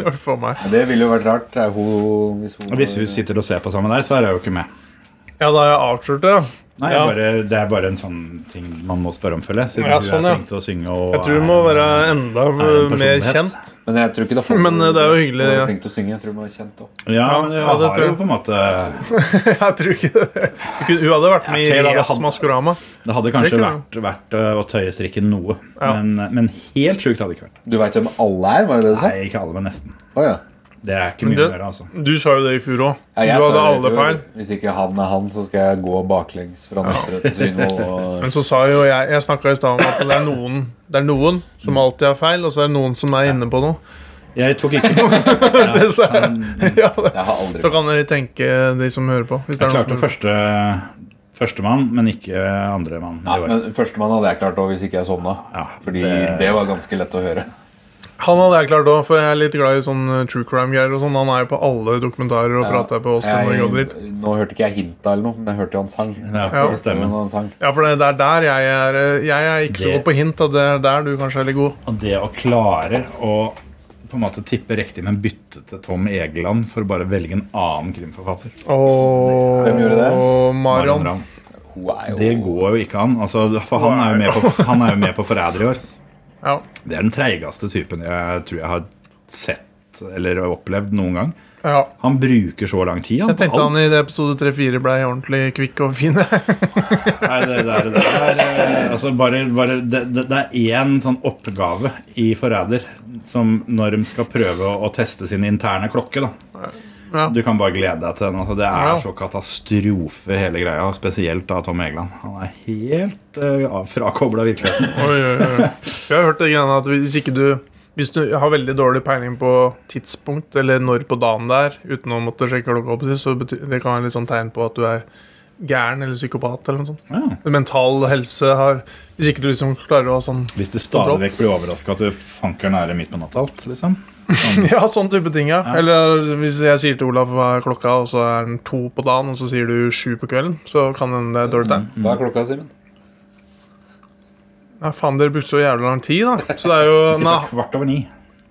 B: nei. For meg.
E: Det ville jo vært rart. Er hun, hvis hun
C: hvis hun sitter og ser på sammen der, så er jeg jo ikke med.
B: Ja, da har jeg avslørt det. da.
C: Nei,
B: Ja.
C: bare, Det er bare en sånn ting man må spørre om, føler jeg. Siden
B: Ja,
C: hun
B: sånn,
C: er
B: ja.
C: flink til å synge og
B: Jeg tror hun må
C: er-
B: være enda
C: en
B: mer
C: personlighet.
B: kjent.
E: Men jeg tror ikke det holder.
B: Men, eh, det er jo hyggelig,
E: Hun
B: ja.
E: er flink til å synge. Jeg tror hun er kjent også.
C: Ja, men jeg
B: Ja, det
C: har
B: tror
C: jo
B: jeg.
C: på en måte
B: Jeg tror ikke det. Hun kunne- Hun hadde vært med
C: Ja,
B: i
C: Kate hadde
B: Ras
C: hatt-
B: Maskorama.
C: Det hadde kanskje
B: Det kunne
C: vært, vært øh, å tøye strikken noe,
B: Ja.
C: men, men helt sjukt hadde det ikke vært.
E: Du veit hvem alle er, var det det du sa?
C: Nei, ikke alle, men nesten.
E: Å, ja.
C: Det er ikke
B: Men
C: mye
B: det-
C: å gjøre, altså.
B: Du sa jo det i fjor òg.
E: Ja,
B: Du
E: jeg sa
B: hadde
E: det
B: alle
E: før.
B: feil.
E: Hvis ikke han er han, så skal jeg gå baklengs fra Nøtterøy til Svinvoll. Og...
B: Men så sa jo jeg Jeg snakka i stad om at det er noen Det er noen som alltid har feil, og så er det noen som er inne på noe.
C: Jeg tok ikke Jeg
B: Det sa jeg. Ja, det.
E: Jeg har aldri
B: Så kan dere tenke, de som hører på. Hvis det er noen som...
C: klarte første førstemann, men ikke andremann.
E: ja, men Førstemann hadde jeg klart òg, hvis ikke jeg sovna.
C: Ja,
E: Fordi det...
C: det-
E: var ganske lett å høre.
B: Han hadde jeg klart òg, for jeg er litt glad i sånn eh, true crime-greier. og sånn Han er jo på alle dokumentarer og
E: Ja.
B: prater på Austin og Goddard.
E: Jeg, nå hørte ikke jeg hinta eller noe, men jeg hørte jo han sang.
C: Ja,
B: Ja.
C: på stemmen.
E: Han sang.
B: Ja, for det det er der jeg er eh, Jeg er ikke så
C: Det-
B: god på hint, og det er der du kanskje er litt god.
C: Og det å klare å på en måte tippe riktig, men bytte til Tom Egeland for å bare velge en annen krimforfatter.
B: Og
E: Hvem gjorde det?
C: Marion
B: Marion.
C: Ravn.
E: Hun er jo
C: Det går jo ikke an. Altså, for han er jo med på, han er jo med på Forræder i år.
B: Ja.
C: Det er den treigeste typen jeg tror jeg har sett eller opplevd noen gang.
B: ja.
C: Han bruker så lang tid. Han,
B: Jeg tenkte han i det episode 3-4 ble ordentlig kvikk og fin.
C: Nei, det, det, er, det, er, eh, altså bare, bare, det, det, det er én sånn oppgave i Forræder som når de skal prøve å, å teste sin interne klokke. da
B: Ja.
C: Du kan bare glede deg til den. Altså, det
B: Ja.
C: er så katastrofe, hele greia. og Spesielt av Tom Egeland. Han er helt uh, frakobla virkeligheten.
B: Oi, oi, oi. Jeg har hørt det greiene at hvis ikke du Hvis du har veldig dårlig peiling på tidspunkt, eller når på dagen det er, uten å måtte sjekke klokka opp, så bety- det kan være litt sånn tegn på at du er gæren eller psykopat eller noe sånt.
C: Ja.
B: Mental helse har Hvis ikke du liksom klarer å ha sånn
C: Hvis du stadig vekk blir overraska at du fanker nære midt på natta alt, liksom.
B: Ja, sånn type ting, ja. Eller hvis jeg sier til Olaf hva er klokka, og så er den to på dagen, og så sier du sju på kvelden, så kan den det er dårlig
C: Mm.
B: tegn.
E: Hva er klokka, Simen?
B: Ja, faen, dere brukte så jævlig lang tid, da. Så det er jo
C: Tipper
B: Nei,
C: Kvart over ni.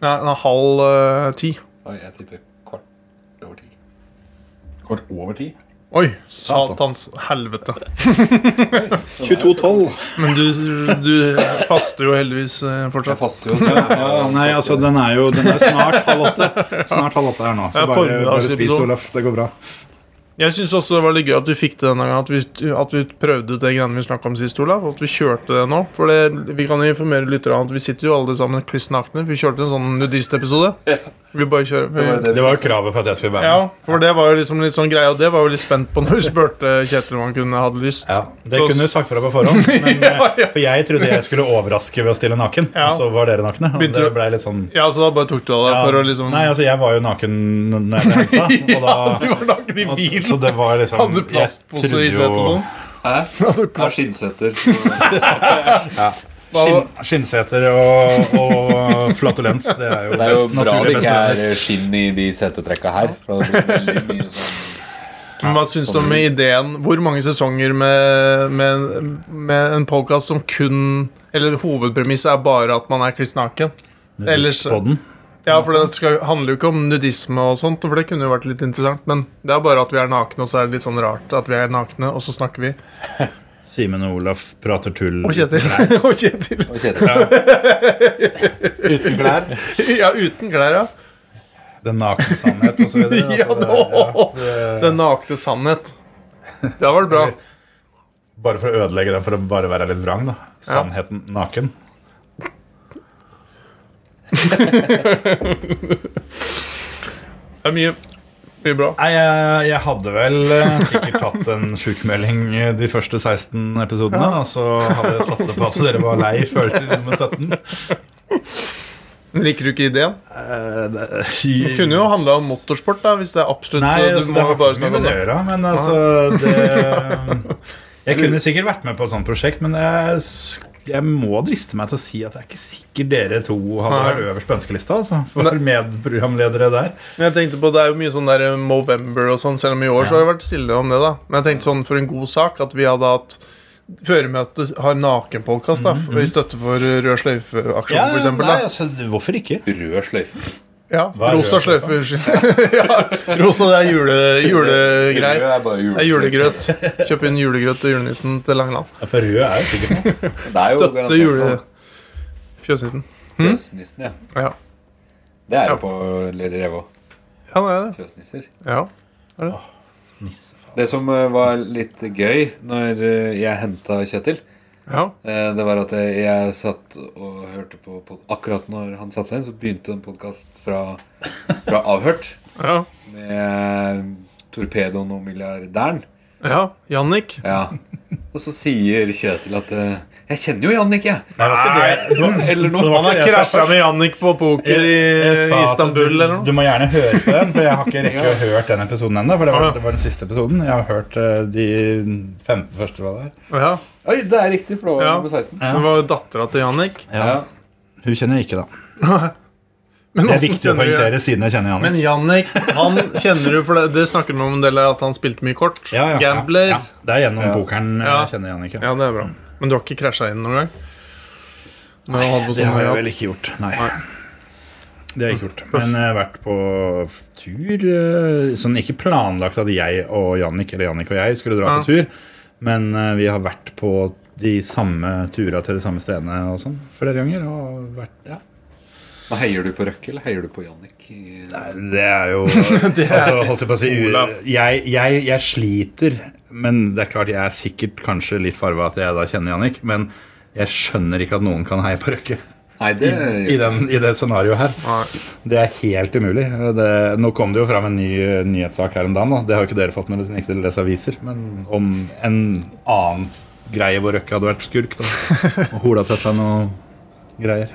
B: nei, nei halv eh, ti.
E: Oi, jeg tipper kvart over ti.
C: Kvart over ti.
B: Oi, satans helvete.
C: 22.12.
B: Men du, du faster jo heldigvis eh,
E: Jeg
B: fortsatt.
E: faster jo, så jeg
C: Ja, nei, altså den er jo den er snart halv åtte. Snart halv åtte her nå. Så
B: Ja,
C: bare, bare
B: formiddagsepisode.
C: spis, Olaf. Det går bra.
B: Jeg syns også det var litt gøy at vi fikk det denne gangen. At vi, at vi prøvde ut det greiene vi snakka om sist, Olav. og At vi kjørte det nå. For det, vi kan informere lytterne om at vi sitter jo alle sammen kliss nakne. Vi kjørte en sånn nudistepisode. Vi bare kjører vi,
C: Det var kravet for at jeg skulle være med.
B: Ja, for det var jo liksom litt sånn greie, og det var vi litt spent på når vi spurte Kjetil om han kunne hadde lyst.
C: Ja, Det
B: Så-
C: kunne du sagt fra på forhånd. Men, eh, For jeg trodde jeg skulle overraske ved å stille naken,
B: Ja.
C: og så var dere nakne. Og
B: Begynte
C: det
B: du-
C: ble litt sånn
B: Ja, så da bare tok du av deg
C: ja,
B: for å liksom
C: Nei, altså, jeg var jo naken n- når jeg ble
B: Du
C: henta. Og da
B: var naken i
C: og-
B: bilen!
C: Så det var liksom
B: Hadde du plastpose i
C: jeg trodde
B: setet
C: jo-
B: og sånn?
A: Jeg har skinnsetter. så-
B: Hva-
C: Skinn, skinnseter og, og flatulens. Det er jo,
A: Det er jo bra det
C: naturlig
A: ikke
C: beste.
A: er eh, skinn i de setetrekka her. For det blir veldig mye sånn
B: Men hva syns du om ideen? Hvor mange sesonger med, med, med en podkast som kun Eller hovedpremisset er bare at man er kliss naken? Ellers,
C: Podden.
B: ja, for det skal, handler jo ikke om nudisme og sånt, for det kunne jo vært litt interessant, men det er bare at vi er nakne, og så er det litt sånn rart at vi er nakne, og så snakker vi.
C: Simen og Olaf prater tull
B: Og Kjetil. og Kjetil.
A: Og kjedelig.
C: uten klær.
B: Ja, uten klær, ja.
C: Den nakne sannhet og så videre. altså
B: Ja, nå. Den nakne sannhet. Det hadde vært bra.
C: Bare for å ødelegge den, for å bare være litt vrang. da Sannheten naken.
B: Det er mye, mye bra.
C: Nei, jeg, jeg hadde vel eh, sikkert tatt en sjukmelding eh, de første 16 episodene. Og så hadde jeg satset på at dere var lei før til nummer 17.
B: Liker du ikke ideen?
C: Eh, det,
B: Det kunne jo handla om motorsport, da, hvis det er absolutt
C: Nei,
B: du
C: altså,
B: må
C: det har
B: jo bare
C: ikke så mye
B: snakke om
C: med
B: det.
C: det å gjøre. Men altså det, Jeg kunne sikkert vært med på et sånt prosjekt, men jeg, s- jeg må driste meg til å si at jeg er ikke sikker dere to hadde
B: Nei.
C: vært øverst på ønskelista. Altså, for medprogramledere der.
B: Men jeg tenkte på, Det er jo mye sånn der eh, Movember og sånn, selv om i år så har det vært stille om det. da Men jeg tenkte sånn for en god sak at vi hadde hatt føremøte har nakenpodkast da, i støtte for eh, Rød sløyfe-aksjonen, for eksempel. Da.
C: altså, hvorfor ikke?
A: Rød sløyfe.
B: Ja,
C: Hva er
B: rosa
C: rød sløyfe?
B: sløyfe, unnskyld. ja, rosa, det er jule, julegreier.
A: Rød er bare
B: Eh, Det er
A: jule.
B: julegrøt. Kjøp inn julegrøt til julenissen til Langeland.
C: Ja, for rød er jo sikkert noe.
A: Det er jo
B: Støtte
A: garantert sånn.
B: jule...
A: noe.
B: Fjøsnissen.
A: Fjøsnissen, ja.
B: Ja.
A: Det er det
B: Ja.
A: på Lille Rev òg.
B: ja, det er det.
A: Fjøsnisser.
B: Ja.
C: Nisse, faen.
A: Det som eh, var litt gøy når eh, jeg henta Kjetil,
B: ja.
A: eh, det var at jeg jeg satt og hørte på pod- Akkurat når han satte seg inn, så begynte en podkast fra, fra Avhørt
B: ja.
A: med torpedoen og milliardæren.
B: ja. Jannik.
A: Ja. Og så sier Kjetil at eh, 'Jeg kjenner jo Jannik, jeg'.
C: Nei, altså, det var ikke det. Det var-
A: Eller noe.
C: det var
B: Han har
C: ikke det jeg sa
B: krasja
C: først.
B: med Jannik på poker i
C: Jeg sa at
B: Istanbul
C: du,
B: eller noe.
C: Du må gjerne høre på den, for jeg har ikke rekke å hørt den episoden ennå. For det var, det var den siste episoden. Jeg har hørt eh, de 15 første. Var det.
B: Ja,
A: Oi, det er riktig, for det var
B: Ja.
A: nummer 16.
B: Det var dattera til Jannik.
C: Ja. Hun kjenner jeg ikke, da.
B: Men
C: Det er
B: hvordan
C: viktig å
B: kjenner du-
C: poengtere siden jeg kjenner
B: Men
C: Janne.
B: Jannik, han kjenner du for det, det snakker vi om en del, at han spilte mye kort.
C: Ja, ja,
B: Gambler.
C: Ja,
B: Ja,
C: ja. Det er gjennom pokeren
B: Ja.
C: jeg kjenner Jannicke.
B: det er bra. Men du har ikke krasja inn noen gang? Når han hadde
C: Det
B: sånn
C: har jeg
B: høy
C: vel
B: hatt.
C: ikke gjort. Nei.
B: Nei.
C: Det har jeg ikke gjort. Men jeg har vært på tur eh, Sånn ikke planlagt at jeg og Jannik eller Jannik og jeg skulle dra
B: Ja.
C: på tur, men eh, vi har vært på de samme turene til de samme stedene og sånn flere ganger. Og vært, ja.
A: Men Heier du på Røkke, eller heier du på Jannik? i-
C: Nei, Det er jo altså, Holdt jeg på å si u-
B: Olav.
C: jeg, jeg, jeg sliter, men det er klart jeg er sikkert kanskje litt farga at jeg da kjenner Jannik, men jeg skjønner ikke at noen kan heie på Røkke
A: Nei, det
C: i, den, i det scenarioet her.
B: Nei.
C: Det er helt umulig. Det, nå kom det jo fram en ny eh, nyhetssak her om dagen. Da. Det har jo ikke dere fått med dere som ikke leser aviser. Men om en annen s- greie hvor Røkke hadde vært skurk. Da. Og hola til seg noe greier.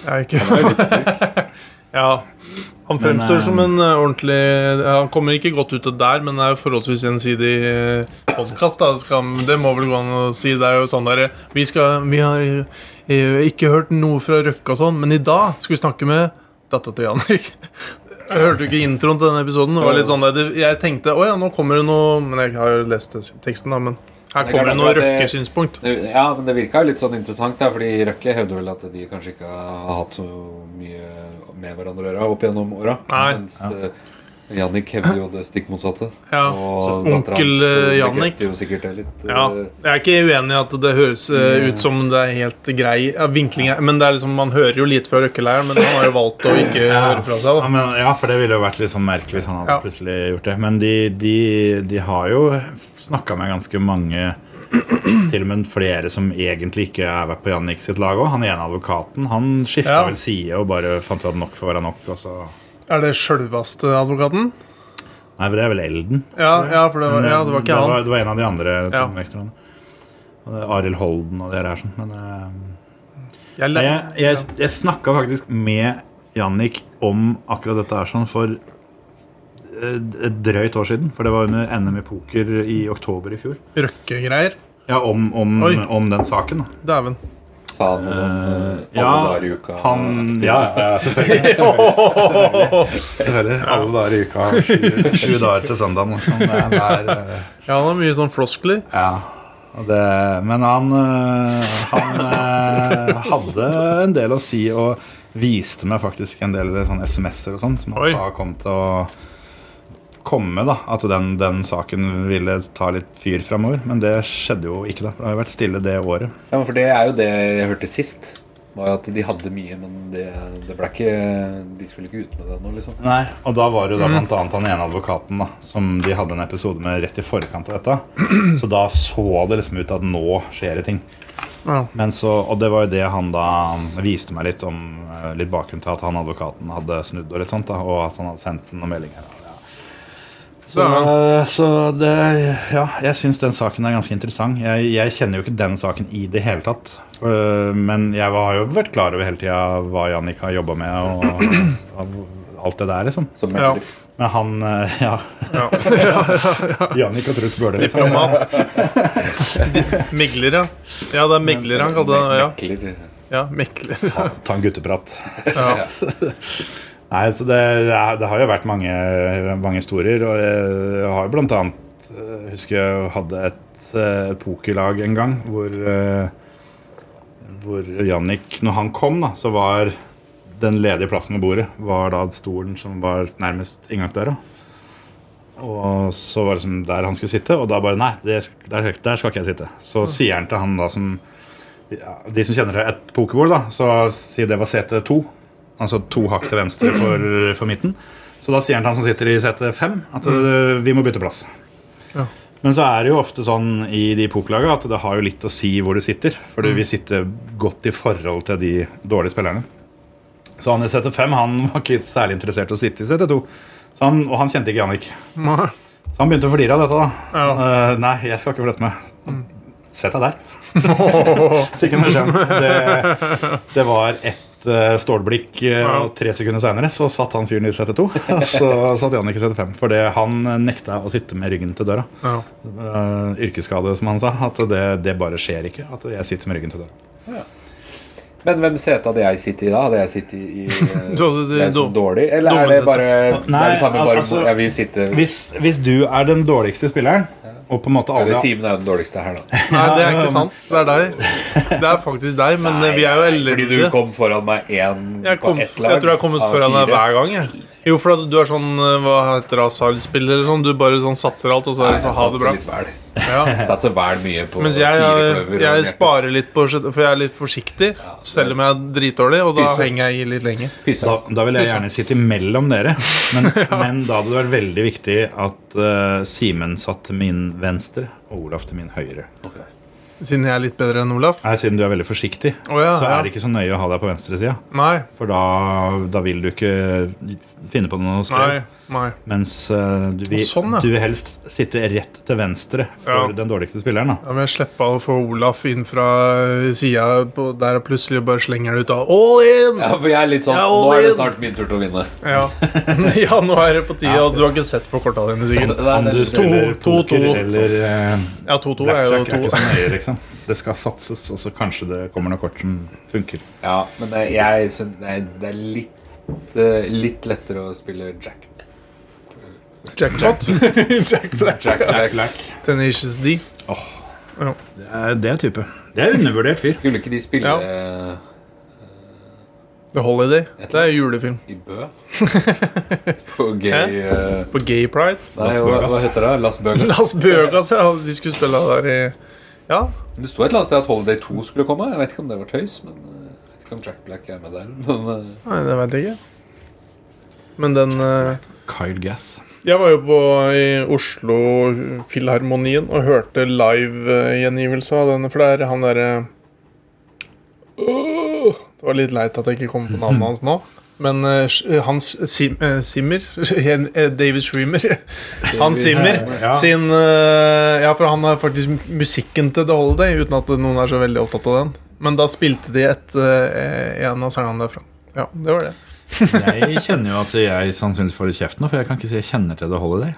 B: Jeg er ikke Ja. Han fremstår
C: eh,
B: som en eh, ordentlig ja, Han kommer ikke godt ut av der, men det er jo forholdsvis gjensidig podkast. Det, skal- det må vel gå an å si. Det er jo sånn derre vi, skal- vi har eh, ikke hørt noe fra Røkke og sånn, men i dag skal vi snakke med dattera til Jannik. Jeg hørte jo ikke introen til denne episoden. Det var litt sånn der, det- Jeg tenkte å ja, nå kommer det noe Men jeg har jo lest teksten, da. Men
A: Det
B: her
A: er
B: kommer det
A: klart
B: noe
A: at det-
B: Røkke-synspunkt.
A: Ja, men det virka jo litt sånn interessant, da, fordi Røkke hevder vel at de kanskje ikke har hatt så mye med hverandre å gjøre opp gjennom åra.
B: Nei.
A: Mens eh,
E: Jannik hevder jo det stikk motsatte.
B: Ja.
E: Og
B: så
E: datteren
B: onkel,
E: hans
B: eh, Jannik.
E: bekrefter jo sikkert det litt.
B: Ja,
E: eh,
B: jeg er ikke uenig i at det høres eh, ut som det er helt grei ja, vinkling. er- Men det er liksom, Man hører jo lite fra røkkeleiren, men han har jo valgt å ikke høre fra seg.
C: Ja,
B: da
C: men, ja, for det ville jo vært litt sånn merkelig hvis han hadde
B: Ja.
C: plutselig gjort det. Men de, de, de har jo snakka med ganske mange Til og med flere som egentlig ikke er på Jannik sitt lag òg. Han ene advokaten han skifta
B: Ja.
C: vel side og bare fant ut at nok får være nok. Og så.
B: Er det sjølveste advokaten?
C: Nei, men det er vel Elden.
B: Ja, ja, for det var, ja, det var ikke
C: Mm, det
B: han.
C: var, det var en av de andre
B: Ja.
C: tungvektorene. Og det er Arild Holden og de her. Sånn. Men eh,
B: Jeg,
C: Nei,
B: la-
C: Jeg, jeg, jeg snakka faktisk med Jannik om akkurat dette her sånn for eh, et drøyt år siden. For det var under NM i poker i oktober i fjor.
B: Røkkegreier.
C: Ja, Om, om,
B: Oi.
C: om den saken. da.
B: Dæven.
E: Sa han noe sånn eh, alle
C: ja,
E: dager i uka.
C: Han
D: Ja, ja, selvfølgelig.
C: Selvfølgelig. Alle dager i uka. Sju, sju dager til søndagen. og Sånn. Det er- det er, eh,
B: Ja, han har mye sånn floskler.
C: Ja. Og det, men han, øh, han øh, hadde en del å si og viste meg faktisk en del sånn SMS-er og sånn som han
B: Oi.
C: sa kom til å komme. da, At den, den saken ville ta litt fyr framover. Men det skjedde jo ikke, da. For det har jo vært stille det året.
E: Ja, men for det er jo det jeg hørte sist. Var jo at de hadde mye, men det, det ble ikke De skulle ikke ut med det nå, liksom.
C: Nei, Og da var det jo da blant annet han ene advokaten da, som de hadde en episode med rett i forkant av dette. Så da så det liksom ut at nå skjer det ting.
B: Ja.
C: Men så, og det var jo det han da viste meg litt om eh, litt bakgrunn til at han advokaten hadde snudd og litt sånt da, og at han hadde sendt noen meldinger. Ja. Så, eh, så det Ja, jeg syns den saken er ganske interessant. Jeg, jeg kjenner jo ikke den saken i det hele tatt. Eh, Men jeg var- har jo vært klar over hele tida hva Jannik har jobba med og, og alt det der, liksom.
E: Som
B: Ja.
C: Men han eh, Ja. Jannik og Truls Bøhler. Liksom.
B: Diplomat. Megler, ja. Ja, det er megler han kalte det. Ja,
E: mekler. eh,
B: ja mekler.
C: Ta, ta en gutteprat.
B: Ja.
C: Nei, så det, det er- det har jo vært mange, mange historier. Og jeg har jo blant annet eh, Husker jeg hadde et eh, pokerlag en gang hvor, eh, hvor Jannik, når han kom, da, så var den ledige plassen ved bordet var da stolen som var nærmest inngangsdøra. Og så var det liksom der han skulle sitte, og da bare Nei, det, sk- der, der skal ikke jeg sitte. Så sier han til han da som ja, De som kjenner seg et pokerbord, da, så sier det var sete to. Altså to hakk til venstre for, for midten. Så da sier han til han som sitter i sete fem, at øh, vi må bytte plass.
B: Ja.
C: Men så er det jo ofte sånn i de pokerlagene at det har jo litt å si hvor du sitter. For du vil sitte godt i forhold til de dårlige spillerne. Så han i sete fem han var ikke særlig interessert i å sitte i sete to. Så han, og han kjente ikke Jannik. Så han begynte å flire av dette, da. Eh, nei, jeg skal ikke flytte meg. Sett deg der. Fikk en beskjed. om. Det, det var ett eh, stålblikk, eh, og tre sekunder seinere så satt han fyren i CT2. Og så satt Jannik i CT5. For det, han eh, nekta å sitte med ryggen til døra.
B: Ja.
C: Eh, yrkesskade, som han sa. At det, det bare skjer ikke. At jeg sitter med ryggen til døra.
E: Men hvem sete hadde jeg sittet i da? Hadde jeg sittet i eh,
B: Du hadde sittet i
E: den som
B: dum-
E: dårlig? Eller
B: dumme
E: er det
B: sete.
E: bare det er
C: Nei,
E: det samme, bare
C: altså-
E: jeg vil sitte
C: Hvis, hvis du er den dårligste spilleren, og på en måte alle
E: Eller Simen er jo den dårligste her, da.
B: Nei, det er ikke sant. Det er deg. Det er faktisk deg, men vi er jo
E: Fordi du
B: elendige.
E: kom foran meg én
B: Jeg,
E: på
B: kom, jeg
E: ett lag.
B: tror jeg har kommet
E: av
B: foran deg
E: fire.
B: hver gang. Jeg. Jo, for at du er sånn eh, hva heter det, hasardspiller eller sånn. Du bare sånn satser alt, og så
E: Nei,
B: er
E: jeg
B: det for ha det
E: satser
B: bra.
E: litt vel.
B: Ja.
E: Satser vel mye på
B: Mens jeg, eh, jeg,
E: firekløver.
B: jeg sparer litt på sjette- For jeg er litt forsiktig, selv om jeg er dritdårlig, og da
E: Pyse.
B: henger jeg i litt lenger.
C: Da, da vil jeg gjerne sitte imellom dere. Men, men da hadde det vært veldig viktig at eh, Simen satt til min venstre og Olaf til min høyre.
B: Siden jeg er litt bedre enn Olaf.
C: Nei, Siden du er veldig forsiktig,
B: Å ja,
C: så
B: ja.
C: er det ikke så nøye å ha deg på venstresida.
B: Nei.
C: For da, da vil du ikke finne på noe
B: Nei.
C: støy.
B: Nei.
C: Mens eh, du, vil,
B: Sånn, ja.
C: du vil helst sitte rett til venstre for
B: Ja.
C: den dårligste spilleren. da
B: Da må jeg slippe å få Olaf inn fra eh, sida der og plutselig bare slenger det ut av All in!
E: Ja, for jeg er litt sånn
B: Ja,
E: Nå er det
B: all
E: snart min tur til å vinne.
B: Ja. ja, nå er det på tide, og du har ikke sett på korta dine, sikkert.
E: Det er
C: Om
E: den-
C: du spiller
B: to,
C: poker
B: to.
C: eller eh,
B: Ja, 2-2 er jo
C: blackjack, er
B: 2.
C: ikke så nøye, liksom. Det skal satses, og så kanskje det kommer noe kort som funker.
E: Ja, men eh, jeg syns det er- det er litt, eh, litt lettere å spille jack.
B: Jackpot. Jack Black.
E: Jack, jack,
B: Tenacious D.
C: Det er det type. Det er undervurdert fyr.
E: Skulle ikke de spille
B: Ja.
E: eh,
B: The Holiday. Det er julefilm.
A: I Bø. På gay eh,
B: På Gay Pride.
A: Nei, hva, hva heter det? Las Bøgas.
B: Las Bøgas, ja. De skulle spille der i Ja.
A: Det sto et eller annet sted at Holiday 2 skulle komme. Jeg vet ikke om det var tøys. men eh, jeg vet ikke om Jack Black er med der. Men eh,
B: Nei, det veit jeg ikke. Men den eh,
C: Kyle Gass.
B: Jeg var jo på i Oslo Filharmonien og hørte live-gjengivelse av denne, for det er han derre Åh, Det var litt leit at jeg ikke kom på navnet hans nå. Men eh, Sh- hans Sim, eh, Simmer eh, David Schwimmer. Han Simmer
C: ja.
B: sin eh, Ja, for han har faktisk musikken til The Holiday, uten at noen er så veldig opptatt av den. Men da spilte de et, eh, en av sangene derfra. Ja, det var det.
C: Jeg kjenner jo at jeg sannsynligvis får litt kjeft nå, for jeg kan ikke si jeg kjenner til The Holiday.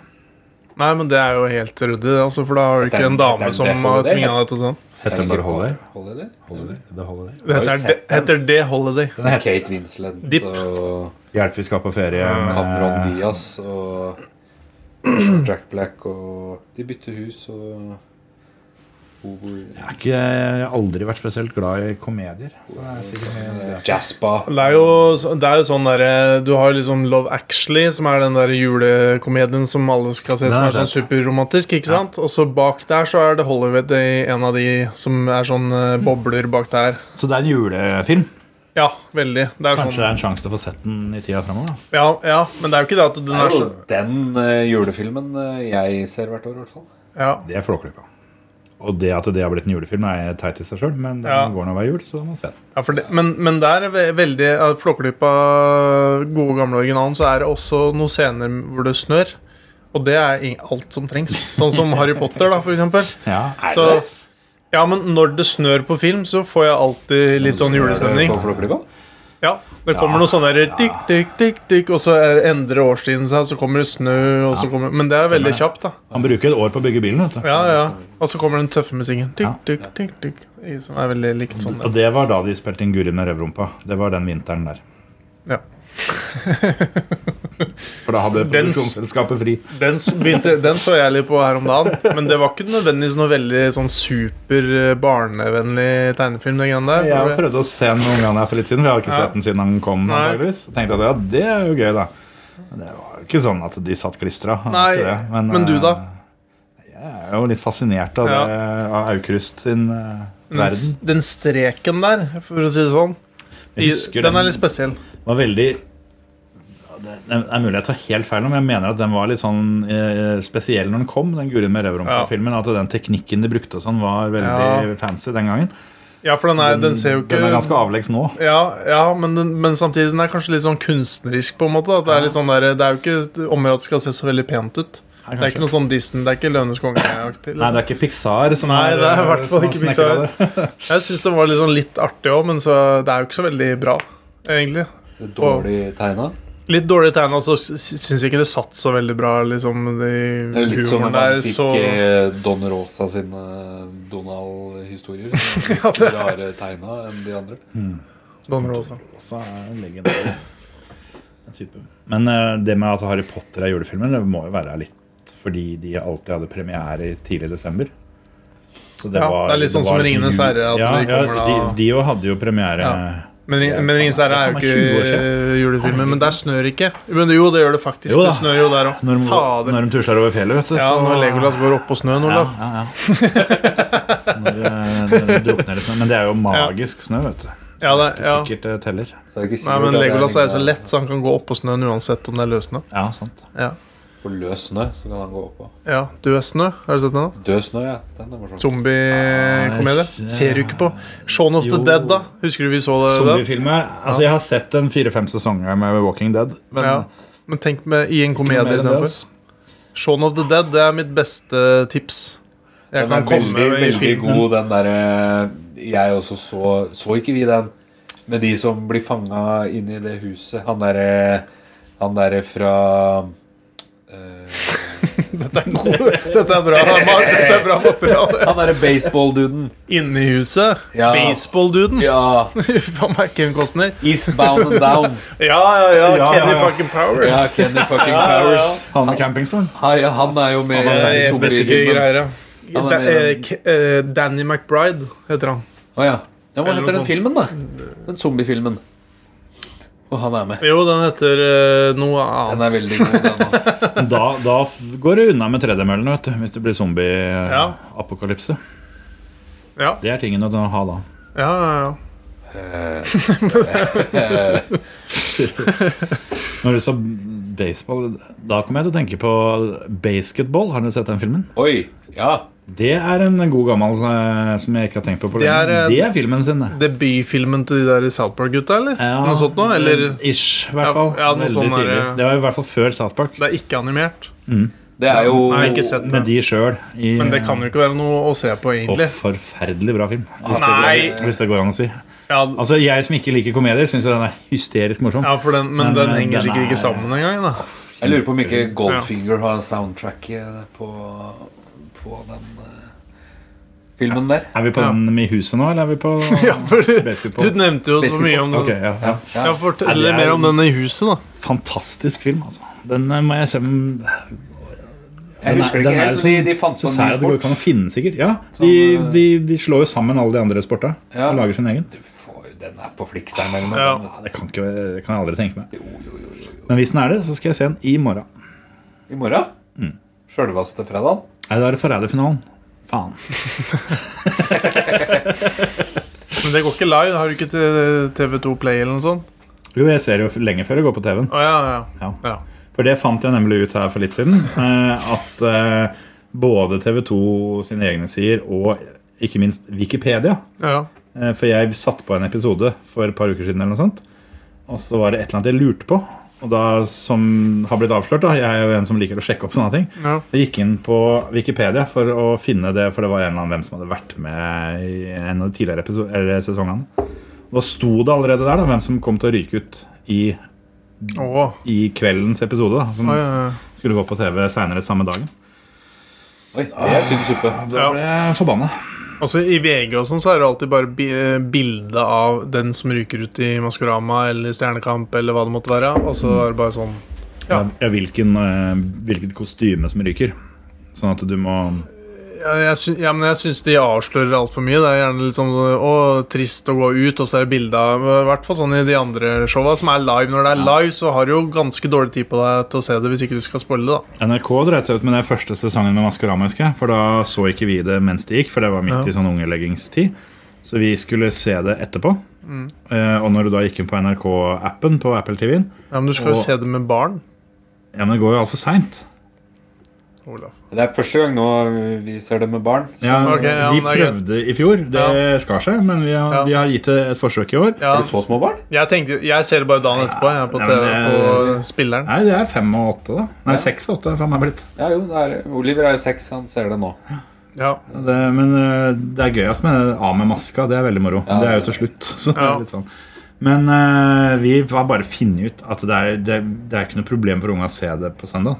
B: Nei, men det er jo helt ryddig, det, altså, for da har du ikke
A: er-
B: en
A: det
B: dame
A: er
B: som
A: det
B: har
A: holiday,
B: tvinga deg til sånn.
C: Heter den bare Holiday?
A: Holiday?
C: Holiday? The Holiday.
B: Det
A: har jo
B: heter, det,
A: sett den.
B: heter det Holiday.
A: Med Kate Winslet
B: Dip.
A: og
C: Hjelp vi skal på ferie eh,
A: Cameron
C: med
A: Diaz og Jack Black og De bytter hus og
C: Jeg har ikke, jeg har aldri vært spesielt glad i komedier. Så det er sikkert mye
A: eh, Jaspa.
B: Det er jo, så- det er jo sånn derre Du har jo liksom Love Actually, som er den der julekomedien som alle skal se,
C: Den
B: som
C: har
B: er
C: jeg
B: sånn
C: sett.
B: superromantisk, ikke sant? Og så bak der så er det Holiday, en av de som er sånn eh, bobler bak der.
C: Så det er en julefilm.
B: Ja, veldig. Det er
C: Kanskje det
B: sånn,
C: er en sjanse til å få sett den i tida fremover. da.
B: ja, ja, men det er jo ikke det at den
A: Det
B: er
A: er jo
B: så
A: den eh, julefilmen eh, jeg ser hvert år, i hvert fall.
B: Ja.
C: Det er Flåklypa. Og det at det har blitt en julefilm, er teit i seg sjøl, men den
B: Ja.
C: går nå hver jul, så da må man se den.
B: Ja, for det, men, men der er ve- veldig ja, Flåklypa, gode gamle originalen, så er det også noen scener hvor det snør. Og det er ing- alt som trengs. Sånn som Harry Potter, da, for eksempel.
C: Ja.
B: Så, ja, men når det snør på film, så får jeg alltid litt sånn julestemning.
A: På Flåklypa?
B: Ja, Det kommer noe sånn der tikk, tikk, tikk, tikk, og så er- endrer årstiden seg, så kommer det snø, og så kommer Men det er veldig kjapt, da.
C: Han bruker et år på å bygge bilen, vet du.
B: Ja, ja. Og så kommer den tøffe musikken. Tikk, tikk, tikk, tikk. Som er veldig likt sånn.
C: Og det var da de spilte inn Guri med røvrumpa. Det var den vinteren der.
B: Ja.
C: For da hadde
B: Den s-
C: produksjonsselskapet fri.
B: Den, s- begynte, den så jeg litt på her om dagen. Men det var ikke nødvendigvis noe veldig sånn super eh, barnevennlig tegnefilm. Den greien der.
C: Jeg prøvde å se den noen ganger her for litt siden, for jeg har ikke
B: Ja.
C: sett den siden han kom.
B: Nei.
C: antageligvis. Tenkte at ja, det er jo gøy, da. Men det var jo ikke sånn at de satt klistra.
B: Nei, men, du, da?
C: eh, Jeg er jo litt fascinert av,
B: Ja.
C: det, av Aukrust sin eh,
B: Den, s-
C: verden.
B: den streken der, for å si det sånn, i,
C: Jeg husker
B: den
C: den-
B: er litt spesiell.
C: var veldig Ja, det det er mulig jeg tar helt feil, nå, men jeg mener at den var litt sånn eh, spesiell når den kom. Den Guri med røvrumpa-filmen. At den teknikken de brukte og sånn, var veldig fancy den gangen.
B: Ja, for den, er, den ser jo ikke
C: Den er ganske avleggs nå.
B: ja, ja, men, den, men samtidig den er kanskje litt sånn kunstnerisk, på en måte. At det, er litt sånn der, det er jo ikke området som skal se så veldig pent ut. Det er
C: kanskje.
B: ikke noe sånn Disney, det er ikke Løvenes konge-aktig. liksom.
C: Nei, det er ikke Pixar som
B: Nei,
C: har,
B: det er i
C: eh,
B: hvert fall
C: som har
B: ikke
C: snekret
B: Pixar.
C: det.
B: Jeg syns den var litt, sånn litt artig òg, men så, det er jo ikke så veldig bra, egentlig.
A: Det er Dårlig tegna.
B: Litt dårlig tegna, og så syns jeg ikke det satt så veldig bra. liksom
A: Det
B: de
A: er litt som når
B: humoren
A: man
B: der,
A: fikk
B: så
A: eh, Don Rosa sine eh, Donald-historier. som var litt Rare tegna enn de andre.
B: Don Rosa.
C: Også er en legendarisk type. Men eh, det med at Harry Potter er julefilmen, det må jo være litt fordi de alltid hadde premiere i tidlig desember. Så
B: Ja, det er litt sånn som
C: var liksom
B: Ringenes
C: jul-
B: herre, at
C: Ja,
B: de
C: ja,
B: kommer da-
C: de, de jo hadde jo premiere
B: Ja. Men, Ring- men Ringenes herre er jo
C: Det er faen meg 20 år
B: ikke eh, julefilmer. Men der snør ikke. Men jo, det gjør det faktisk.
C: Jo da.
B: Det snør jo der òg.
C: når, de, går-
B: Fader.
C: når de tusler over fjellet, vet du.
B: Ja,
C: så-
B: når Legolas går opp på snøen,
C: ja,
B: Olaf.
C: ja, ja. Når, eh, når de drukner i snø. Men det er jo magisk snø, vet du.
B: Ja, det,
C: Ikke
B: ja.
C: sikkert det teller.
A: Så det er ikke
B: Nei,
A: sikkert
B: men
A: at det
B: Legolas er jo så
A: en-
B: lett, så han kan gå opp på snøen uansett om det er løssnø.
C: Ja, sant.
B: Ja.
A: På løs snø så kan han gå opp og
B: ja. Du er snø. Har du sett den? da?
A: Død snø, ja. Den er morsom.
B: Zombiekomedie.
C: Nei,
B: Ser du ikke på? Shaun of the
C: Jo.
B: Dead, da. Husker du vi så det? den?
C: Zombiefilmer Altså, jeg har sett en fire-fem sesonger med Walking Dead. Men
B: ja. men tenk med, i en
C: Ikke
B: komedie
C: mer enn det,
B: istedenfor.
C: altså.
B: Shaun of the Dead det er mitt beste tips. Jeg
A: Den er
B: kan komme
A: veldig,
B: i
A: veldig
B: filmen.
A: god, den derre Jeg også så Så ikke vi den? Med de som blir fanga inn i det huset. Han derre Han derre fra eh,
B: Dette er, god. Dette er bra, Mar- Dette er bra materiale.
A: Han derre baseball-duden.
B: Inne i huset.
A: Ja.
B: Baseball-duden.
A: Ja.
B: Hva meg Kevin Costner.
A: Eastbound and down.
B: Ja, ja, ja.
C: Ja,
B: Kenny
C: ja, ja.
B: fucking Powers.
A: Ja, Kenny fucking Powers.
C: Han med campingstolen.
A: Hei, han er jo med
B: Det er
A: i zombiefilmen.
B: spesifikke greier, ja.
A: Han er
B: Da-
A: med i
B: eh,
A: den.
B: K- eh, Danny McBride heter han.
A: Å ja. ja. Hva
B: Eller
A: heter
B: noe
A: den filmen, da? Den zombiefilmen.
E: Og han er med.
B: Jo, den heter eh, noe
E: Den er
B: annet.
E: veldig god, den òg.
C: Da, da f- går det unna med tredemøllen vet du, hvis det blir zombie-apokalypse.
B: Ja.
C: Det er tingen å ha da.
B: Ja, ja, ja.
E: Eh,
C: Når du sa baseball, da kom jeg til å tenke på basketball. Har dere sett den filmen?
E: Oi. Ja.
C: Det er en god gammel eh, som jeg ikke har tenkt på på
B: Det
C: lenge.
B: er,
C: Det
B: eh,
C: er, filmen sin, det.
B: Debutfilmen til de der i South Park-gutta, eller? Noe sånt noe? Eller
C: Ish, i hvert fall.
B: Ja, ja, noe
C: Veldig
B: sånn er det.
C: tidlig. Det var i hvert fall før South Park.
B: det er ikke animert?
E: Det er jo
B: Nei, ikke sett
C: Med
B: det.
C: de sjøl.
B: Men det kan jo ikke være noe å se på, egentlig.
C: forferdelig bra film. Hvis, Det,
B: Nei!
C: går- hvis det går an å si.
B: Ja,
C: Altså, Jeg som ikke liker komedier, syns den er hysterisk morsom.
B: ja for den, men
C: Men,
B: den
C: eh,
B: henger
C: den
B: sikkert
C: er-
B: ikke sammen engang, da.
E: Jeg lurer på om ikke Goldfinger har soundtracket på, på den eh, filmen der.
C: Er vi på den med huset nå, eller er vi på
B: Ja, for du,
C: Basketball.
B: du nevnte jo så
E: Basketball.
B: mye om den.
C: Ok, ja. ja.
E: Ja.
B: Ja,
C: Nei,
B: Fortell
C: det er-
B: mer om den i huset, da.
C: Fantastisk film, altså. Den eh, må jeg se den er-
E: Jeg husker det
C: den
E: ikke
C: er
E: helt.
C: så-
E: men De, de fant
C: Så
E: på en
C: sær
E: ny
C: at det går ikke an
E: sport.
C: å finne, sikkert. Ja, de,
E: Sånn, eh,
C: de, de slår jo sammen alle de andre sporta
E: Ja.
C: og lager sin egen.
E: Du får jo- Den er på Flix her mellom
B: Ja.
E: dem, vet
C: Det kan, ikke, det kan jeg aldri tenke meg.
E: du. Jo, jo, jo, jo, jo.
C: Men hvis den er det, så skal jeg se den i morgen.
E: I morgen? Sjølveste fredagen?
C: Nei, da er det Forræderfinalen. Faen.
B: Men det går ikke live. Har du ikke til TV2 Play eller noe sånt?
C: Jo, jeg ser jo lenge før det går på TV-en.
B: Å ja, ja.
C: Ja.
B: ja.
C: For det fant jeg nemlig ut her for litt siden. eh, At eh, både TV2 sine egne sider og ikke minst Wikipedia
B: ja.
C: Eh, For jeg satt på en episode for et par uker siden, eller noe sånt. Og så var det et eller annet jeg lurte på, og da, som har blitt avslørt. da, Jeg er jo en som liker å sjekke opp sånne ting.
B: Ja.
C: Så jeg gikk inn på Wikipedia for å finne det, for det var en eller annen hvem som hadde vært med i en av de tidligere episo- eller sesongene. Og da sto det allerede der da, hvem som kom til å ryke ut i,
B: Å,
C: i kveldens episode. da, Som
B: ja, ja, ja.
C: skulle gå på TV seinere samme dagen.
E: Oi, det er tynn suppe.
C: Da ble jeg forbanna.
B: Altså I VG og sånn så er det alltid bare bi- eh, bilde av den som ryker ut i Maskorama eller Stjernekamp eller hva det måtte være. Og så er det bare sånn Ja.
C: Ja, hvilken, eh, hvilket kostyme som ryker. Sånn at du må
B: Ja, jeg syns, ja men jeg syns de avslører altfor mye. Det er gjerne litt sånn å, trist å gå ut, og så er det bilde av I hvert fall sånn i de andre showa som er live. Når det er live, så har du jo ganske dårlig tid på deg til å se det hvis ikke du skal spoile det, da.
C: NRK dreit seg ut med den første sesongen med Maskorama, husker jeg. For da så ikke vi det mens det gikk, for det var midt
B: Ja.
C: i sånn ungeleggingstid. Så vi skulle se det etterpå.
B: Mm.
C: Eh, og når du da gikk inn på NRK-appen på Apple TV-en
B: Ja, Men du skal
C: Og-
B: jo se det med barn,
C: Ja, men det går jo altfor seint.
B: Olaf.
E: Det er første gang nå vi ser det med barn.
C: Ja,
B: Ok, ja,
C: vi
B: men det er greit.
C: prøvde i fjor. Det
B: Ja.
C: skar seg, men vi har,
B: Ja.
C: vi har gitt det et forsøk i år.
B: Ja,
E: Er det så små barn?
B: jeg, tenkte, jeg ser det bare dagen etterpå, jeg, på,
C: Ja,
B: TV,
C: men
B: på
C: det-
B: spilleren.
C: Nei, det er fem og åtte, da. Nei, seks og åtte er faen meg blitt.
E: Ja, jo, det er, Oliver er jo seks, han ser det nå.
B: Ja.
C: Det, men eh, det er gøyest med av med maska. Det er veldig moro.
E: Ja,
C: det er jo
E: det-
C: til slutt. Så det
B: Ja.
C: er litt sånn. Men eh, vi har bare funnet ut at det er, det, det er ikke noe problem for unge å se det på søndag.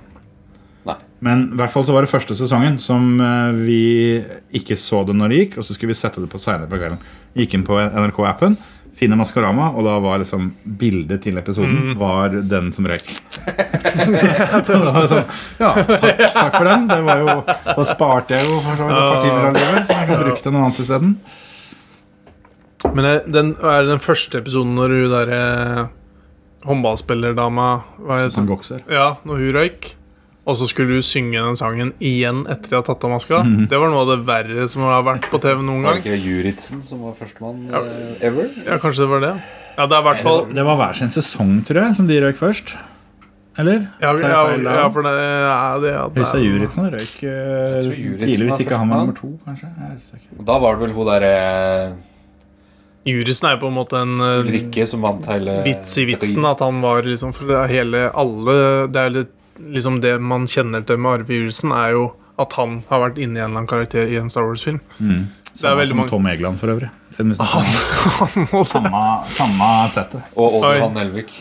E: Nei.
C: Men i hvert fall så var det første sesongen som eh, vi ikke så det når det gikk, og så skulle vi sette det på seinere på kvelden. Vi Gikk inn på NRK-appen, finner Maskorama, og da var liksom bildet til
B: Mm.
C: episoden var den som røyk. Det var sånn, ja, takk, takk for den. Det var jo, da sparte jeg jo for så vidt et par timer av livet, så jeg kan bruke til noe annet isteden.
B: Men jeg- den, er det den første episoden når hun derre eh, håndballspillerdama hva heter
C: Som
B: hun?
C: bokser.
B: Ja, når hun røyk. Og så skulle hun synge den sangen igjen etter de har tatt av maska. Det var noe av det verre som Mhm. har vært på TV noen
E: Var det
B: gang.
E: ikke Juritzen som var førstemann eh, ever?
B: Ja, kanskje det var det. Ja, det er i hvert fall
C: Det var hver sin sesong, tror jeg, som de røyk først. Eller?
B: ja,
C: Tar jeg
B: ja,
C: feil da?
B: ja, for det ja, det, ja, det
C: Husker
B: er-
C: jeg Juritzen røyk eh,
E: Jeg tror Juritzen
C: tidlig, hvis
E: var
C: ikke han var
E: førstemann.
C: nummer to, kanskje. Jeg husker ikke.
E: Da var det vel hun derre
B: Juritzen er jo på en måte en eh,
E: Rikke som vant hele
B: vits i vitsen. At han var liksom For det er hele alle Det er litt, liksom det man kjenner til med Arve Juritzen, er jo at han har vært inni en eller annen karakter i en Star Wars-film. Det er
C: Samme
B: veldig
C: som
B: mange
C: Tom Egeland, for øvrig. Siden vi snakker om
B: Må
C: Samme, samme settet.
E: Og
B: Oi.
E: Odd Johan Elvik.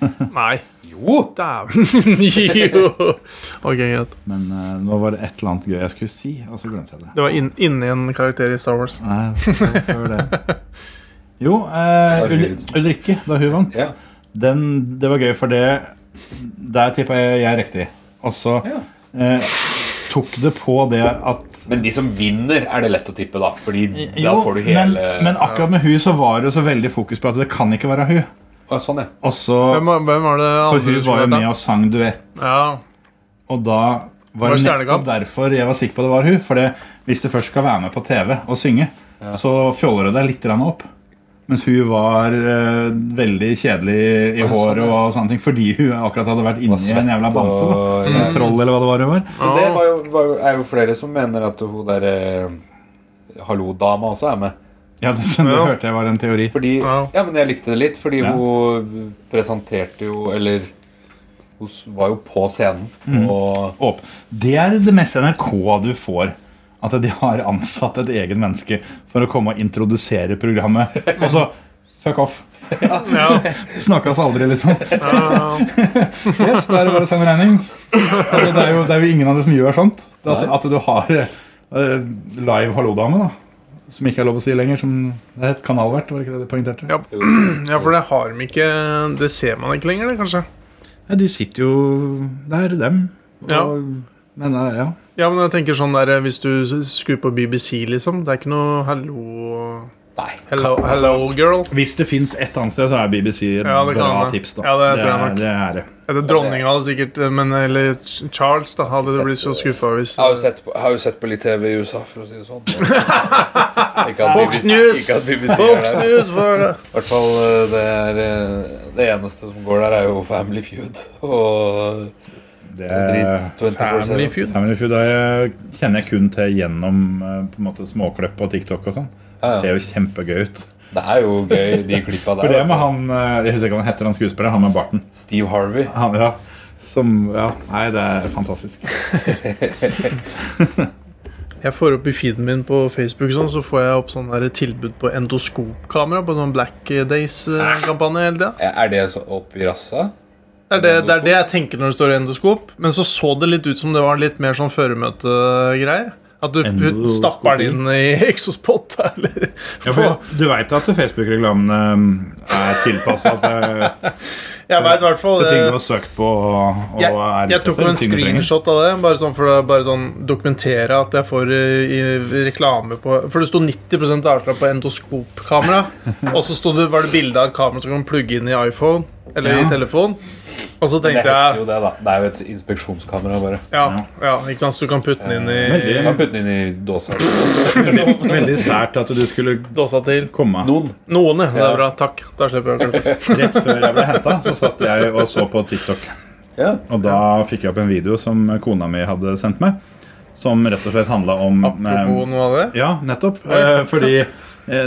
B: det- Nei.
E: Jo!
B: Dæven! Jo! Ok, greit.
C: Men eh, nå var det et eller annet gøy jeg skulle si, og så glemte jeg det.
B: Det var inn- inni en karakter i Star Wars.
C: Nei, hvorfor det? Jo, eh, Ulri- Ulrikke, da hun vant.
E: Ja.
C: Den, det var gøy, for det Der tippa jeg jeg riktig. Og så eh, tok det på det at
E: Men de som vinner, er det lett å tippe, da. Fordi da
C: Jo,
E: får du hele
C: men, men akkurat med hun så var det jo så veldig fokus på at det kan ikke være hun.
A: Å, sånn, ja.
C: Og så
B: Hvem, var- hvem var det
C: For
B: andre
C: hun
B: som
C: var jo
B: da?
C: med og sang duett.
B: Ja.
C: Og da var
B: Var det
C: det
B: stjernekamp?
C: nettopp derfor jeg var sikker på det var hun. For det, hvis du først skal være med på TV og synge, så fjoller du deg litt grann opp. Mens hun var eh, veldig kjedelig i
B: sånn,
C: håret og sånne ting fordi hun akkurat hadde vært inni en jævla bamse. da
A: Og-
C: En troll, eller hva det var hun var.
A: Men det var jo, var jo, er jo flere som mener at hun der eh, Hallo-dama også er med.
C: Ja, det, det
B: Ja.
C: hørte jeg var en teori.
A: Fordi, ja.
B: Ja.
A: men jeg likte det litt, fordi
C: Ja.
A: hun presenterte jo Eller hun s- var jo på scenen.
B: Mm.
A: Og
C: Åp. Det er det meste NRK du får. At de har ansatt et eget menneske for å komme og introdusere programmet. Og så fuck off.
B: Ja.
C: Snakkes aldri, liksom.
B: Ja.
C: Yes, da er det bare å sende regning. Altså, det, er jo, det er jo ingen andre som gjør sånt. Det at, at du har eh, live hallo-dame, da. Som ikke er lov å si lenger. Som det het kanalvert, var det ikke det de poengterte?
B: Ja. ja, for det har de ikke Det ser man ikke lenger, det, kanskje.
C: Nei, de sitter jo der, dem. Og,
B: Ja.
C: Men eh, ja.
B: Ja, men jeg tenker sånn der Hvis du skrur på BBC, liksom Det er ikke noe hallo
A: Nei.
B: Hello, hello girl.
C: Hvis det fins ett annet sted, så er BBC et
B: Ja, det kan
C: bra
B: hende.
C: tips. da
B: Ja, det tror jeg
C: er,
B: nok.
C: det er det.
B: Er det dronninga hadde sikkert Men eller Ch- Charles, da. Hadde du blitt så skuffa hvis
E: Jeg har jo sett på, jeg har jo sett på litt TV i USA, for å si det sånn. Ikke at
B: Fox
E: BBC
B: News!
E: Ikke at BBC er
B: Fox
E: der.
B: News for
E: I hvert fall eh, det, er, eh, det eneste som går der, er jo Family Feud. Og
C: det
E: dritt 24-7.
B: Eh, Family Feud.
C: Family Feud er, jeg- kjenner jeg kun til gjennom eh, på en måte småkløpp på TikTok og sånn.
E: Ja, ja.
C: Ser jo kjempegøy ut.
E: Det er jo gøy, de klippa
C: For
E: der.
C: det med
E: altså.
C: han eh, Jeg husker ikke hva han heter, han skuespilleren. Han med barten.
E: Steve Harvey.
C: Han, ja. Som Ja, nei, det er fantastisk.
B: Jeg får opp i feeden min på Facebook, sånn, så får jeg opp sånn der tilbud på endoskopkamera på sånn Black Days-kampanje hele tida.
E: Eh, Er det så opp i rassa?
B: Det er det, det er det jeg tenker når det står endoskop. Men så så det litt ut som det var litt mer sånn føremøtegreier. At du put,
C: Endoskopi?
B: stapper den inn i exospot eller
C: Ja,
B: på,
C: for du veit at Facebook-reklamene eh, er tilpassa til,
B: Jeg veit i hvert fall
C: til ting du
B: det.
C: har søkt på. Og, og
B: Jeg,
C: er ute
B: jeg tok
C: etter,
B: en
C: ting du trenger.
B: screenshot av det, bare sånn for å bare sånn dokumentere at jeg får eh, i reklame på For det sto 90 avslag på endoskopkamera. Og så sto det, var det bilde av et kamera som kan plugge inn i iPhone eller
C: Ja.
B: i telefon. Og så
E: Det
B: tenkte
E: heter
B: jeg
E: jo det, da. Det er jo et inspeksjonskamera, bare.
B: ja, ja, ikke sant, så du kan putte den inn i
E: Du kan putte den inn i dåsa.
C: Veldig, veldig sært at du skulle
B: dåsa til.
C: komme.
E: Noen.
B: Noen, ja. Det er bra. Takk. Da slipper jeg å klippe.
C: Rett før jeg ble henta, så satt jeg og så på TikTok.
E: Ja.
C: Og da fikk jeg opp en video som kona mi hadde sendt meg, som rett og slett handla om eh,
B: Apropos noe av det.
C: Ja, nettopp. Eh, fordi eh,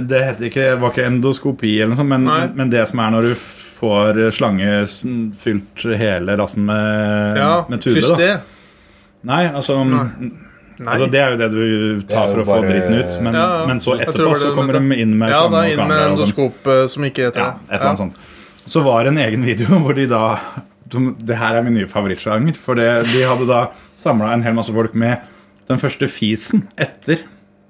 C: det heter ikke, var ikke endoskopi, eller noe sånt,
B: Nei.
C: men, men det som er når du får slange sn- fylt hele rassen med,
B: Ja,
C: med tude.
B: Kryss
C: Da.
B: det.
C: Nei, altså,
B: Nei.
C: altså Det er jo det du tar
E: Det er
C: for
E: jo
C: å få
E: bare-
C: dritten ut, men,
B: Ja,
C: men så
B: jeg tror det
C: etterpå
B: var det
C: så
B: du
C: kommer
B: mente.
C: de inn med liksom
B: ja, da,
C: slange og
B: inn med
C: kamera. og sånn.
B: endoskop eh, som ikke heter
C: Ja, et eller annet sånt. Så var det en egen video hvor de da som- Det her er min nye favorittsjanger. For det, de hadde da samla en hel masse folk med den første fisen etter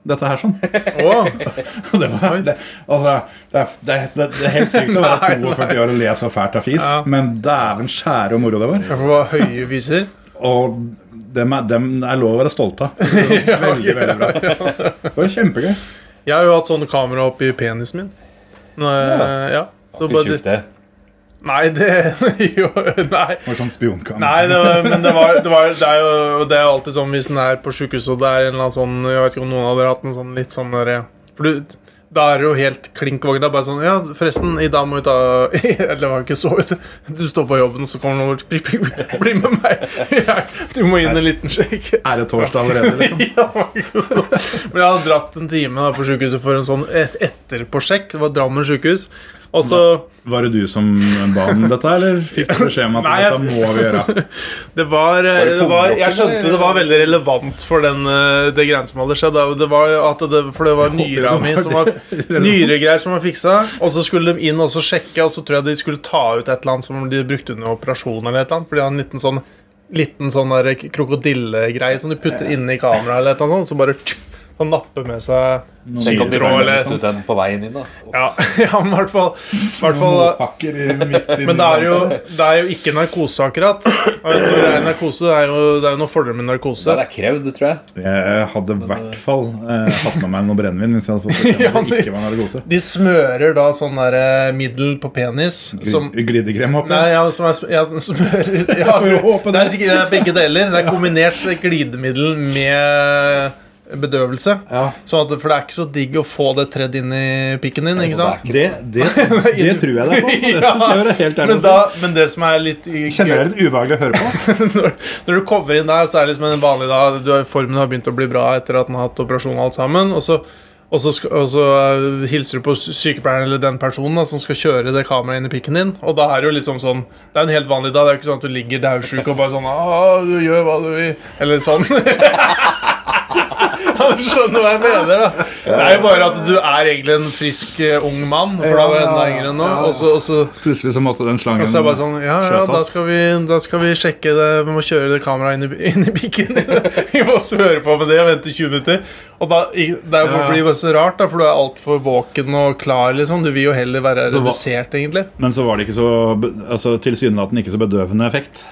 C: dette her sånn.
B: Å,
C: Og det var det, Altså, det er, det, er- det er helt sykt å være 42 år og le så fælt av fis,
B: Ja.
C: men dæven skjære og moro det var.
B: jeg får bare høye viser.
C: Og dem er, dem er lov å være stolte av. Veldig, veldig bra. Det var kjempegøy.
B: Jeg har jo hatt sånn kamera oppi penisen min. Nå, eh, ja. Så
E: Ikke
B: bare,
E: tjukt, det.
B: Nei, det jo, Nei.
C: Det var sånn spionkamera.
B: Nei, det var, men det, var, det, var, det er jo og det er jo alltid sånn hvis en er på sjukehuset og det er en eller annen sånn Jeg vet ikke om noen av dere har hatt en sånn litt sånn derre For du, da er det jo helt klink vågen. Det er bare sånn Ja, forresten, i dag må vi ta Eller det var ikke så ut. Du står på jobben, og så kommer noen bort prikk, prikk, prikk, Bli med meg! Jeg- Du må inn en liten sjekk.
C: Er det torsdag allerede, liksom?
B: Ja, men jeg hadde dratt en time da på sjukehuset for en sånn et etterpåsjekk. Det var Drammen sjukehus. Og så
C: Var det du som ba om dette, eller fikk du beskjed om at
B: Nei, jeg-
C: dette må vi gjøre?
B: Det var, eh,
E: det
B: det var Jeg
E: kongerocken,
B: skjønte det var veldig relevant for den, eh, det greiene som hadde skjedd. da. Det var jo at det, for det var nyra mi som var nyregreier som var fiksa. Og så skulle de inn og så sjekke, og så tror jeg de skulle ta ut et eller annet som de brukte under operasjonen. eller et eller annet, For de har en liten eh, sånn Liten sånn der krokodillegreie som du putter inni kameraet. eller et eller annet, sånt, Så bare tsk, Han napper med seg
E: Tenk om de
B: Syretråd, eller-
E: løste ut den på veien inn, da.
B: Ja, ja men i hvert fall, i hvert fall
D: Pakker i midt i
B: Men det er, jo, det er jo ikke narkose, akkurat. Og Når det er narkose, det er jo, det er jo noen fordeler med narkose.
E: Det er krevd, tror jeg.
C: Jeg hadde i hvert fall eh, hatt med meg noe brennevin hvis jeg
B: Ja,
C: hadde fått bestemme at
B: men-
C: det ikke var narkose.
B: De smører da sånn der eh, middel på penis som
C: Gl- Glidekrem, håper
B: Nei,
C: jeg.
B: ja, som er, sm- ja, som smører ja,
C: får jo håpe
B: det, er sikkert, det er begge deler. Det er kombinert glidemiddel med bedøvelse.
C: Ja.
B: Sånn at, for det er ikke så digg å få det tredd inn i pikken din, ikke sant?
C: Det, det, det tror jeg deg på. Det skal jeg være helt ærlig
B: Men,
C: og
B: da,
C: si.
B: men det som er litt
C: Kjenner det er litt ubehagelig å høre på.
B: når, når du kommer inn der, så er det liksom en vanlig dag du, har- Formen har begynt å bli bra etter at den har hatt operasjon og alt sammen. Og så, og så, sk- og så eh, hilser du på sy- sykepleieren eller den personen da, som skal kjøre det kameraet inn i pikken din. Og da er det jo liksom sånn Det er en helt vanlig dag. Det er jo ikke sånn at du ligger daudsjuk og bare sånn «Ah, du gjør hva du vil. Eller sånn. Ja, Du skjønner hva jeg mener. da Det er jo bare at du er egentlig en frisk, eh, ung mann. For da var jeg enda yngre enn nå. Og så, og så
D: Plutselig så måtte den slangen
B: og så er det bare sånn Ja, ja,
D: skjøt
B: da
D: oss.
B: skal vi, da skal vi sjekke det. Vi må kjøre det kameraet inn, i- inn i pikken din. vi må smøre på med det og vente 20 minutter. Og da, i- Det er-
D: Ja.
B: blir bare så rart, da, for du er altfor våken og klar. liksom Du vil jo heller være
C: hva-
B: redusert, egentlig.
C: Men så var det ikke så be- altså, tilsynelatende ikke så bedøvende effekt.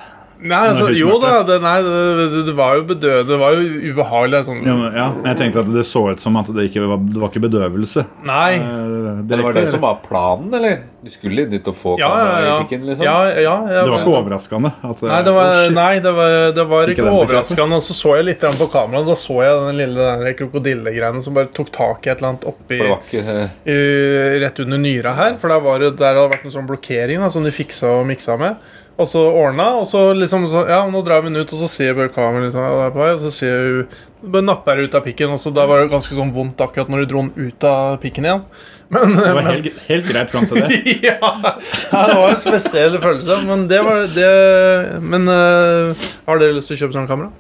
B: Nei, altså,
C: husmørket.
B: jo da, det, nei, det, det var jo bedøvende. Det var jo ubehagelig. det er
C: Ja,
B: Sånn.
C: men, ja, men jeg tenkte at det så ut som at det ikke var, det var ikke bedøvelse.
B: Nei.
C: Eh,
E: Det var det
C: direkte.
E: som var planen, eller? Du skulle dit og få
B: Ja, ja,
E: kamera
B: ja.
E: i pikken, liksom?
B: ja, ja, ja.
C: Det var ikke overraskende. At, eh,
B: Nei, det
C: Å,
B: var,
C: shit.
B: nei, det var, det var ikke,
C: den bekjenten.
B: overraskende. Og så så jeg litt grann på kameraet, og da så jeg den lille den der krokodillegreiene som bare tok tak i et eller annet oppi
E: For det var ikke eh,
B: eh, rett under nyra her. For der, var det, der hadde det vært en sånn blokkering da, som de fiksa og miksa med. Og så ordna, og så liksom så, Ja, nå drar vi den ut, og så ser jeg bare kameraet liksom, ja, det er på vei, og så ser jeg jo- bare napper jeg ut av pikken. Og så da var det ganske sånn vondt akkurat når du dro den ut av pikken igjen. Men,
C: Det var helt, helt greit fram til det.
B: ja, det var en spesiell følelse. Men det var det Men eh, har dere lyst til å kjøpe sånn kamera?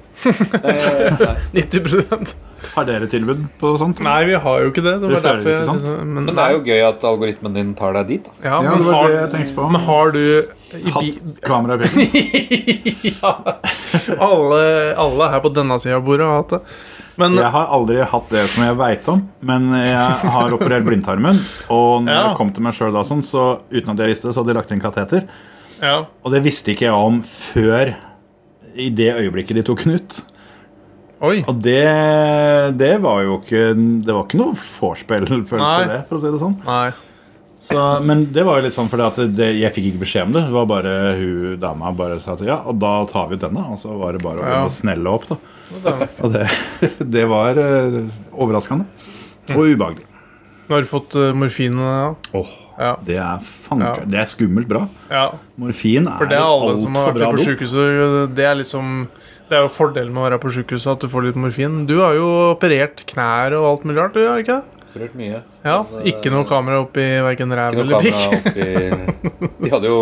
B: 90
C: Har dere tilbud på sånt?
B: Nei, vi har jo ikke det. Det
C: Dere
B: var
C: føler
B: derfor
C: det ikke,
B: jeg
C: sant?
B: synes- Men,
E: Men det er jo gøy at algoritmen din tar deg dit, da.
B: ja,
C: Ja,
B: men
C: det var
B: har,
C: det jeg tenkte på.
B: Men har du i bi
C: Hatt kamera i pikken.
B: ja. alle, alle her på denne sida av bordet har hatt det. Men
C: Jeg har aldri hatt det som jeg veit om, men jeg har operert blindtarmen. Og når
B: Ja.
C: jeg kom til meg sjøl da, sånn, så uten at jeg visste det, så hadde jeg lagt inn kateter.
B: ja.
C: Og det visste ikke jeg om før i det øyeblikket de tok den ut.
B: Oi.
C: Og det, det var jo ikke Det var ikke noe vorspiel-følelse,
B: Nei.
C: det, for å si det sånn.
B: Nei.
C: Så, men det var jo litt sånn fordi at det, jeg fikk ikke beskjed om det. Det var bare hun dama bare sa at ja, og da tar vi ut denne. Og så var det bare å
B: Ja.
C: snelle opp, da. Og det, det var eh, overraskende. Og ubehagelig.
B: Nå har du fått eh, morfin. Ja.
C: Åh,
B: Ja.
C: det er
B: Ja.
C: fanker, det er skummelt bra.
B: ja.
C: Morfin
B: For
C: er
B: det er alle som har
C: altfor
B: vært
C: bra
B: litt på
C: dop.
B: sykehuset Det er liksom Det er jo fordelen med å være på sykehuset, at du får litt morfin. Du har jo operert knær og alt mulig rart, du har ikke det?
E: Rørt mye.
B: Ja. Ikke noe kamera oppi verken ræv
E: Ikke noe
B: eller pikk.
E: kamera oppi De hadde jo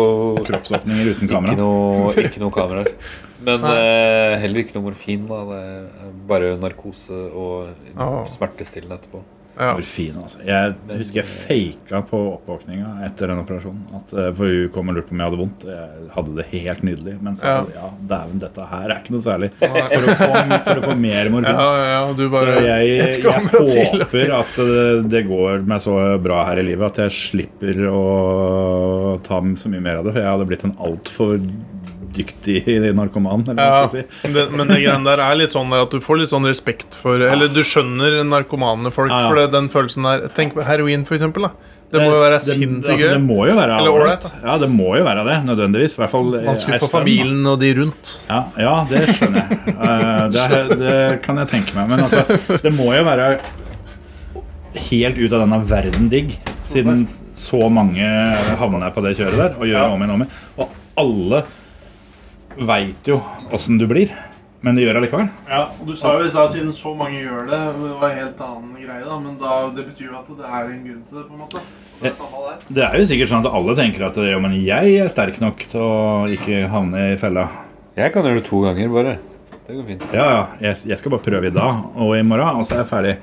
C: Kroppsåpninger uten
E: Ikke
C: kamera.
E: noe, ikke noe kameraer. Men eh, heller ikke noe morfin. Da. Det er bare narkose og
B: Ah.
E: smertestillende etterpå.
B: Ja.
C: Morfin, altså. Jeg husker jeg faka på oppvåkninga etter den operasjonen. At, eh, for hun kom og lurte på om jeg hadde vondt. og Jeg hadde det helt nydelig. Men så
B: Ja.
C: ja, dæven, dette her er ikke noe særlig.
B: Nei.
C: For å få, for å få mer
B: Ja,
C: morfin.
B: ja, ja, og du
C: Så
B: bare
C: jeg,
B: et
C: jeg
B: kamera til.
C: håper at det- det går meg så bra her i livet at jeg slipper å ta så mye mer av det. For jeg hadde blitt en altfor dyktig narkoman. Eller hva
B: Ja,
C: jeg skal si.
B: det, men det greiene der er litt sånn der at du får litt sånn respekt for Eller du skjønner narkomane folk
C: Ja, ja.
B: for det, den følelsen der. Tenk på heroin, for eksempel. Da. Det må jo være sinnssykt
C: altså, det
B: gøy.
C: må jo være
B: Eller
C: ålreit.
B: ålreit,
C: Ja, det må jo være det, nødvendigvis. I hvert fall eh,
B: Vanskelig
C: ei
B: for
C: stund, da.
B: familien og de rundt.
C: Ja, ja, det skjønner jeg. Eh, det, er- det kan jeg tenke meg. Men altså, det må jo være helt ut av denne verden digg, siden så mange havner på det kjøret der og gjør om igjen og om igjen. Og alle veit jo åssen du blir, men de gjør det likevel.
B: Ja, og Du sa jo i stad siden så mange gjør det, det var en helt annen greie, da, men da, det betyr jo at det er en grunn til det. på en måte. Og det er samme der.
C: Det er jo sikkert sånn at alle tenker at ja, men jeg er sterk nok til å ikke havne i fella.
E: Jeg kan gjøre det to ganger, bare. Det går fint.
C: Ja, ja, jeg, jeg skal bare prøve i dag og i morgen, og så er jeg ferdig.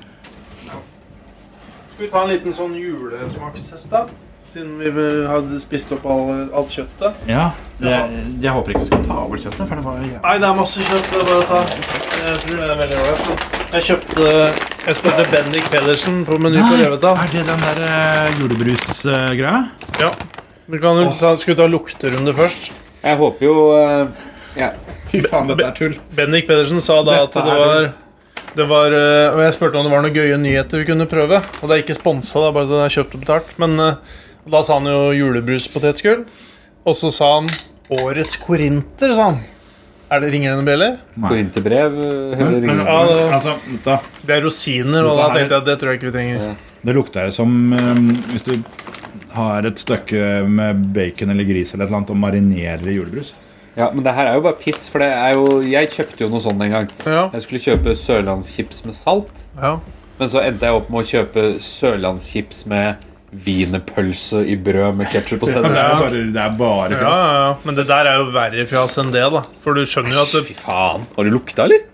B: Skal vi ta en liten sånn julesmakstest, da? Siden vi hadde spist opp all- alt kjøttet.
C: Ja, jeg, jeg håper ikke du skal ta over kjøttet, for det var jævlig
B: Nei, det er masse kjøtt. Det er bare å ta. Jeg tror det er veldig ålreit. da. Jeg kjøpte Jeg spurte Bendik Pedersen på Meny på Røveta.
C: Er det den der eh, julebrusgreia?
B: Ja. Vi kan jo ta, skal vi ta lukterunde først?
E: Jeg håper jo eh,
D: Fy faen, dette er tull.
B: Bendik Pedersen sa da at
C: Dette
B: det
C: er
B: var det var, øh, og Jeg spurte om det var noen gøye nyheter vi kunne prøve. Og det er ikke sponsa, det er bare at det er kjøpt og betalt. Men øh, da sa han jo julebruspotetgull. Og så sa han 'Årets korinter', sa han. Er det ringer det noen bjeller?
E: korinterbrev eh, eller
C: Men,
E: ingen-
B: Ja, det-
C: altså, vent da.
B: Det er rosiner, og da
C: Dette her-
B: tenkte jeg at det tror jeg ikke vi trenger.
C: Det lukter jo som eh, hvis du har et stykke med bacon eller gris eller et eller annet og marinerer i julebrus.
E: Ja, men det her er jo bare piss, for det er jo Jeg kjøpte jo noe sånt en gang.
B: Ja,
E: Jeg skulle kjøpe sørlandschips med salt,
B: ja.
E: men så endte jeg opp med å kjøpe sørlandschips med wienerpølse i brød med ketsjup og
C: Det
E: sennep.
C: er bare, det er bare
B: Ja, ja, ja. Men det der er jo verre fjas enn det, da. For du skjønner jo at det,
E: Fy faen. Har du lukta, eller?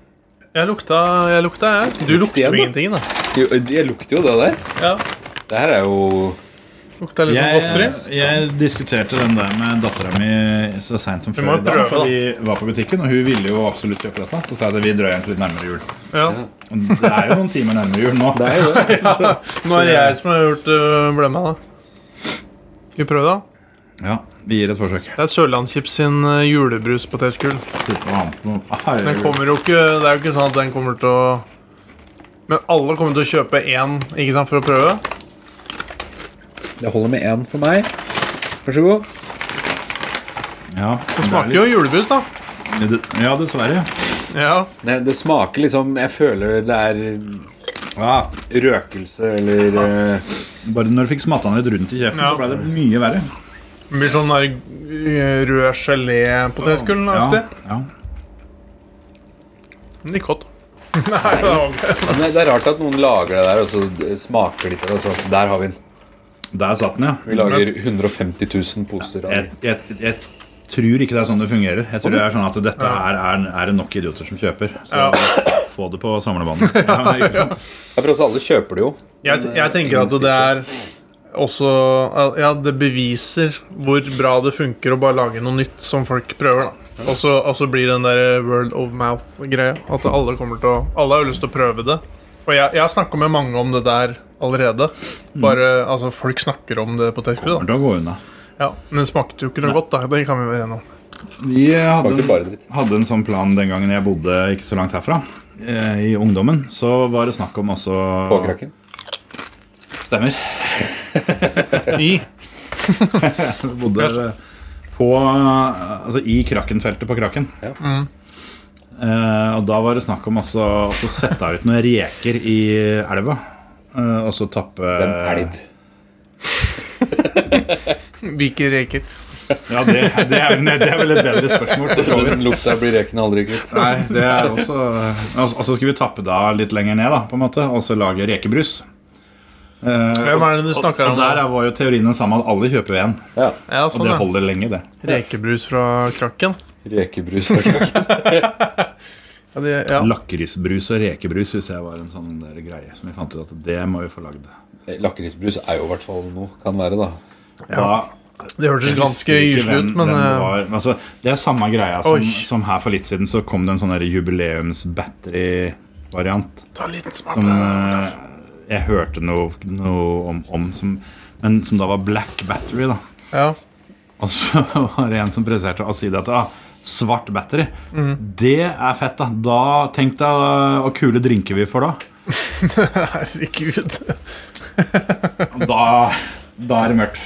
B: Jeg lukta, jeg lukta, jeg. Du lukter
E: igjen,
B: jo
E: da?
B: ingenting, da.
E: Jo, eh, Jeg lukter jo det der.
B: Ja.
E: Det her er jo
B: Lukta litt sånn godteri.
C: Jeg, jeg diskuterte den der med dattera mi så seint som
B: Vi må
C: før i dag.
B: prøve,
C: For
B: da.
C: vi var på butikken, og hun ville jo absolutt kjøpe dette. Så sa jeg at vi drøyer egentlig litt nærmere jul.
B: Ja.
C: Og det er jo noen timer nærmere jul nå.
E: Det er jo det.
B: Nå er det jeg som har gjort øh, blemma, da. Skal vi prøve, da?
C: Ja, Vi gir et forsøk.
B: Det er Sørlandschips sin øh, julebruspotetgull.
C: Putter noe annet på noe. Ah,
B: Den
C: jul.
B: kommer jo ikke Det er jo ikke sånn at den kommer til å Men alle kommer til å kjøpe én, ikke sant, for å prøve.
A: Det holder med én for meg. Vær så god.
C: Ja,
B: Det
C: det er
B: smaker jo julebrus, da.
C: litt, ja, dessverre.
B: Ja.
E: Nei, det smaker liksom Jeg føler det er
C: Ja,
E: røkelse eller eh,
C: bare når du fikk smatta den litt rundt i kjeften,
B: Ja.
C: så ble det mye verre.
B: Det blir sånn der øh, rød gelé-potetgull-aktig.
C: Ja, ja.
B: Men Litt godt. Nei, det var
E: ja, men Det er rart at noen lager det der, og så d- smaker litt av det. og så, Der har vi den.
C: Der satt den, ja.
E: Vi lager 150 000 poser av
C: Jeg,
E: den.
C: jeg, jeg tror ikke det er sånn det fungerer. Jeg tror det er sånn at dette her er, er det nok idioter som kjøper. Så
B: Ja.
C: få det på samlebåndet. Ja, ikke sant?
E: Ja, for oss alle kjøper det jo.
B: Jeg, jeg tenker at det er også Ja, det beviser hvor bra det funker å bare lage noe nytt som folk prøver, da. Og så og så blir den der world of mouth-greia. At alle kommer til å Alle har jo lyst til å prøve det. Og jeg, jeg har snakka med mange om det der allerede. Bare, altså Folk snakker om det potetgullet,
C: Kommer til å gå unna.
B: da. Ja, men det smakte jo ikke noe godt, da. Det kan vi være enige om.
C: Vi hadde,
E: Smaker bare dritt.
C: hadde en sånn plan den gangen jeg bodde ikke så langt herfra. eh, I ungdommen så var det snakk om også
E: Påkrakken.
C: Stemmer.
B: I.
C: Jeg bodde på, altså, i Kraken-feltet på Kraken.
E: Ja.
C: Eh, og da var det snakk om også også å sette ut noen reker i elva. eh, og så tappe
E: En
B: Eh,
E: elv.
B: Hvilke reker.
C: Ja, det, det, er, vel- det er vel et bedre spørsmål. For så vidt.
E: Den lukta blir reken aldri kvitt.
C: Nei, det er også Og så- og så altså, skulle vi tappe da litt lenger ned, da, på en måte, og så lage rekebrus. Eh,
B: Hvem er det du
C: og,
B: snakker
C: og
B: om?
C: der var jo teorien den samme at alle kjøper én.
E: Ja.
B: Ja,
C: Og
B: sånn,
C: det
B: ja.
C: holder lenge, det.
B: Rekebrus fra Krakken.
E: Rekebrus. faktisk.
B: Ja, de, ja.
C: Lakrisbrus og rekebrus synes jeg var en sånn der greie som vi fant ut at det må vi få lagd.
E: Eh, Lakrisbrus er jo i hvert fall noe. Kan være, da.
C: Da
B: Det hørtes ganske
C: husker ikke
B: gyselig ut,
C: hvem-
B: men
C: hvem det
B: eh,
C: var. Men altså, Det er samme greia som,
B: Oi.
C: som her for litt siden, så kom det en sånn der jubileums-battery-variant.
B: ta en liten smak.
C: Som eh, jeg hørte noe, noe om, om som, men som da var Black Battery. da
B: Ja.
C: Og så var det en som presterte å si det at ah, svart battery,
B: Mm.
C: det er fett, da. da Tenk deg eh, hvor kule drinker vi får da.
B: Herregud.
C: Da, da er det mørkt.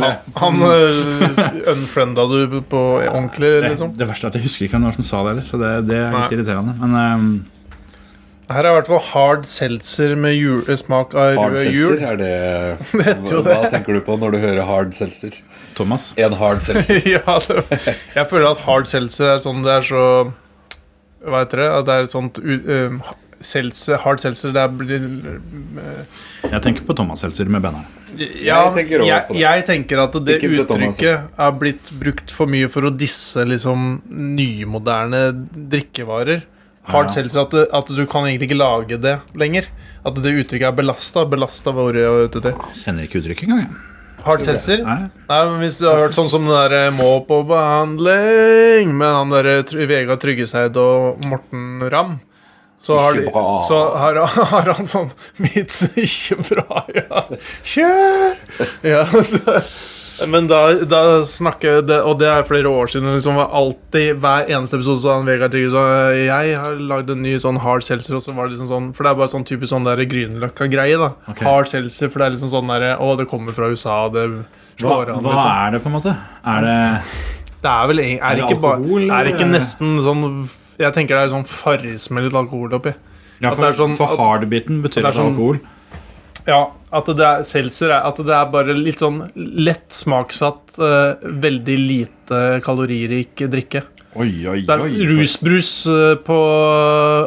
B: Da,
C: jeg.
B: han eh, unfrienda du på ordentlig,
C: det,
B: liksom.
C: det verste er at jeg husker ikke hvem det var som sa det heller, så det, det er litt
B: Nei.
C: irriterende. Men eh,
B: Her er i hvert fall hard seltzer med jul, eh, smak av
E: Hard
B: rød jul.
E: seltzer, er det
B: heter
E: hva,
B: jo
E: hva tenker du på når du hører hard seltzer?
C: Thomas,
E: En hard seltzer.
B: ja, det, jeg føler at hard seltzer er sånn Det er så Hva heter det? At det er et sånt u- eh, seltzer, Hard seltzer det er blir- eh,
C: jeg tenker på Thomas Seltzer med banneren.
B: Ja,
E: tenker
B: jeg tenker,
E: også
B: jeg,
E: på det.
B: tenker at det
E: Ikke til Thomas, altså.
B: uttrykket er blitt brukt for mye for å disse liksom nymoderne drikkevarer. Hard
C: Ja.
B: seltzer at, det- at du kan egentlig ikke lage det lenger. At det uttrykket er belasta. Belasta var ordet jeg var ute etter.
C: Kjenner ikke uttrykket engang. jeg.
B: Hard seltzer?
C: Nei.
B: Nei, men hvis du har hørt sånn som den der eh, 'Må på eh, behandling' med han derre Tr- Vegard Tryggeseid og Morten Ramm Så har, de,
A: Ikke bra.
B: så har, har han sånn Mitt så ikke bra, ja. Kjør! Ja, så, men da, da snakker jeg det, Og det er flere år siden. Liksom, var alltid, Hver eneste episode så han Vegard Trygge så eh, Jeg har lagd en ny sånn hard seltzer. Og så var det liksom sånn For det er bare sånn typisk sånn der Grünerløkka-greie. da
C: Ok.
B: Hard seltzer, for det er liksom sånn derre Å, det kommer fra USA, det
C: Hva,
B: slår an.
C: hva
B: Liksom.
C: er det, på en måte? Er det
B: Det er vel en- er
C: det
B: ikke bare
C: alkohol,
B: Er det ikke
C: eller?
B: nesten sånn Jeg tenker det er sånn farris med litt alkohol oppi.
C: ja,
B: At
C: For,
B: det er sånn-
C: for hard-biten betyr
B: det er
C: det
B: sånn-
C: alkohol.
B: Ja, at det er seltzer er At det er bare litt sånn lett smaksatt, eh, veldig lite kaloririk drikke.
A: Oi, oi,
B: Så det er rusbrus eh, på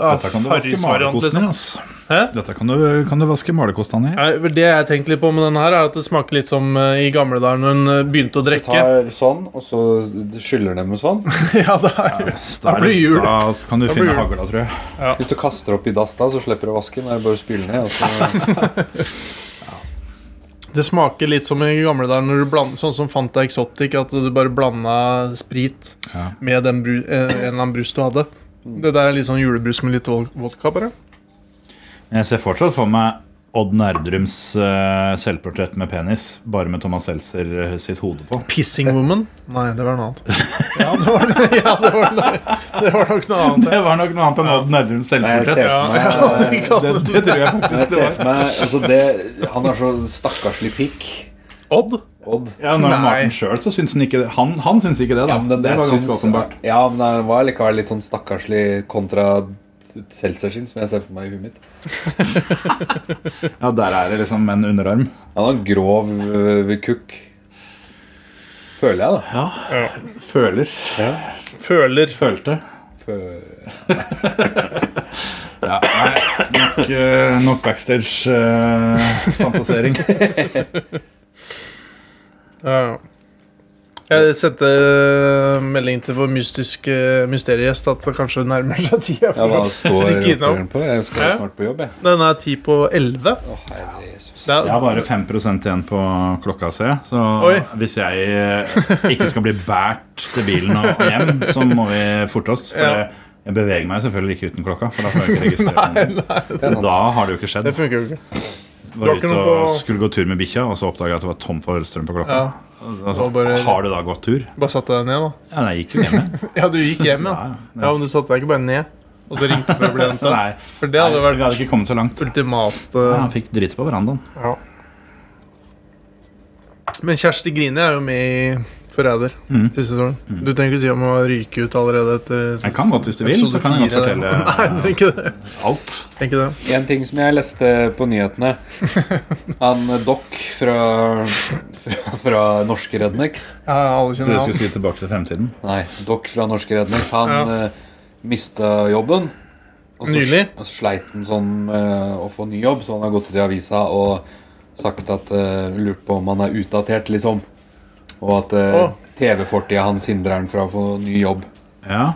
B: uh,
C: Dette kan du vaske
B: Farris-variant,
C: malerkosten
B: liksom.
C: i. ass.
B: Hæ?
C: Dette kan du, kan du vaske malerkostene i.
B: Nei, vel, Det jeg tenkte litt på med den her, er at det smaker litt som eh, i gamle dager når en eh, begynte å drikke.
A: Tar sånn, og så skyller den med sånn.
B: Ja, det er
C: Da
B: blir jul.
C: Da kan du
B: Da blir
C: finne
B: jul.
C: hagla, tror jeg.
A: Hvis du kaster opp i dass da, så slipper du å vaske den. Da er det bare å spyle ned. Og så
B: Det smaker litt som i gamle dager, når du bland- sånn som Fanta Exotic, at du bare blanda sprit
C: Ja.
B: med den bru, eh, en eller annen brus du hadde. Det der er litt sånn julebrus med litt vol- vodka, bare.
C: Men Jeg ser fortsatt for meg Odd Nerdrums eh, selvportrett med penis, bare med Thomas Seltzer eh, sitt hode på.
B: Pissing Woman? Nei, det var noe annet. Ja, det var, ja, det var, det var nok noe annet.
C: Det var nok noe annet enn Odd Nerdrums
A: jeg ser
C: selvportrett.
A: for meg,
B: Vi kan-
C: Det, det tror jeg
A: jeg
C: faktisk det
A: ser
C: var.
A: for meg altså det, Han har så stakkarslig pikk.
B: Odd?
A: Odd.
C: Ja, når
B: Nei.
C: Martin sjøl så syns han ikke det. Han, han syns ikke det, da.
A: Ja, men den
C: det
A: der
C: var ganske
A: syns-
C: åpenbart.
A: Ja, men den var likevel litt sånn stakkarslig kontra Seltzer sin, som jeg ser for meg i huet mitt.
C: Ja, der er det liksom en underarm.
A: Han har grov øh, kukk. Føler jeg, da.
C: Føler.
B: Føler.
C: Følte.
A: Fø
C: Ja, nei, nok, eh, nok eh, backstage-fantasering.
B: Ja. Jeg sendte melding til vår mystiske eh, mysteriegjest at det kanskje nærmer seg tida.
A: ja,
B: for
A: hva
B: å
A: står
B: stikke innom.
A: oppgjøren på? Jeg skal
B: Ja.
A: snart på jobb, jeg.
B: Den er ti på elleve.
A: Å, herre Jesus.
B: Det
C: Jeg
B: er
C: har bare 5 igjen på klokka si. Så
B: Oi.
C: hvis jeg eh, ikke skal bli båret til bilen og og hjem, så må vi forte oss. For
B: Ja.
C: jeg- jeg beveger meg selvfølgelig ikke uten klokka. For da får jeg ikke registrere den. Da har det jo ikke skjedd.
B: Det funker jo ikke.
C: Var
B: ikke
C: ute
B: noe
C: og
B: på-
C: skulle gå tur med bikkja, og så oppdaga jeg at det var tom for strøm på klokka.
B: Ja.
C: Altså,
B: Og bare-
C: Har du da gått tur?
B: Bare satte jeg den ned, da.
C: Ja, nei, jeg gikk jo hjem. jeg.
B: Ja, du gikk hjem, ja.
C: Ja,
B: Ja, men du satte deg ikke bare ned, og så ringte for å bli henta.
C: Nei,
B: For det hadde
C: nei,
B: vært
C: Vi hadde ikke kommet så langt.
B: ultimat
C: Ja,
B: eh,
C: Han fikk dritt på verandaen.
B: Men Kjersti Grini er jo med i Forræder
C: Mhm.
B: siste sesongen. Du trenger ikke si om å ryke ut allerede etter
C: Jeg kan godt, hvis du vil, så kan jeg godt
B: episode fire. Nei,
C: fortelle
B: trenger ikke det.
C: alt.
B: Trenger ikke det.
A: En ting som jeg leste på nyhetene Han eh, Doc fra, fra, fra Norske Rednecks
B: Ja, alle
C: Trodde
B: kjenner
C: jeg
B: han.
C: skulle si tilbake til fremtiden.
A: Nei, Doc fra Norske Rednecks Han
B: Ja.
A: eh, mista jobben. Og så-
B: Nylig.
A: Og så sleit han sånn med å få ny jobb, så han har gått ut i avisa og sagt at eh, Lurt på om han er utdatert, liksom. Og at
B: Å.
A: TV-fortida hans hindrer han fra å få ny jobb.
C: Ja.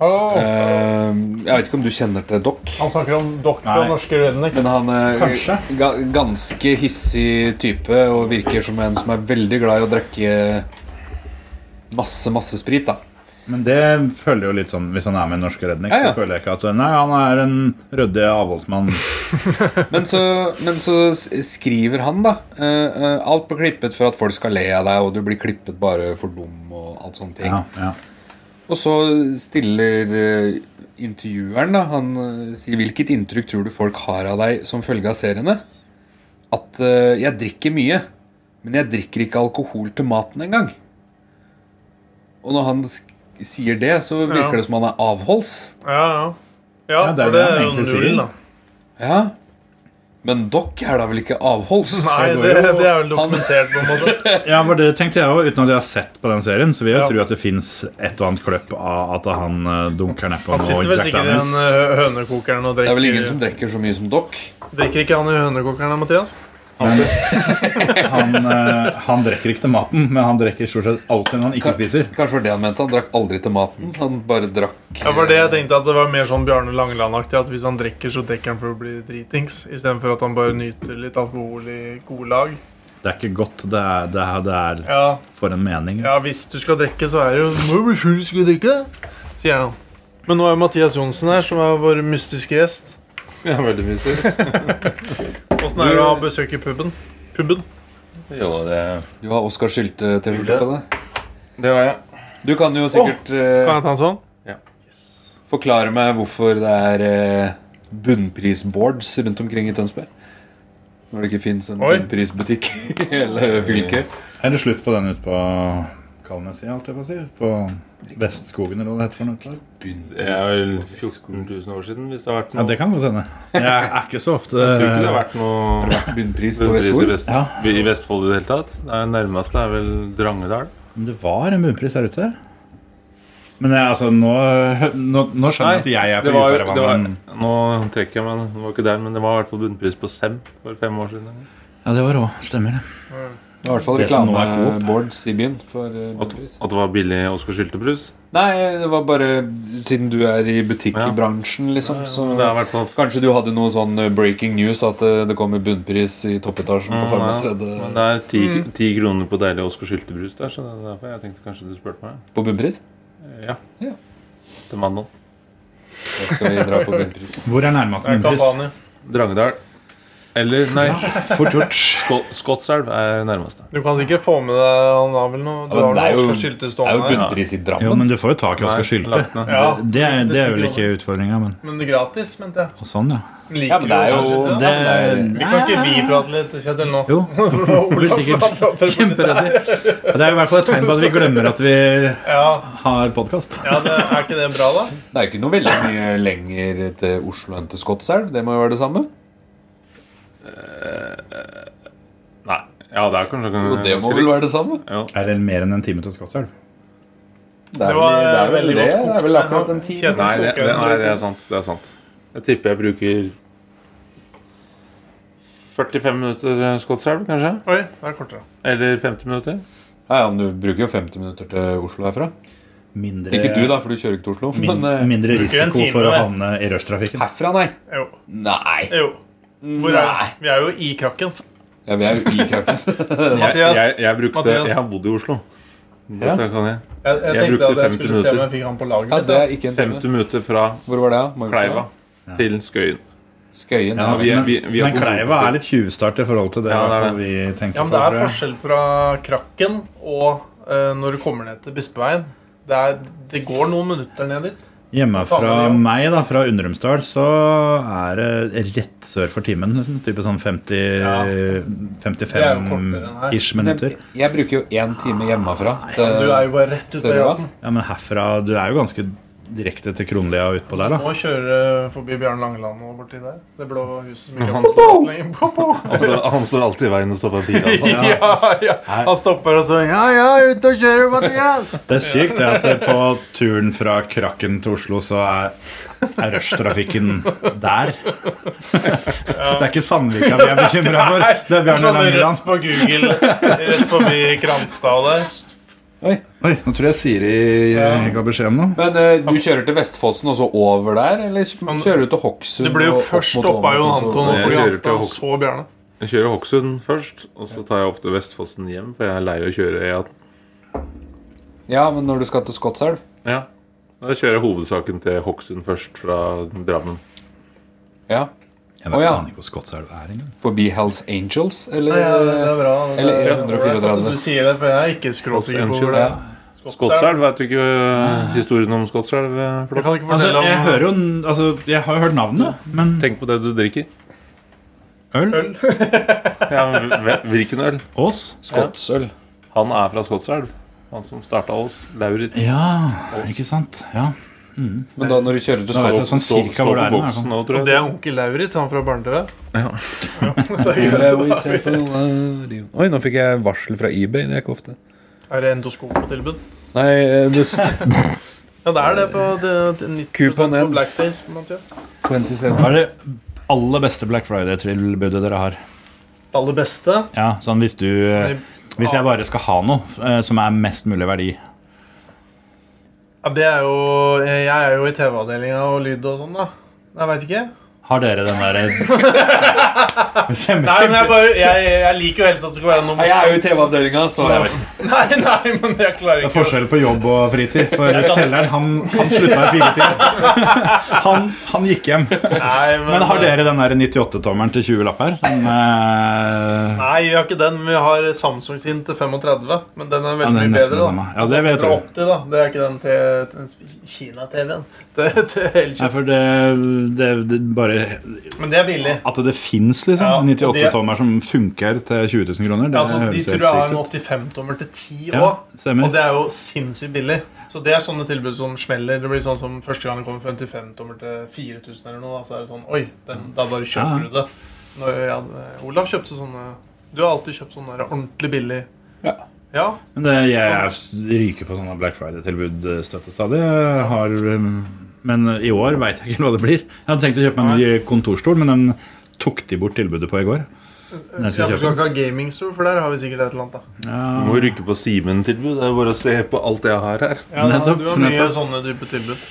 B: Hallo,
A: Eh, jeg vet ikke om du kjenner til Doc?
B: han snakker om doktor fra
C: Nei.
B: Norske Redneck.
A: Men han er
C: Kanskje.
A: ga ganske hissig type og virker som en som er veldig glad i å drikke masse, masse sprit. da
C: Men det føler jo litt sånn Hvis han er med i Norske Redning,
A: Ja, ja.
C: så føler jeg ikke at Nei, han er en ryddig avholdsmann.
A: Men så, men så s- skriver han, da. eh, eh, alt blir klippet for at folk skal le av deg, og du blir klippet bare for dum. Og alt sånne ting
C: Ja, ja.
A: Og så stiller eh, intervjueren, da. Han eh, sier hvilket inntrykk tror du folk har av deg som følge av seriene? At eh, jeg drikker mye, men jeg drikker ikke alkohol til maten engang. Og når han sk sier det, så virker
B: Ja.
A: det som han er avholds.
B: Ja, ja. Ja,
C: Ja, det
B: for
C: er det
B: det
C: han
B: er jo
C: egentlig
B: null,
C: sier.
B: da.
A: Ja. Men dere er da vel ikke avholds?
B: Nei, det,
C: går jo-
B: det er vel dokumentert på en måte.
C: ja for det tenkte jeg òg, uten at jeg har sett på den serien. Så vil jeg
B: Ja.
C: tro at det fins et og annet kløpp av at han eh, dunker nedpå
B: Han sitter vel
C: Jack
B: sikkert i den
C: Daniels.
B: eh, hønekokeren og
A: Det er vel ingen som
B: drikker
A: drikker så mye som dere?
B: Drikker ikke han i hønekokeren, da, Mathias?
C: Han, eh, han drikker ikke til maten, men han drikker stort sett alltid når han ikke spiser.
A: Kanskje var det han mente. Han drakk aldri til maten. Han bare drakk
B: Ja, var det jeg tenkte at det var mer sånn Bjarne Langeland-aktig. At hvis han drikker, så drikker han for å bli dritings. Istedenfor at han bare nyter litt alkohol i gode lag.
C: Det er ikke godt. Det er, det er, det er
B: Ja,
C: for en mening.
B: ja hvis du skal drikke, så er det jo Må bli full hvis du skal drikke, sier han. Men nå er Mathias Johnsen her, som er vår mystiske gjest.
A: eh,
F: Ja, veldig mye styr.
B: Åssen er det å besøke puben? Puben?
F: Jo, det,
A: Du har Oskar Sylte-T-skjorte på deg.
F: det var jeg.
A: Du kan jo sikkert eh,
B: Kan jeg ta en sånn?
A: forklare meg hvorfor det er eh, bunnprisboards rundt omkring i Tønsberg. Når det ikke fins en
B: Oi.
A: bunnprisbutikk i hele fylket.
C: Er det slutt på den ute på Kalnes, holdt jeg på å si? På Vestskogen, eller hva det heter for noe?
F: Det er vel 14 000 år siden, hvis det har vært
C: Ja,
F: noe.
C: det kan godt hende. Jeg er ikke så ofte
F: Jeg tror ikke det har vært noe
A: Bunnpris på
F: bunnpris i,
A: Vestfold.
F: Vest, i Vestfold i det hele tatt. Det er nærmeste er vel Drangedal.
C: Men det var en bunnpris der ute. Men jeg, altså, nå, nå, nå skjønner jeg at jeg er
F: det
C: på
F: var,
C: dypere
F: det var,
C: vann. enn-
F: nå trekker jeg meg, det var ikke der, men det var i hvert fall bunnpris på Sem for fem år siden.
C: Ja, det var rå. Stemmer det.
A: Det er i hvert fall
C: Det som nå er Coop.
A: reklameboards i byen for eh,
F: At,
A: bunnpris.
F: at det var billig Oskar Syltebrus.
A: Nei, det var bare siden du er i butikkbransjen, liksom. Så
F: Det er i hvert fall f-
A: kanskje du hadde noe sånn eh, breaking news at eh, det kommer bunnpris i toppetasjen på
F: Mm,
A: Farmas
F: ja.
A: tredje
F: men det er ti,
C: Mm.
F: ti kroner på deilig Oskar Syltebrus der, så det er derfor jeg tenkte kanskje du spurte meg.
A: på bunnpris.
F: Ja.
A: Ja.
F: Til mandag.
A: Da skal vi dra på bunnpris.
C: Hvor er nærmeste bunnpris?
B: Kampanje.
F: Drangedal. Eller, nei,
C: Fort gjort.
F: Skot Skotselv er nærmeste.
B: Du kan sikkert få med deg Han har vel noe Du
A: Ja,
B: har
A: men det er
B: noe
A: jo-
B: Oskar Sylte
A: Det er jo
B: stående her.
A: bunnpris i
C: Jo,
A: Drammen.
C: men du får jo tak i Oskar Sylte.
F: lagt ned.
B: Ja,
C: Det, er- det er vel
B: Det er ti
C: ikke utfordringa, men
B: Men det er gratis, mente jeg.
C: og sånn, ja.
B: Liker
A: Ja, men det er
B: du
A: jo
B: Oskar Sylte?
A: ja, men det er,
B: Vi kan ikke vi prate litt, Kjetil, nå?
C: Jo, du blir sikkert kjemperedd. Det er i hvert fall et tegn på at vi glemmer at vi
B: Ja,
C: har podkast.
B: ja det, er ikke det bra, da?
A: det er jo ikke noe veldig mye lenger til Oslo enn til Skotselv. Det må jo være det samme.
F: Nei. Ja, det er kanskje
A: Og det må
F: ganske
A: vel
F: likt.
A: være det samme.
C: Er det mer enn en time til Skotselv?
A: Det er
B: Det
A: vel
B: var
A: det. Er vel
B: veldig
A: det.
B: godt
A: det er vel akkurat en time.
B: Kjetil
F: Nei, det,
B: tok
F: det,
B: en
F: nei, det er
B: drink.
F: sant. Det er sant. Jeg tipper jeg bruker 45 minutter Skotselv, kanskje?
B: Oi, det er kortere.
F: Eller 50 minutter?
A: Ja, ja, men du bruker jo 50 minutter til Oslo herfra.
C: Mindre,
A: Ikke du, da, for du kjører ikke til Oslo.
C: Min,
A: Men eh,
C: mindre
B: en
C: risiko
B: time
C: for å
B: der.
C: havne i rushtrafikken.
A: herfra, nei.
B: Jo.
A: Nei.
B: jo. Hvor er
A: Nei.
B: Vi er jo i krakken.
A: Ja, vi er jo i Kraken.
B: Mathias,
F: Jeg, jeg, brukte,
B: Mathias.
F: jeg har bodd i Oslo. Dette kan jeg.
B: jeg, jeg,
F: jeg
B: tenkte
F: brukte
B: at jeg
F: 50
B: skulle se om jeg
F: minutter.
B: fikk han på laget
A: Ja,
B: mitt.
A: det
B: da.
A: er ikke en time.
F: 50 minutter fra
A: Hvor var det, da?
F: Kleiva til Skøyen.
A: Skøyen.
C: Ja,
A: Ja,
F: vi er-
C: men
F: vi- vi er
C: men
F: på
C: Kleiva
F: kontorspill.
C: er litt tjuvstart i forhold til det,
F: Ja, det er det.
C: vi tenker
B: Ja, men det
C: på,
B: er
C: tror jeg.
B: forskjell fra krakken og eh, når du kommer ned til Bispeveien. Det, er, det går noen minutter ned dit. Faen,
C: Hjemme fra
B: ja.
C: meg, da, fra Undrumsdal, så er det rett sør for timen. Liksom, type sånn 50,
B: Det er jo kortere enn her.
C: 55-ish minutter.
A: Jeg bruker jo én time hjemmefra.
B: Ah, Du er jo bare rett ut
A: Eh, det
B: av
A: er bra.
B: gaten.
C: Ja, Men herfra Du er jo ganske direkte til Kronlia og utpå der, da.
B: Må kjøre forbi Bjørn Langeland og borti der. Det blå huset som ikke har stått lenger.
F: Han står, han står alltid i veien og stopper bilen.
B: Ja, ja. Han stopper og så Ja, ja, ut og kjøre, Mathias!
C: Det er sykt det at det på turen fra Krakken til Oslo så er, er rushtrafikken der. Det er ikke Sandvika vi er bekymra for. Det er Bjarne
B: Sånn
C: Langeland.
B: rett på Google, rett forbi Kranstad der.
C: Oi, nå tror jeg Siri eh, ga beskjed om noe.
A: Men eh, du kjører til Vestfossen og så over der, eller
B: Han-
A: kjører du til Hokksund?
B: Det ble jo
A: og opp
B: først
A: mot
B: stoppa
A: Åmot,
B: Jon
A: og så-
B: Anton opp på
F: Jeg kjører til
B: Granstad, og
F: Hok-
B: så Bjarne.
F: Jeg kjører Hokksund først, og så tar jeg ofte Vestfossen hjem, for jeg er lei av å kjøre E18.
A: Ja, men når du skal til Skotselv
F: Ja. Da kjører jeg hovedsaken til Hokksund først, fra Drammen.
A: Ja.
C: Jeg
A: Å,
C: vet
A: ja.
C: faen ikke hvor Skotselv er engang.
A: Forbi Hells Angels, eller?
B: Nei, ja, det er bra. Det
A: Eller
B: er-
A: 134.
B: Du sier det, for jeg er ikke skråsikker på hvor det er.
F: Skotselv, vet du ikke eh, historien om Skotselv? eh,
B: Jeg
F: Flå?
B: kan ikke
C: Altså,
B: fortelle om
C: jeg hører jo n- Altså, jeg har jo hørt navnet, men
F: Tenk på det du drikker.
C: øl?
F: Ja, men hve- Hvilken øl?
C: Ås?
A: Skottsøl.
F: Han er fra Skotselv. Han som starta oss. Lauritz.
C: Ja, ikke sant? Ja.
A: Men da når du kjører til
C: Da vet jeg
A: Skotselv
C: sånn
F: Stå,
C: cirka
F: stå
C: hvor
F: på
C: det er. i hvert fall.
F: boksen nå, tror
B: Det
F: jeg.
B: er onkel Lauritz, han fra Barne-TV.
A: Oi, nå fikk jeg varsel fra eBay. Det er ikke ofte.
B: Er det endoskop på tilbud?
A: Nei, eh, du
B: Ja, det er det på det- det er 90
A: Coupon
B: på
A: ends.
B: Blackface, Mathias.
A: 27.
C: Hva er det aller beste Black Friday-tilbudet dere har?
B: Det aller beste
C: Ja, sånn hvis du eh, Hvis
B: Ah.
C: jeg bare skal ha noe eh, som er mest mulig verdi
B: ja, Det er jo Jeg er jo i TV-avdelinga og lyd og sånn, da. Jeg veit ikke.
C: Har dere den der Kjempe,
B: Nei, men jeg, bare, jeg, jeg liker jo helst at det skal være noe
E: Jeg er jo i TV-avdelinga, så jeg vet ikke.
B: Nei, nei, men jeg klarer
C: Det er
B: ikke
C: forskjell på jobb og fritid. For selgeren han, han slutta i firetida. Han, han gikk hjem.
B: Nei, men, eh,
C: Men har dere den der 98-tommeren til 20 lapp her? Sånn, eh,
B: Nei, vi har ikke den, men vi har Samsung sin til 35. Men den er
C: ja,
B: veldig
C: det er
B: mye
C: nesten det
B: bedre, da.
C: samme. Ja, det vet
B: Fra
C: du.
B: 80, da. Det er ikke den til, til Kina-TV-en. Til, til
C: Nei,
B: Elkjøp.
C: for det, det, det bare
B: Men det er billig.
C: At det fins liksom,
B: Ja, og
C: en
B: det-
C: 98-tommer som funker til 20 000 kroner, det
B: Altså, de
C: høres
B: tror
C: helt
B: jeg har en
C: sykt ut.
B: 85-tommer til 10
C: Ja,
B: år.
C: stemmer.
B: Og det er jo sinnssykt billig. Så det er sånne tilbud som smeller. Det blir sånn som Første gang det kommer 55-tommer til 4000 eller noe, da, så er det sånn Oi, den, da bare
C: Ja,
B: kjøper
C: ja.
B: du det. Når jeg, hadde- Olav kjøpte sånne Du har alltid kjøpt sånne der ordentlig billig.
A: Ja.
B: ja.
C: Men det, jeg er s- ryker på sånne Black Friday-tilbud eh, støtte stadig. Jeg Har, um, men i år veit jeg ikke hva det blir. Jeg hadde tenkt å kjøpe meg en ny kontorstol, men den tok de bort tilbudet på i går.
B: Ja,
C: Den
B: Du skal
C: skal jeg kjøpe.
B: ikke ha gamingstol, for der har vi sikkert et eller annet. da
F: Du må rykke på Simen-tilbud. Det er bare å se på alt jeg har her.
B: Ja, da,
C: Nettopp,
B: du har mye
C: nettopp.
B: sånne type tilbud.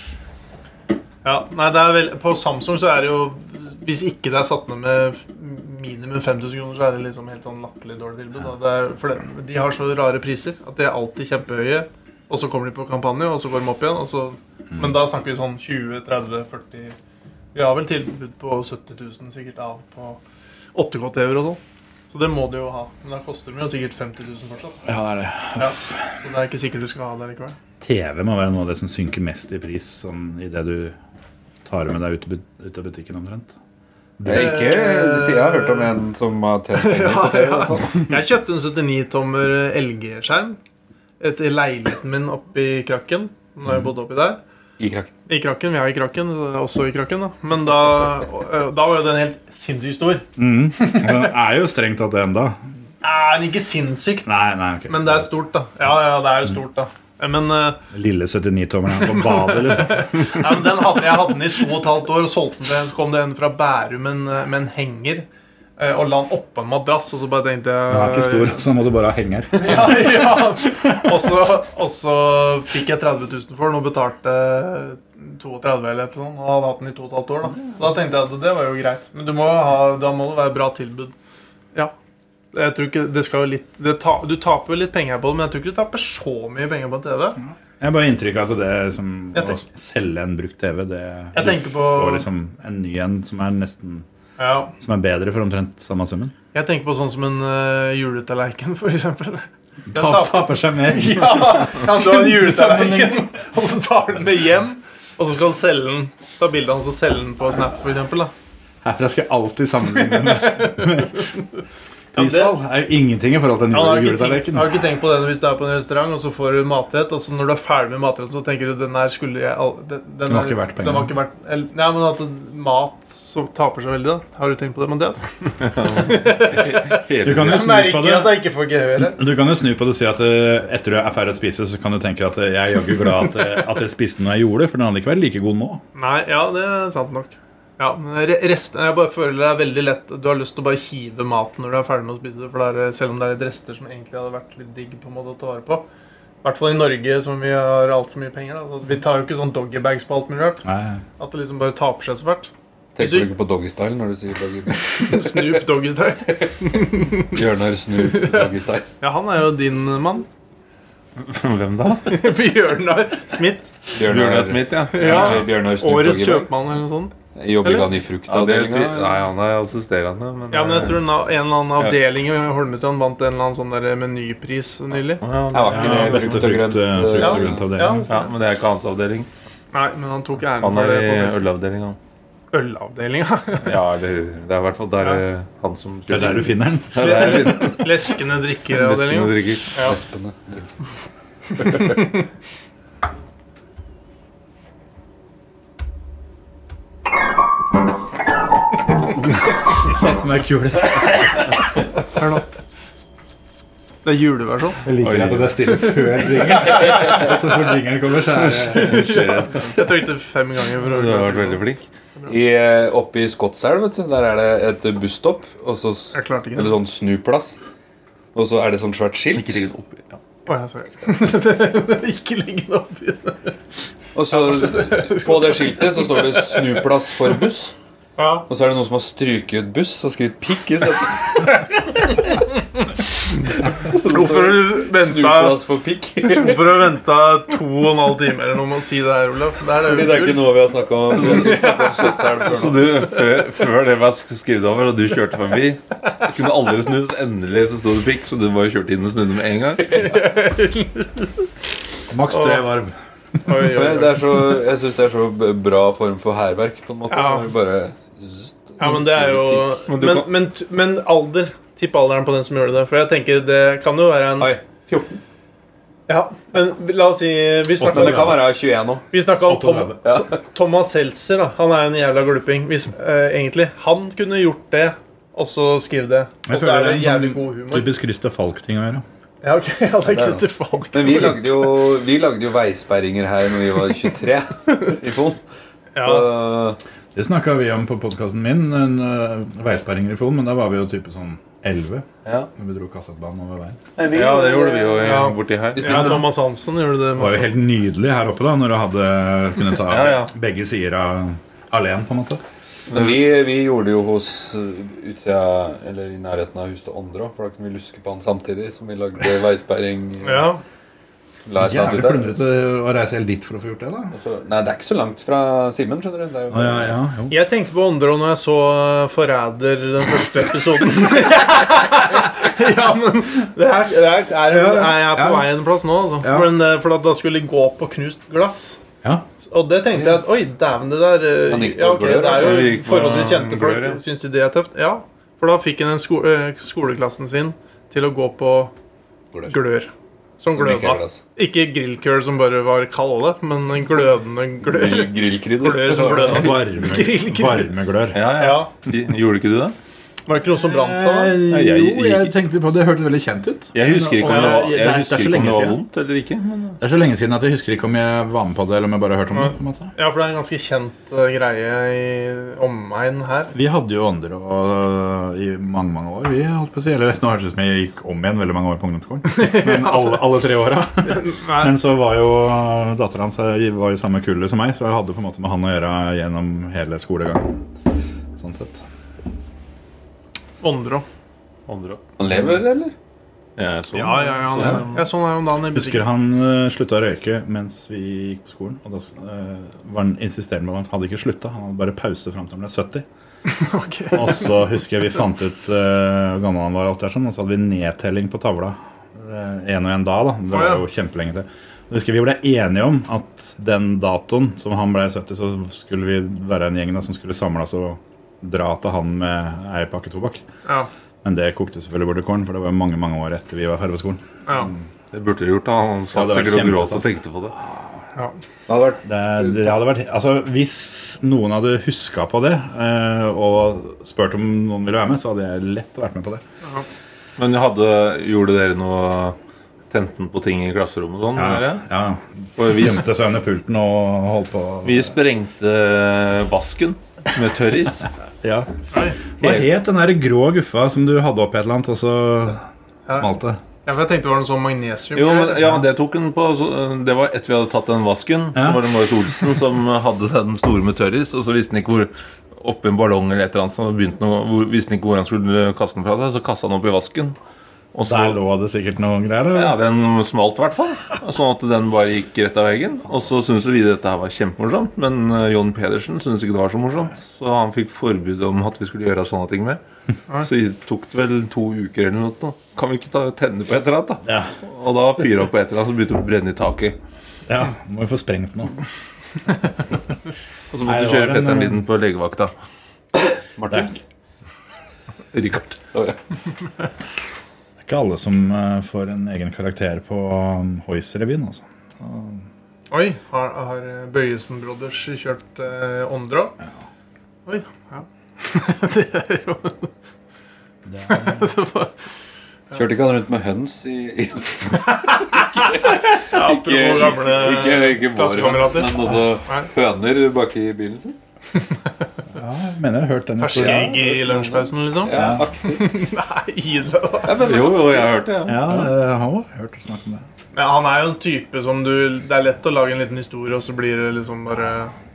B: Ja, nei, det er vel, På Samsung så er det jo Hvis ikke det er satt ned med f- minimum 5000 kroner, så er det liksom helt sånn latterlig dårlig tilbud. Da. Det er, for det, de har så rare priser at de er alltid kjempehøye. Og så kommer de på kampanje, og så går de opp igjen. Og så,
C: Mm.
B: Men da snakker vi sånn 20 30 40 Vi har vel tilbud på 70 000 sikkert av på 8K-TV-er og sånn. Så det må du jo ha. Men da koster de jo sikkert 50 000 fortsatt.
C: Ja, det er det.
B: Ja. Så det er ikke sikkert du skal ha det likevel.
C: TV må være noe av det som synker mest i pris sånn, i det du tar med deg ut, av but- ut av butikken, omtrent.
A: Det er ikke siden jeg har hørt om en som har tjent penger på TV. i hvert fall.
B: Jeg kjøpte en 79-tommer LG-skjerm etter leiligheten min oppe i Krakken. Nå har jeg bodd oppi der.
A: I krakken.
B: I Krakken, Vi er i Krakken, så det er også i Krakken. da Men da, øh, da var jo den helt sinnssykt stor.
C: Mm. Den er jo strengt tatt det enda.
B: Er den ikke sinnssykt?
C: Nei, nei, ok.
B: Men det er stort, da. Ja, ja, det er jo stort, da. Men, eh,
C: Lille 79-tommeren på badet, liksom.
B: nei, men den hadde, jeg hadde den i to og et halvt år og solgte den til en. Så kom det en fra Bærum med en, eh, med en henger eh, og la den oppå en madrass. Og så bare tenkte jeg
C: Den er ikke stor, så da må du bare ha henger.
B: ja, ja. Og så- Og så fikk jeg 30 000 for den og betalte 32 eller et eller annet. Og hadde hatt den i to og et halvt år. Da Da tenkte jeg at det var jo greit. Men du må jo ha, da må det være bra tilbud. Ja. Jeg tror ikke, det skal jo litt det ta, Du taper jo litt penger på det, men jeg tror ikke du taper så mye penger på en TV.
C: Jeg har bare inntrykk av at det som
B: Jeg
C: å selge en brukt TV, det
B: Jeg tenker
C: du
B: på-
C: får liksom en ny en som er nesten
B: Ja.
C: Som er bedre for omtrent samme summen.
B: Jeg tenker på sånn som en uh, juletallerken, for eksempel. Den
C: Tap, taper seg mer.
B: Ja, ja, du har en juletallerken, og så tar du den med hjem. Og så skal du selge den ta bilde av den og så selge den på Snap, for eksempel, da
C: Mm, Herfra skal jeg alltid sammenligne med
B: Ja, det-
C: prisfall. Det er jo ingenting i forhold til en
B: Ja,
C: jule-
B: har, du ikke tenkt,
C: juletallerken.
B: har du ikke tenkt på det hvis du er på en restaurant og så får du matrett, og så når du er ferdig med matretten, så tenker du den her skulle jeg al- Den, den
C: Den var
B: er-
C: ikke verdt pengene."
B: Den var ikke verdt, eller, nei, men at mat som taper seg veldig, da. Har du tenkt på det, Mathias?
C: Du kan jo
B: Jeg
C: snu på
B: merker at
C: det.
B: jeg ikke får gehør her.
C: Du kan jo snu på det og si at eh, etter du er ferdig å spise, så kan du tenke at eh, jeg er jaggu glad at, eh, at jeg spiste noe jeg gjorde, for den hadde ikke vært like god nå.
B: Nei, ja, det er sant nok. Ja, men re- resten, Jeg bare føler det er veldig lett Du har lyst til å bare hive maten når du er ferdig med å spise det. For det er, selv om det er litt rester som egentlig hadde vært litt digg på en måte å ta vare på. I hvert fall i Norge, som vi har altfor mye penger. da Vi tar jo ikke sånn doggybags på alt mulig rart.
C: Nei.
B: At det liksom bare taper seg så fælt.
A: Tenker du ikke på doggystyle når du sier doggy?
B: Snoop Doggystyle.
A: Bjørnar Snoop doggystyle.
B: Ja, han er jo din mann.
F: Hvem da?
B: Bjørnar Smith.
F: Bjørnar Smith, ja.
B: Ja,
A: Kanskje Bjørnar Snoop
B: Årets
A: doggybag?
B: kjøpmann eller noe sånt.
A: Jobber
B: Eller?
A: ikke han i
F: ja det, er ty- nei,
A: fruktavdelinga?
F: han er assisterende, men, eh,
B: Ja, men jeg tror en av- en eller annen
F: Ja.
B: avdeling i Holmestrand vant en eller annen sånn der menypris nylig.
F: Ja,
A: Ja,
F: det-
A: var ikke
C: Ja,
A: det
C: beste
A: frukt og
C: frukt,
A: grønt?
C: eh, frukt
B: Ja.
C: og grønt av det.
B: Ja.
F: ja, men det er ikke hans avdeling.
B: Nei, men han tok æren
F: Han
B: for
F: er
B: det på
F: i
B: Facebook.
F: ølavdelinga.
B: ølavdelinga.
F: Ja, eller det er i hvert fall der
B: Ja.
F: eh, han som
C: Det er der du finner den.
F: Ja, det er der du
B: Leskende
F: finner Nesten noe
B: drikkeravdelinga.
F: drikker.
B: Ja.
A: Vespene.
C: Sånn som er kul.
B: Hør nå. Det er juleversjon.
C: Jeg liker at det er stille før jingeren. Og så før jingeren kommer, så er det
B: Jeg trykte fem ganger. for å
F: Du har vært veldig flink.
A: I, eh, oppe i Skotselv, vet du, der er det et busstopp. Og så, s-
B: Jeg klarte ikke
A: eller
B: det.
A: sånn snuplass. Og så er det sånn svært skilt.
F: Ikke sikkert oppi. Ja.
B: Å, jeg så- Ikke legg det oppi det.
A: Og så på det skiltet så står det 'snuplass for buss'.
B: Ja.
A: Og så er det noen som har stryket buss og skrevet pikk istedenfor.
B: Hvorfor venta,
A: Snuplass for pikk.
B: hvorfor har du venta to og en halv time eller noe med å si det her, Olav? Det her er
A: Fordi det er
B: jo
A: ikke
B: tull.
A: noe vi har snakka om. Vi har ikke snakket om Skjøtsel før
F: Så
A: nå.
F: du, før, før det var skrevet over, og du kjørte forbi Du kunne aldri snu, så endelig så sto det pikk, så du bare kjørte inn og snudde med en gang.
C: Maks tre varv.
B: Oi, oi,
A: Men
B: oi.
A: det er så, jeg syns det er så b- bra form for hærverk, på en måte.
B: Ja.
A: Når du Bare
B: Ja, men det er jo
F: Men du
B: Men,
F: kan-
B: men, men alder. Tipp alderen på den som gjorde det. For jeg tenker det kan jo være en
A: Oi, 14.
B: Ja, men la oss si
A: Men
B: Vi
A: det
B: snakka
A: kan være 21 òg.
B: vi snakket om Tom,
A: Ja.
B: Thomas Seltzer. da. Han er en jævla gluping, hvis, eh, egentlig. Han kunne gjort det, og så skrevet det. Og så er det en jævlig god humor.
C: sånn Typisk Christer Falk-ting å gjøre.
B: Ja, ok, ja, det er Christer Falk.
A: Men vi lagde, jo, vi lagde jo veisperringer her når vi var 23 i Fon.
B: Ja.
A: Så-
C: Det snakka vi om på podkasten min, en uh, veisperringer i Fon, men da var vi jo type sånn 11.
A: Ja.
C: Når vi dro kassettbanen over veien.
F: Ja, det gjorde vi jo i-
B: Ja.
F: borti her.
B: Ja, Thomas Hansen gjorde det.
C: Det var jo
B: masse.
C: helt nydelig her oppe da, når du hadde kunnet ta
F: Ja, ja.
C: begge sider av alene, på en måte.
A: Men vi, vi gjorde det jo hos eh, Utøya, eller i nærheten av huset til Åndre òg, for da kunne vi luske på han samtidig som vi lagde veisperring.
B: Ja.
A: La et eller annet
C: Jævlig
A: ut der.
C: plundrete å reise helt dit for å få gjort det, da.
A: Og så- Nei, det er ikke så langt fra Simen, skjønner du. Det er jo
C: Å, ja, ja, jo.
B: Jeg tenkte på Åndrå når jeg så eh, Forræder den første episoden. ja, men det er, det er, er, er jeg er på
C: Ja.
B: vei en plass nå, altså.
C: Ja.
B: Men, eh, for at da skulle de gå på knust glass.
C: Ja.
B: Og det tenkte jeg at Oi, dæven, det der eh,
A: Han gikk på
B: ja, ok,
A: glør,
B: Det er
F: altså. Han
B: jo
F: gikk på
B: forholdsvis kjente folk.
F: glør, ja.
B: Syns de det er tøft? Ja. For da fikk han en sko eh, skoleklassen sin til å gå på
A: Glør.
B: glør. Som
A: Som ikke er
B: gløda.
A: glass.
B: Ikke grillkøl som bare var kalde, men en glødende glør.
A: Grill- Grillkrydder.
B: Glør som gløder.
C: Varme, varmeglør.
F: Ja, ja.
B: Ja.
F: Gjorde ikke du det?
B: Var det ikke noe som brant seg? sånn, da?
C: Eh,
F: Nei, jeg
C: Jo,
F: gikk
C: jeg
F: ikke.
C: tenkte på Det hørtes veldig kjent ut.
F: Jeg husker ikke om det var,
C: Nei, det
F: jeg
C: er så
F: husker ikke om
C: lenge
F: det var
C: siden.
F: vondt eller ikke. Men
C: Det er så lenge siden at jeg husker ikke om jeg var med på det, eller om jeg bare hørte om det. på en måte
B: Ja, for det er en ganske kjent eh, greie i omegn her.
C: Vi hadde jo andre og, i mange mange år. Vi holdt på å si, eller Nå høres det ut som jeg gikk om igjen veldig mange år på ungdomsskolen. Men alle, alle tre åra. Men så var jo datteren hans eh, var i samme kullet som meg, så jeg hadde på en måte med han å gjøre gjennom hele skolegangen. Sånn sett.
B: Åndrå.
F: Åndre også.
A: Han lever, eller?
F: Ja, jeg så
B: Ja, ja, ja.
F: Så-
B: han- Jeg så han her om dagen i
C: Husker
B: butikken.
C: han eh, slutta å røyke mens vi gikk på skolen. Og da eh, var han insisterende på at han hadde ikke slutta, han hadde bare pause fram til han ble 70.
B: Ok.
C: Og så husker jeg vi fant ut eh, hvor gammel han var, alt det der sånn, og så hadde vi nedtelling på tavla. Én og én dag, da.
B: Å,
C: Det
B: ja.
C: var jo kjempelenge til. Jeg husker Vi ble enige om at den datoen som han ble 70, så skulle vi være en gjeng da, som skulle samle oss og dra til han med ei pakke tobakk.
B: Ja,
C: Men det kokte selvfølgelig bort i kålen, for det var jo mange mange år etter vi var ferdig på skolen.
B: ja.
F: Det burde du gjort. da Han
C: Ja,
F: satt
C: det var
F: sikkert og
C: kjempe-
F: gråt og tenkte på det.
A: Det hadde vært
C: Det, det hadde vært, altså, hvis noen hadde huska på det eh, og spurt om noen ville være med, så hadde jeg lett vært med på det.
F: Men hadde, gjorde dere noe Tenten på ting i klasserommet og sånn? dere?
C: ja.
F: For vi,
C: Gjemte seg under pulten og holdt på.
F: vi sprengte eh, vasken med tørris.
C: Ja. Hva het den der grå guffa som du hadde oppi et eller annet, og så smalt det?
B: ja, for jeg tenkte det var noe sånn magnesium.
F: Jo, men ja, Det tok den på så, eh, Det var etter vi hadde tatt den vasken. Så
C: Ja.
F: var det Marius Olsen som hadde den store med tørris, og så visste han ikke hvor Oppi en ballong eller et eller annet, så begynte han å- hvor, visste han ikke hvor han skulle kaste den fra seg. Så kasta han opp i vasken. Og så,
C: Der lå det sikkert noen greier. eller?
F: Ja, den smalt i hvert fall. Sånn at den bare gikk rett av veggen. Og så syntes vi dette her var kjempemorsomt, men eh, John Pedersen syntes ikke det var så morsomt. Så han fikk forbud om at vi skulle gjøre sånne ting mer. Så det tok det vel to uker eller noe. da. Kan vi ikke ta, tenne på et eller annet, da?
C: Ja.
F: Og da fyra han på et eller annet som begynte å brenne i taket.
C: ja. Må jo få sprengt noe.
F: Og så
C: Nei,
F: måtte
C: det
F: du
C: var
F: kjøre
C: en,
F: fetteren
C: eh,
F: din på legevakta.
A: Martin.
F: Richard.
C: Det er ikke alle som eh, får en egen karakter på um, Hoys-revyen, altså.
B: Oi, har, har eh, Bøyesen Brothers kjørt eh, Åndrå? Oi, ja. det er jo
A: Kjørte ikke han rundt med høns i, i
B: Apropos gamle
A: Ikke,
C: Eh,
A: ikke bare høns,
B: klassekamerater.
A: men altså- også
B: Nei.
A: høner baki i bilen sin?
C: Ja, jeg mener jeg har hørt den
B: Ferske egg i lunsjpausen, liksom?
A: Ja, aktig.
B: Nei, Ida.
A: Ja, men, jo, jo, jeg har hørt det.
C: Ja, jeg har også eh, hørt snakk om det.
B: Men han er jo en type som du Det er lett å lage en liten historie, og så blir det liksom bare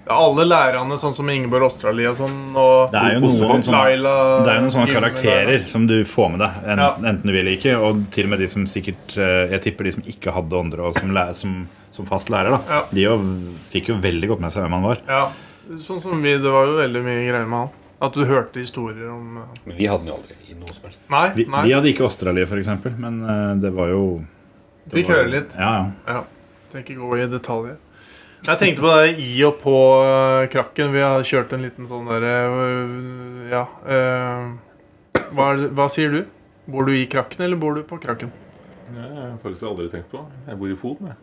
B: ja, Alle lærerne, sånn som Ingeborg Australi og sånn, og
C: Det er jo noen sånne,
B: Laila
C: det er jo noen sånne
B: Gimle
C: karakterer
B: der.
C: som du får med deg, en,
B: Ja.
C: enten du vil eller ikke. Og til og med de som sikkert eh, Jeg tipper de som ikke hadde åndre og som, læ- som, som fast lærer, da.
B: Ja.
C: De jo, fikk jo veldig godt med seg hvem han var.
B: Ja. Sånn som vi Det var jo veldig mye greier med han. At du hørte historier om eh,
A: Men vi hadde den jo aldri i noe som helst.
B: Nei,
C: Vi,
B: nei.
C: de hadde ikke Australia, f.eks., men eh, det var jo det
B: Fikk
C: var-
B: høre litt.
C: Ja, ja.
B: Tenker ikke gå i detaljer. Jeg tenkte på det i og på eh, krakken. Vi har kjørt en liten sånn derre eh, Ja. eh, hva, er det- hva sier du? Bor du i krakken, eller bor du på krakken?
F: En følelse jeg aldri har tenkt på. Jeg bor i Foden, jeg.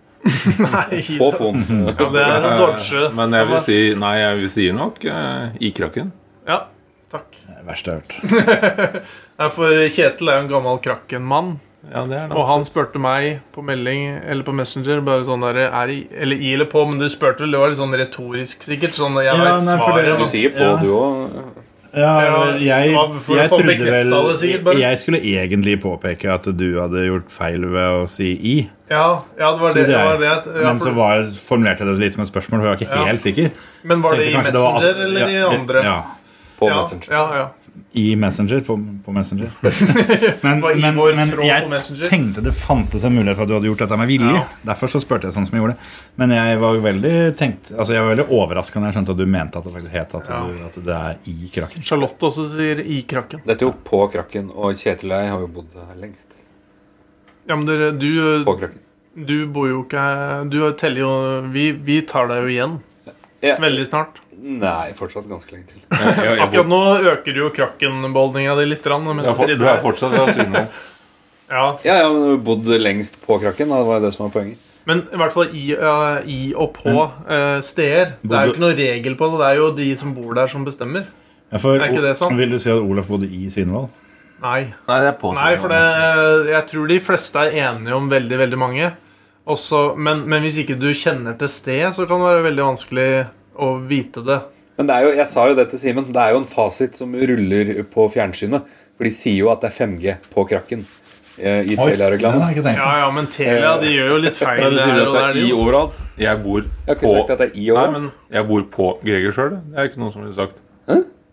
B: Nei,
F: På Foden.
B: ja, det er en dodge.
F: Men jeg vil si Nei, jeg vil si nok eh, i krakken.
B: Ja, takk.
C: Det er verst jeg har hørt.
B: Nei, For Kjetil er jo en gammel krakken-mann.
F: Ja, det er det.
B: Og han spurte meg på melding eller på Messenger bare sånn der, er i, Eller i eller på, men du spurte vel? Det var litt sånn retorisk, sikkert. Sånn, jeg
C: Ja,
B: vet
C: nei, for
B: svaret.
C: det- Du
B: men-
A: sier på,
C: Ja.
A: du òg.
C: Ja,
B: Ja,
C: jeg,
B: ja, for å
C: jeg
B: få
C: trodde
B: bekreftet det sikkert,
C: vel
B: bare.
C: Jeg skulle egentlig påpeke at du hadde gjort feil ved å si i.
B: Ja, ja, det var det.
C: Trodde
B: det,
C: jeg.
B: var det at- ja,
C: Men
B: for-
C: så var jeg, formulerte jeg det litt som et spørsmål, for jeg var ikke
B: Ja.
C: helt sikker.
B: Men var det
C: Tenkte
B: i
C: kanskje
B: Messenger
C: var at-
B: eller
C: ja,
B: i andre?
C: Ja,
A: På
B: ja,
A: Messenger.
B: Ja, ja.
C: I Messenger, på, på Messenger. Men,
B: var i
C: men,
B: vår
C: men
B: tråd på
C: jeg
B: Messenger.
C: tenkte det fantes en mulighet for at du hadde gjort dette med vilje.
B: Ja.
C: Derfor så spurte jeg sånn som jeg gjorde. Men jeg var veldig tenkt, altså jeg var veldig overraska da jeg skjønte at du mente at det faktisk het at,
B: Ja.
C: du, at det er i krakken.
B: Charlotte også sier i krakken.
A: Dette er jo på krakken, og Kjetil og jeg har jo bodd her lengst.
B: Ja, men dere, du,
A: På krakken.
B: du bor jo ikke Du teller jo Vi, vi tar deg jo igjen.
A: Ja.
B: Veldig snart.
A: Nei, fortsatt ganske lenge til.
F: Jeg, jeg, jeg,
B: Akkurat nå øker jo krakkenbeholdninga di litt. Rann, mens
F: jeg,
B: du
F: for-
B: sitter
F: du er
B: her.
F: fortsatt fra Syden.
B: Ja,
A: Ja, ja, men du har bodd lengst på krakken, da. det var jo det som var poenget.
B: men i hvert fall i, ja, i og på
F: Mm.
B: eh, steder. Det er jo ikke noe regel på det. Det er jo de som bor der, som bestemmer.
C: Ja, for,
B: Er ikke det sant?
C: Vil du si at Olaf bodde i Svinvoll?
B: Nei.
F: Nei, det er på
B: Nei, for det, jeg tror de fleste er enige om veldig, veldig mange. Også, men, men hvis ikke du kjenner til stedet, så kan det være veldig vanskelig å vite det.
A: Men det er jo, jeg sa jo det til Simen, det er jo en fasit som ruller på fjernsynet. For de sier jo at det er 5G på krakken eh, i
C: den
A: Telia-reklamen.
C: har jeg ikke tenkt
B: Ja, ja, men Telia de gjør jo litt feil.
F: Men du sier
B: der
F: at
B: og
F: det
B: der,
F: er
B: de
F: i
B: jo.
F: overalt. Jeg bor
A: Jeg har ikke
F: på
A: sagt at det er i
F: Nei,
A: år.
F: men jeg bor på Greger sjøl. Det er ikke noe som ville sagt.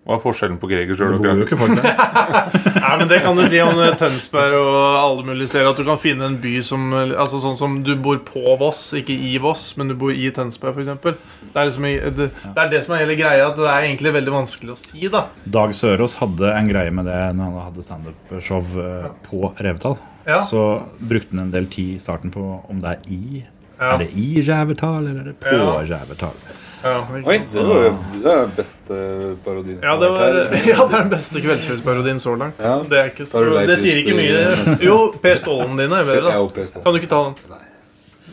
F: Hva er forskjellen på Greger sjøl
C: på.
F: og
C: Bor jo
F: Krakken?
C: ikke folk der.
B: Nei, men Det kan du si om eh, Tønsberg og alle mulige steder. At du kan finne en by som eh, Altså sånn som du bor på Voss, ikke i Voss, men du bor i Tønsberg, f.eks. Det, er liksom, i- det, det er det som er hele greia. At det er egentlig veldig vanskelig å si, da.
C: Dag Sørås hadde en greie med det når han hadde standup-show eh, på Revetal.
B: Ja.
C: Så brukte han en del tid i starten på om det er i.
B: Ja.
C: Er det i Revetal, eller er det på
B: Ja.
C: Revetal?
B: Ja,
A: Oi, det var jo det er beste parodien.
B: Ja, det var, ja, det er den beste kveldsfestparodien så langt.
A: Ja.
B: Det, er ikke så,
A: Tar du deg
B: det
A: først,
B: sier ikke mye.
A: neste?
B: Jo, Per Stålen dine er
A: Jeg
B: bedre, da.
A: opplevde det.
B: Kan du ikke ta den?
A: Nei.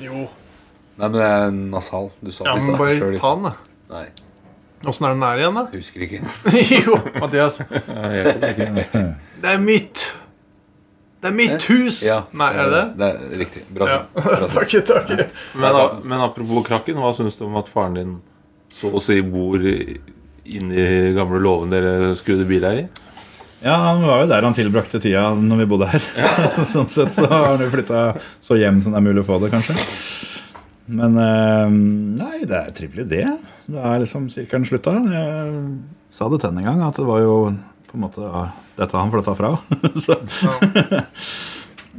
B: Jo.
A: Nei, men det er nasal. Du sa det i
B: Ja, men
A: stad.
B: bare
A: selv i
B: ta
A: stad.
B: den, da.
A: Nei,
B: Åssen er den her igjen, da?
A: husker ikke.
B: jo, Mathias.
F: Ja, jeg kommer ikke.
B: Det er mitt. Det er mitt
F: Eh?
B: hus!
A: Ja,
B: Nei, er det det?
A: Eh, Det er riktig. Bra
B: Ja.
A: sagt. Bra sagt.
B: takk, takk.
F: Men, a- men apropos Krakken, hva syns du om at faren din så å si bor i- inni gamle låven dere skrudde bil her i?
C: Ja, han var jo der han tilbrakte tida når vi bodde her. sånn sett så har han jo flytta så hjem som det er mulig å få det, kanskje. Men eh, nei, det er trivelig, det. Det er liksom sirkelen slutta. Jeg sa det til henne en gang, at det var jo på en måte ja, dette han flytta fra. så.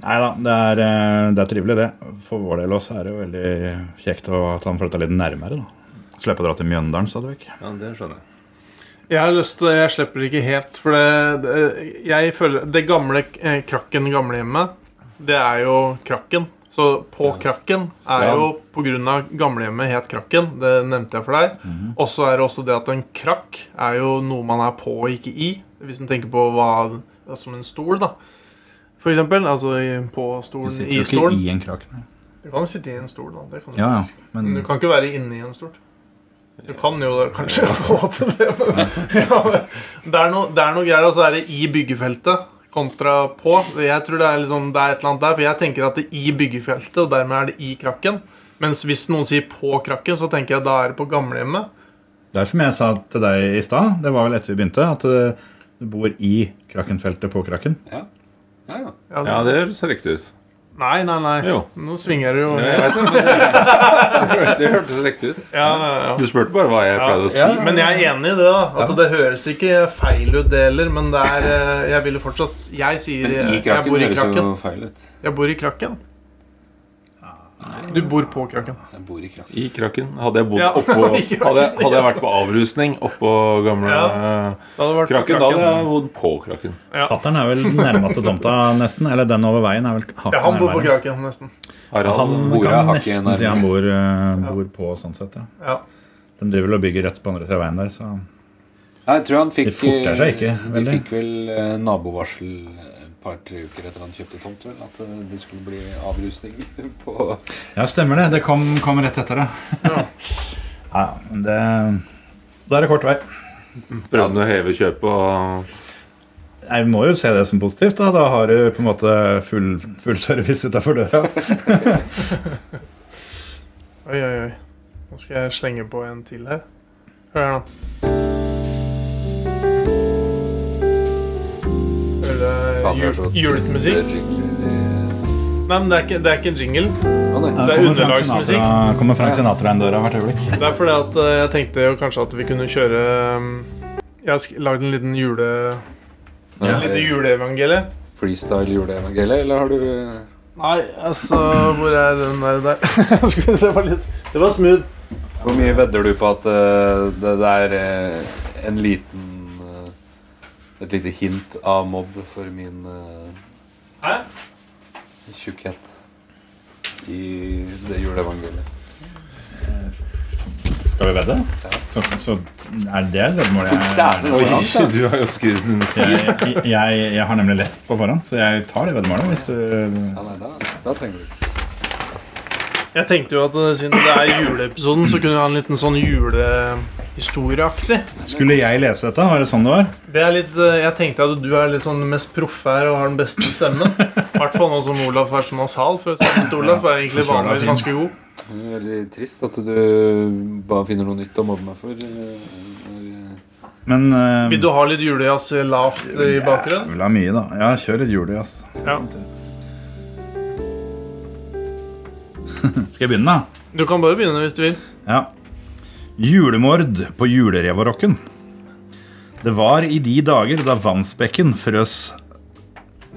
C: Nei da, det er, eh, det er trivelig, det. For vår del også er det jo veldig kjekt å- at han flytta litt nærmere, da. Slippe å dra til Mjøndalen stadig vekk.
F: Ja, det skjønner jeg.
B: Jeg har lyst til Jeg slipper det ikke helt. For det, det, jeg føler Det gamle eh, krakken gamlehjemmet, det er jo krakken. Så på krakken er
F: Ja.
B: jo på grunn av gamlehjemmet het krakken. Det nevnte jeg for deg.
C: Mhm.
B: Og så er det også det at en krakk er jo noe man er på og ikke i. Hvis en tenker på hva Som en stol, da. For eksempel. Altså i- på
C: Du
B: stolen,
C: sitter
B: i
C: jo ikke
B: stolen.
C: i en krakk. nei.
B: Du kan jo sitte i en stol, da. Det kan du
C: Ja, ja.
B: faktisk. Men
C: Men
B: du kan ikke være inne i en stol. Du kan jo det, kanskje få til det, men ja, men det, er noe, det er noe greier, og så er det i byggefeltet kontra på. Jeg tror det er, liksom, det er et eller annet der, for jeg tenker at det er i byggefeltet, og dermed er det i krakken. Mens hvis noen sier på krakken, så tenker jeg da er det på gamlehjemmet.
C: Det er som jeg sa til deg i stad, det var vel etter vi begynte, at eh, du bor i Krakenfeltet på Kraken.
A: Ja, ja.
B: Ja,
F: Ja, det ser riktig ut.
B: Nei, nei, nei.
F: Jo.
B: Nå svinger det jo.
F: Ja,
B: Ja,
F: jeg vet det, men det- det hørtes riktig ut.
B: ja, ja.
F: Du spurte bare hva jeg pleide å si.
B: Ja, men jeg er enig i det. da At Det høres ikke feil ut, det heller. Men det er eh, Jeg ville fortsatt Jeg sier
A: Men i
B: jeg, jeg
A: krakken
B: bor i
A: høres
B: Krakken.
A: jo feil ut.
B: Jeg bor i Krakken. Du bor på Krakken.
A: Jeg bor i krakken.
F: I krakken. Hadde jeg, bodd
B: Ja,
F: oppå,
B: i Krakken,
F: hadde, jeg- hadde jeg vært på avrusning oppå gamle
B: Ja. Da hadde det vært på
F: Krakken, da hadde jeg bodd på Krakken.
C: Fatter'n er vel den nærmeste tomta, nesten. Eller den over veien er vel hakket
B: Ja, han bor på
C: nærmere.
B: Krakken, nesten.
F: Harald
C: Han
A: Bor jeg
C: kan
A: hakket
C: nesten
A: nærmere.
C: si han bor, eh, bor på sånn sett, ja.
B: Ja.
C: De driver vel og bygger rett på andre siden av veien der, så
A: Nei, jeg tror han fikk
C: De forter seg ikke,
A: eh, De
C: veldig.
A: fikk vel eh, nabovarsel et par-tre uker etter han kjøpte tomt, vel. At eh, det skulle bli avrusning på
C: Ja, stemmer det. Det kom, kom rett etter det. Ja, men det Da er det kort vei.
F: Prøvde å heve kjøpet og
C: Jeg må jo se det som positivt. Da Da har du på en måte full, full service utafor døra.
B: Oi, oi, oi. Nå skal jeg slenge på en til her. Hør her, nå. Hører du jul- julemusikk? Nei, men det er ikke, det er ikke en jingle.
A: Julemusikk.
B: Det er
C: Kommer Frank
B: underlagsmusikk.
C: Sinatra- Kommer Frank Sinatra inn døra hvert øyeblikk?
B: Det er fordi at eh, jeg tenkte jo kanskje at vi kunne kjøre um, Jeg har sk- lagd en liten jule... En liten juleevangelie.
A: Freestyle juleevangeliet, eller har du eh,
B: Nei, altså Hvor er den der? der? Skal vi- det var litt Det var smooth.
A: Hvor mye vedder du på at eh, det, det er eh, en liten eh, Et lite hint av mobb for min uh,
B: Hæ?
A: tjukkhet i det juleevangeliet?
C: Skal vi vedde? Så, så er det veddemålet jeg,
A: Dæven,
F: Oi, du har jo skrevet en stil.
C: jeg, jeg Jeg har nemlig lest på forhånd, så jeg tar det veddemålet hvis du
A: Ja, nei, da, da trenger du ikke.
B: Jeg tenkte jo at eh, siden det er juleepisoden, så kunne vi ha en liten sånn julehistorieaktig.
C: Skulle jeg lese dette? Var det sånn det var?
B: Det er litt, eh, jeg tenkte at du er litt sånn den mest proffe her og har den beste stemmen. I hvert fall nå som Olaf er så nasal. For stemmen til Olaf er egentlig
C: forsvarer
B: vanligvis
C: din.
B: ganske god.
A: Det er veldig trist at du bare finner noe nytt å mobbe meg for. eh,
C: Men eh,
B: Vil du ha litt julejazz lavt i bakgrunnen?
C: Jeg vil ha mye, da. Ja, kjør litt julejazz.
B: Ja.
C: Skal jeg begynne, da?
B: Du kan bare begynne hvis du vil.
C: Ja. Julemord på julerevarokken. Det var i de dager da Vamsbekken frøs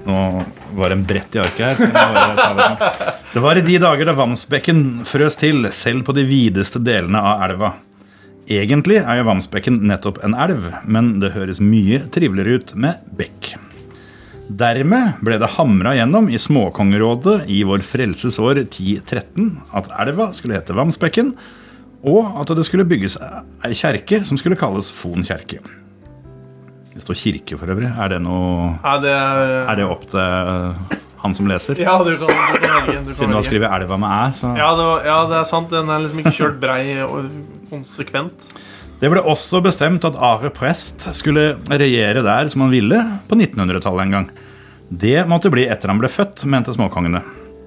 C: Nå var det en brett i arket her. Så jeg må bare ta det, nå. det var i de dager da Vamsbekken frøs til, selv på de videste delene av elva. Egentlig er jo Vamsbekken nettopp en elv, men det høres mye triveligere ut med bekk. Dermed ble det hamra gjennom i Småkongerådet i Vår Frelses år 1013 at elva skulle hete Vamsbekken, og at det skulle bygges ei kjerke som skulle kalles Fon kjerke. Det står kirke for øvrig. Er det noe
B: Nei, det er
C: Er det opp til eh, han som leser?
B: Ja, du kan, du kan velge. Du kan
C: Siden du har
B: velge.
C: skrevet elva med æ, så
B: Ja, det var, ja, det er sant. Den er liksom ikke kjørt brei og konsekvent.
C: Det ble også bestemt at Are Prest skulle regjere der som han ville på 1900-tallet en gang. Det måtte bli etter han ble født, mente småkongene.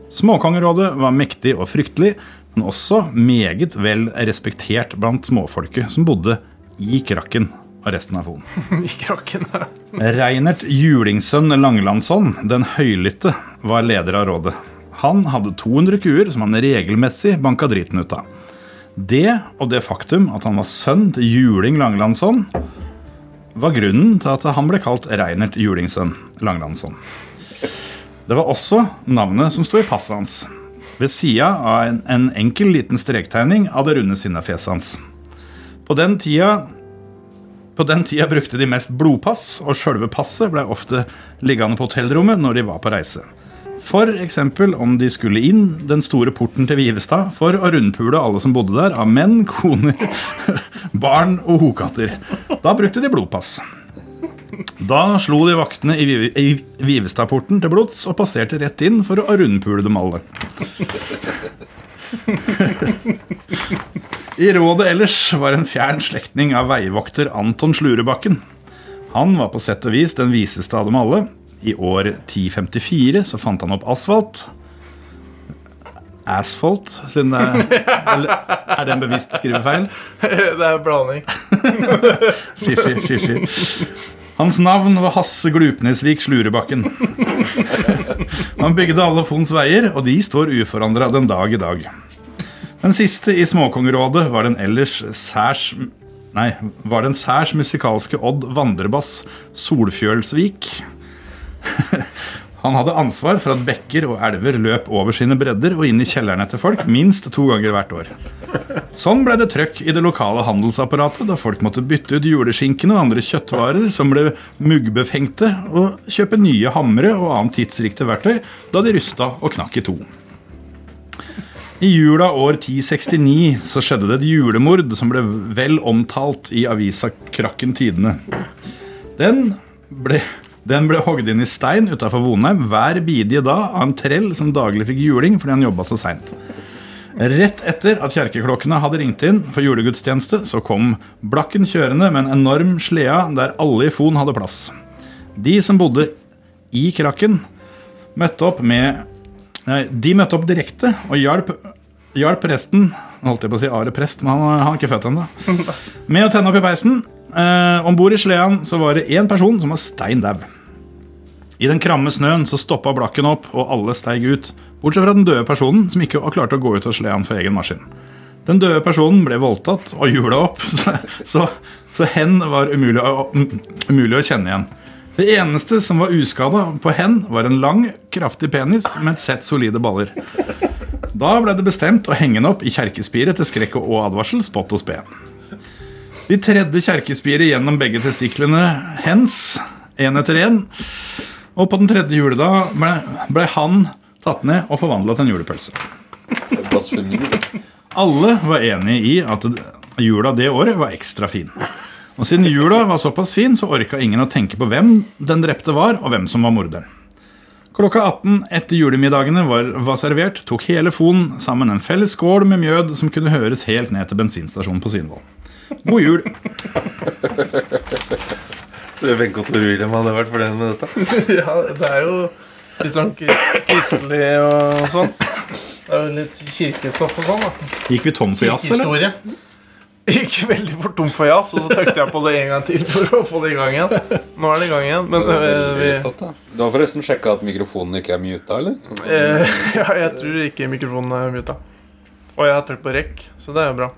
C: Småkongerådet var mektig og fryktelig, men også meget vel respektert blant småfolket som bodde i Krakken og resten av Fon.
B: I krakken der.
C: Reinert Julingsønn Langlandsson, den høylytte, var leder av rådet. Han hadde 200 kuer som han regelmessig banka driten ut av. Det og det faktum at han var sønn til Juling Langlandsson, var grunnen til at han ble kalt Reinert Julingsønn Langlandsson. Det var også navnet som sto i passet hans, ved sida av en, en enkel liten strektegning av det runde sinnafjeset hans. På den tida på den tida brukte de mest blodpass, og sjølve passet ble ofte liggende på hotellrommet når de var på reise. For eksempel om de skulle inn den store porten til Vivestad for å rundpule alle som bodde der, av menn, koner, barn og hokatter. Da brukte de blodpass. Da slo de vaktene i Vive- i Vivestadporten til blods og passerte rett inn for å rundpule dem alle. I rådet ellers var en fjern slektning av veivokter Anton Slurebakken. Han var på sett og vis den viseste av dem alle. I år 1054 så fant han opp asfalt. Asfalt, siden det er eller Er det en bevisst skrivefeil?
B: Det er blanding.
C: Fiffig, fiffig. Hans navn var Hasse Glupnesvik Slurebakken. Han bygde alle Fons veier, og de står uforandra den dag i dag. Den siste i Småkongerådet var den ellers særs Nei, var den særs musikalske Odd Vandrebass Solfjølsvik. Han hadde ansvar for at bekker og elver løp over sine bredder og inn i kjellerne til folk minst to ganger hvert år. Sånn ble det trøkk i det lokale handelsapparatet da folk måtte bytte ut juleskinken og andre kjøttvarer som ble muggbefengte, og kjøpe nye hamre og annet tidsriktig verktøy da de rusta og knakk i to. I jula år 1069 så skjedde det et julemord som ble vel omtalt i avisa Krakken Tidene. Den ble, den ble hogd inn i stein utafor Vonheim hver bidige dag av en trell som daglig fikk juling fordi han jobba så seint. Rett etter at kjerkeklokkene hadde ringt inn for julegudstjeneste, så kom Blakken kjørende med en enorm slea der alle i Fon hadde plass. De som bodde i krakken, møtte opp med Nei, de møtte opp direkte og hjalp, hjalp presten Nå holdt jeg på å si Are Prest, men han, han er ikke født ennå med å tenne opp i peisen. Eh, Om bord i sleden så var det én person som var stein dau. I den kramme snøen så stoppa blakken opp, og alle steig ut. Bortsett fra den døde personen, som ikke klarte å gå ut av sleden for egen maskin. Den døde personen ble voldtatt og hjula opp, så, så, så hen var umulig å, mm, umulig å kjenne igjen. Det eneste som var uskada på hen, var en lang, kraftig penis med et sett solide baller. Da ble det bestemt å henge den opp i kjerkespiret til skrekk og advarsel, spott og spe. De tredde kjerkespiret gjennom begge testiklene hens, én etter én. Og på den tredje juledag ble, ble han tatt ned og forvandla til en julepølse.
E: Blasfemi.
C: Alle var enige i at jula det året var ekstra fin. Og siden jula var såpass fin, så orka ingen å tenke på hvem den drepte var, og hvem som var morderen. Klokka 18 etter julemiddagene var, var servert, tok hele Fon sammen en felles skål med mjød som kunne høres helt ned til bensinstasjonen på Svinvoll. God jul.
F: Wenche og Tor William hadde vært fornøyd med dette.
B: Ja, det er jo litt sånn kris- kristelig og sånn. Det er jo litt kirkestoff og sånn. da
C: Gikk vi tom for jazz, eller?
B: Kirkehistorie. Gikk veldig fort tom for jazz, og så tøkte jeg på det en gang til for å få det i gang igjen. Nå er det i gang igjen, men øh, vi,
A: Flott, da.
E: Du har forresten sjekka at mikrofonen ikke er muta, eller?
B: øh, ja, jeg tror ikke mikrofonen er muta. Og jeg har trykt på rekk, så det er jo bra.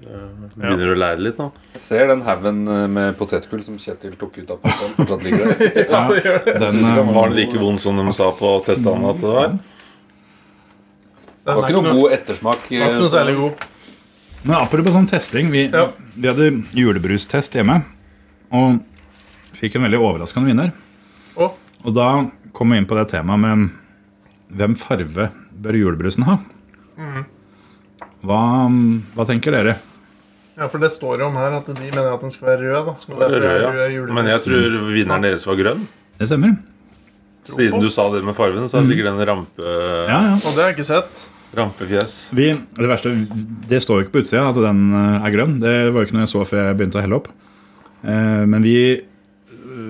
F: Begynner å lære litt nå.
E: Jeg ser den haugen
A: eh,
E: med potetgull som Kjetil tok ut av posen, fortsatt ligger der.
C: Den,
F: Synes ikke han
C: eh,
F: var like vond som de sa på testene at det var.
B: Den
E: Det var
B: er
E: ikke noe god ettersmak.
B: den er ikke
A: eh,
B: noe særlig god.
C: Men apropos sånn testing Vi,
B: Ja.
C: vi hadde julebrustest hjemme Og fikk en veldig overraskende vinner
B: Å?
C: Og da kom vi inn på det temaet med Hvem farve bør julebrusen ha? Hva, hva tenker dere?
B: Ja, for det står jo om her at de mener at den skal være rød. da Så derfor er
F: Rød,
B: rød
F: ja.
B: julebrus.
F: Men jeg tror vinneren deres var grønn.
C: Det stemmer
F: Siden du sa det med fargen, så er det sikkert en rampe,
C: ja, ja.
B: Og det har jeg ikke sett.
F: rampefjes.
C: Vi, Det verste, det står jo ikke på utsida at den eh, er grønn Det var jo ikke noe jeg så før jeg begynte å helle opp eh, Men vi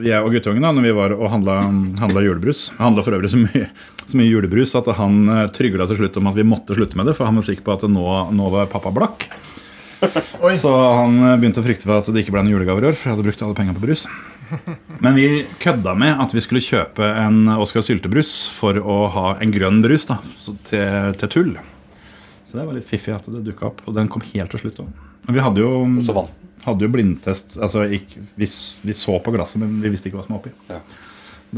C: jeg og guttungen da, når vi var og handla, handla julebrus Han handla for øvrig så mye, så mye julebrus at han eh, trygla til slutt om at vi måtte slutte med det, for han var sikker på at nå, nå var pappa blakk.
B: Oi.
C: Så han eh, begynte å frykte for at det ikke ble noen julegaver i år, for jeg hadde brukt alle pengene på brus. Men vi kødda med at vi skulle kjøpe en Oscar Syltebrus for å ha en grønn brus da, så til, til tull. Så det var litt fiffig at det dukka opp, og den kom helt til slutt. da. Og Vi hadde jo
E: Så vant den.
C: hadde jo blindtest. Altså, ikke, vi, s- vi så på glasset, men vi visste ikke hva som var oppi.
E: Ja.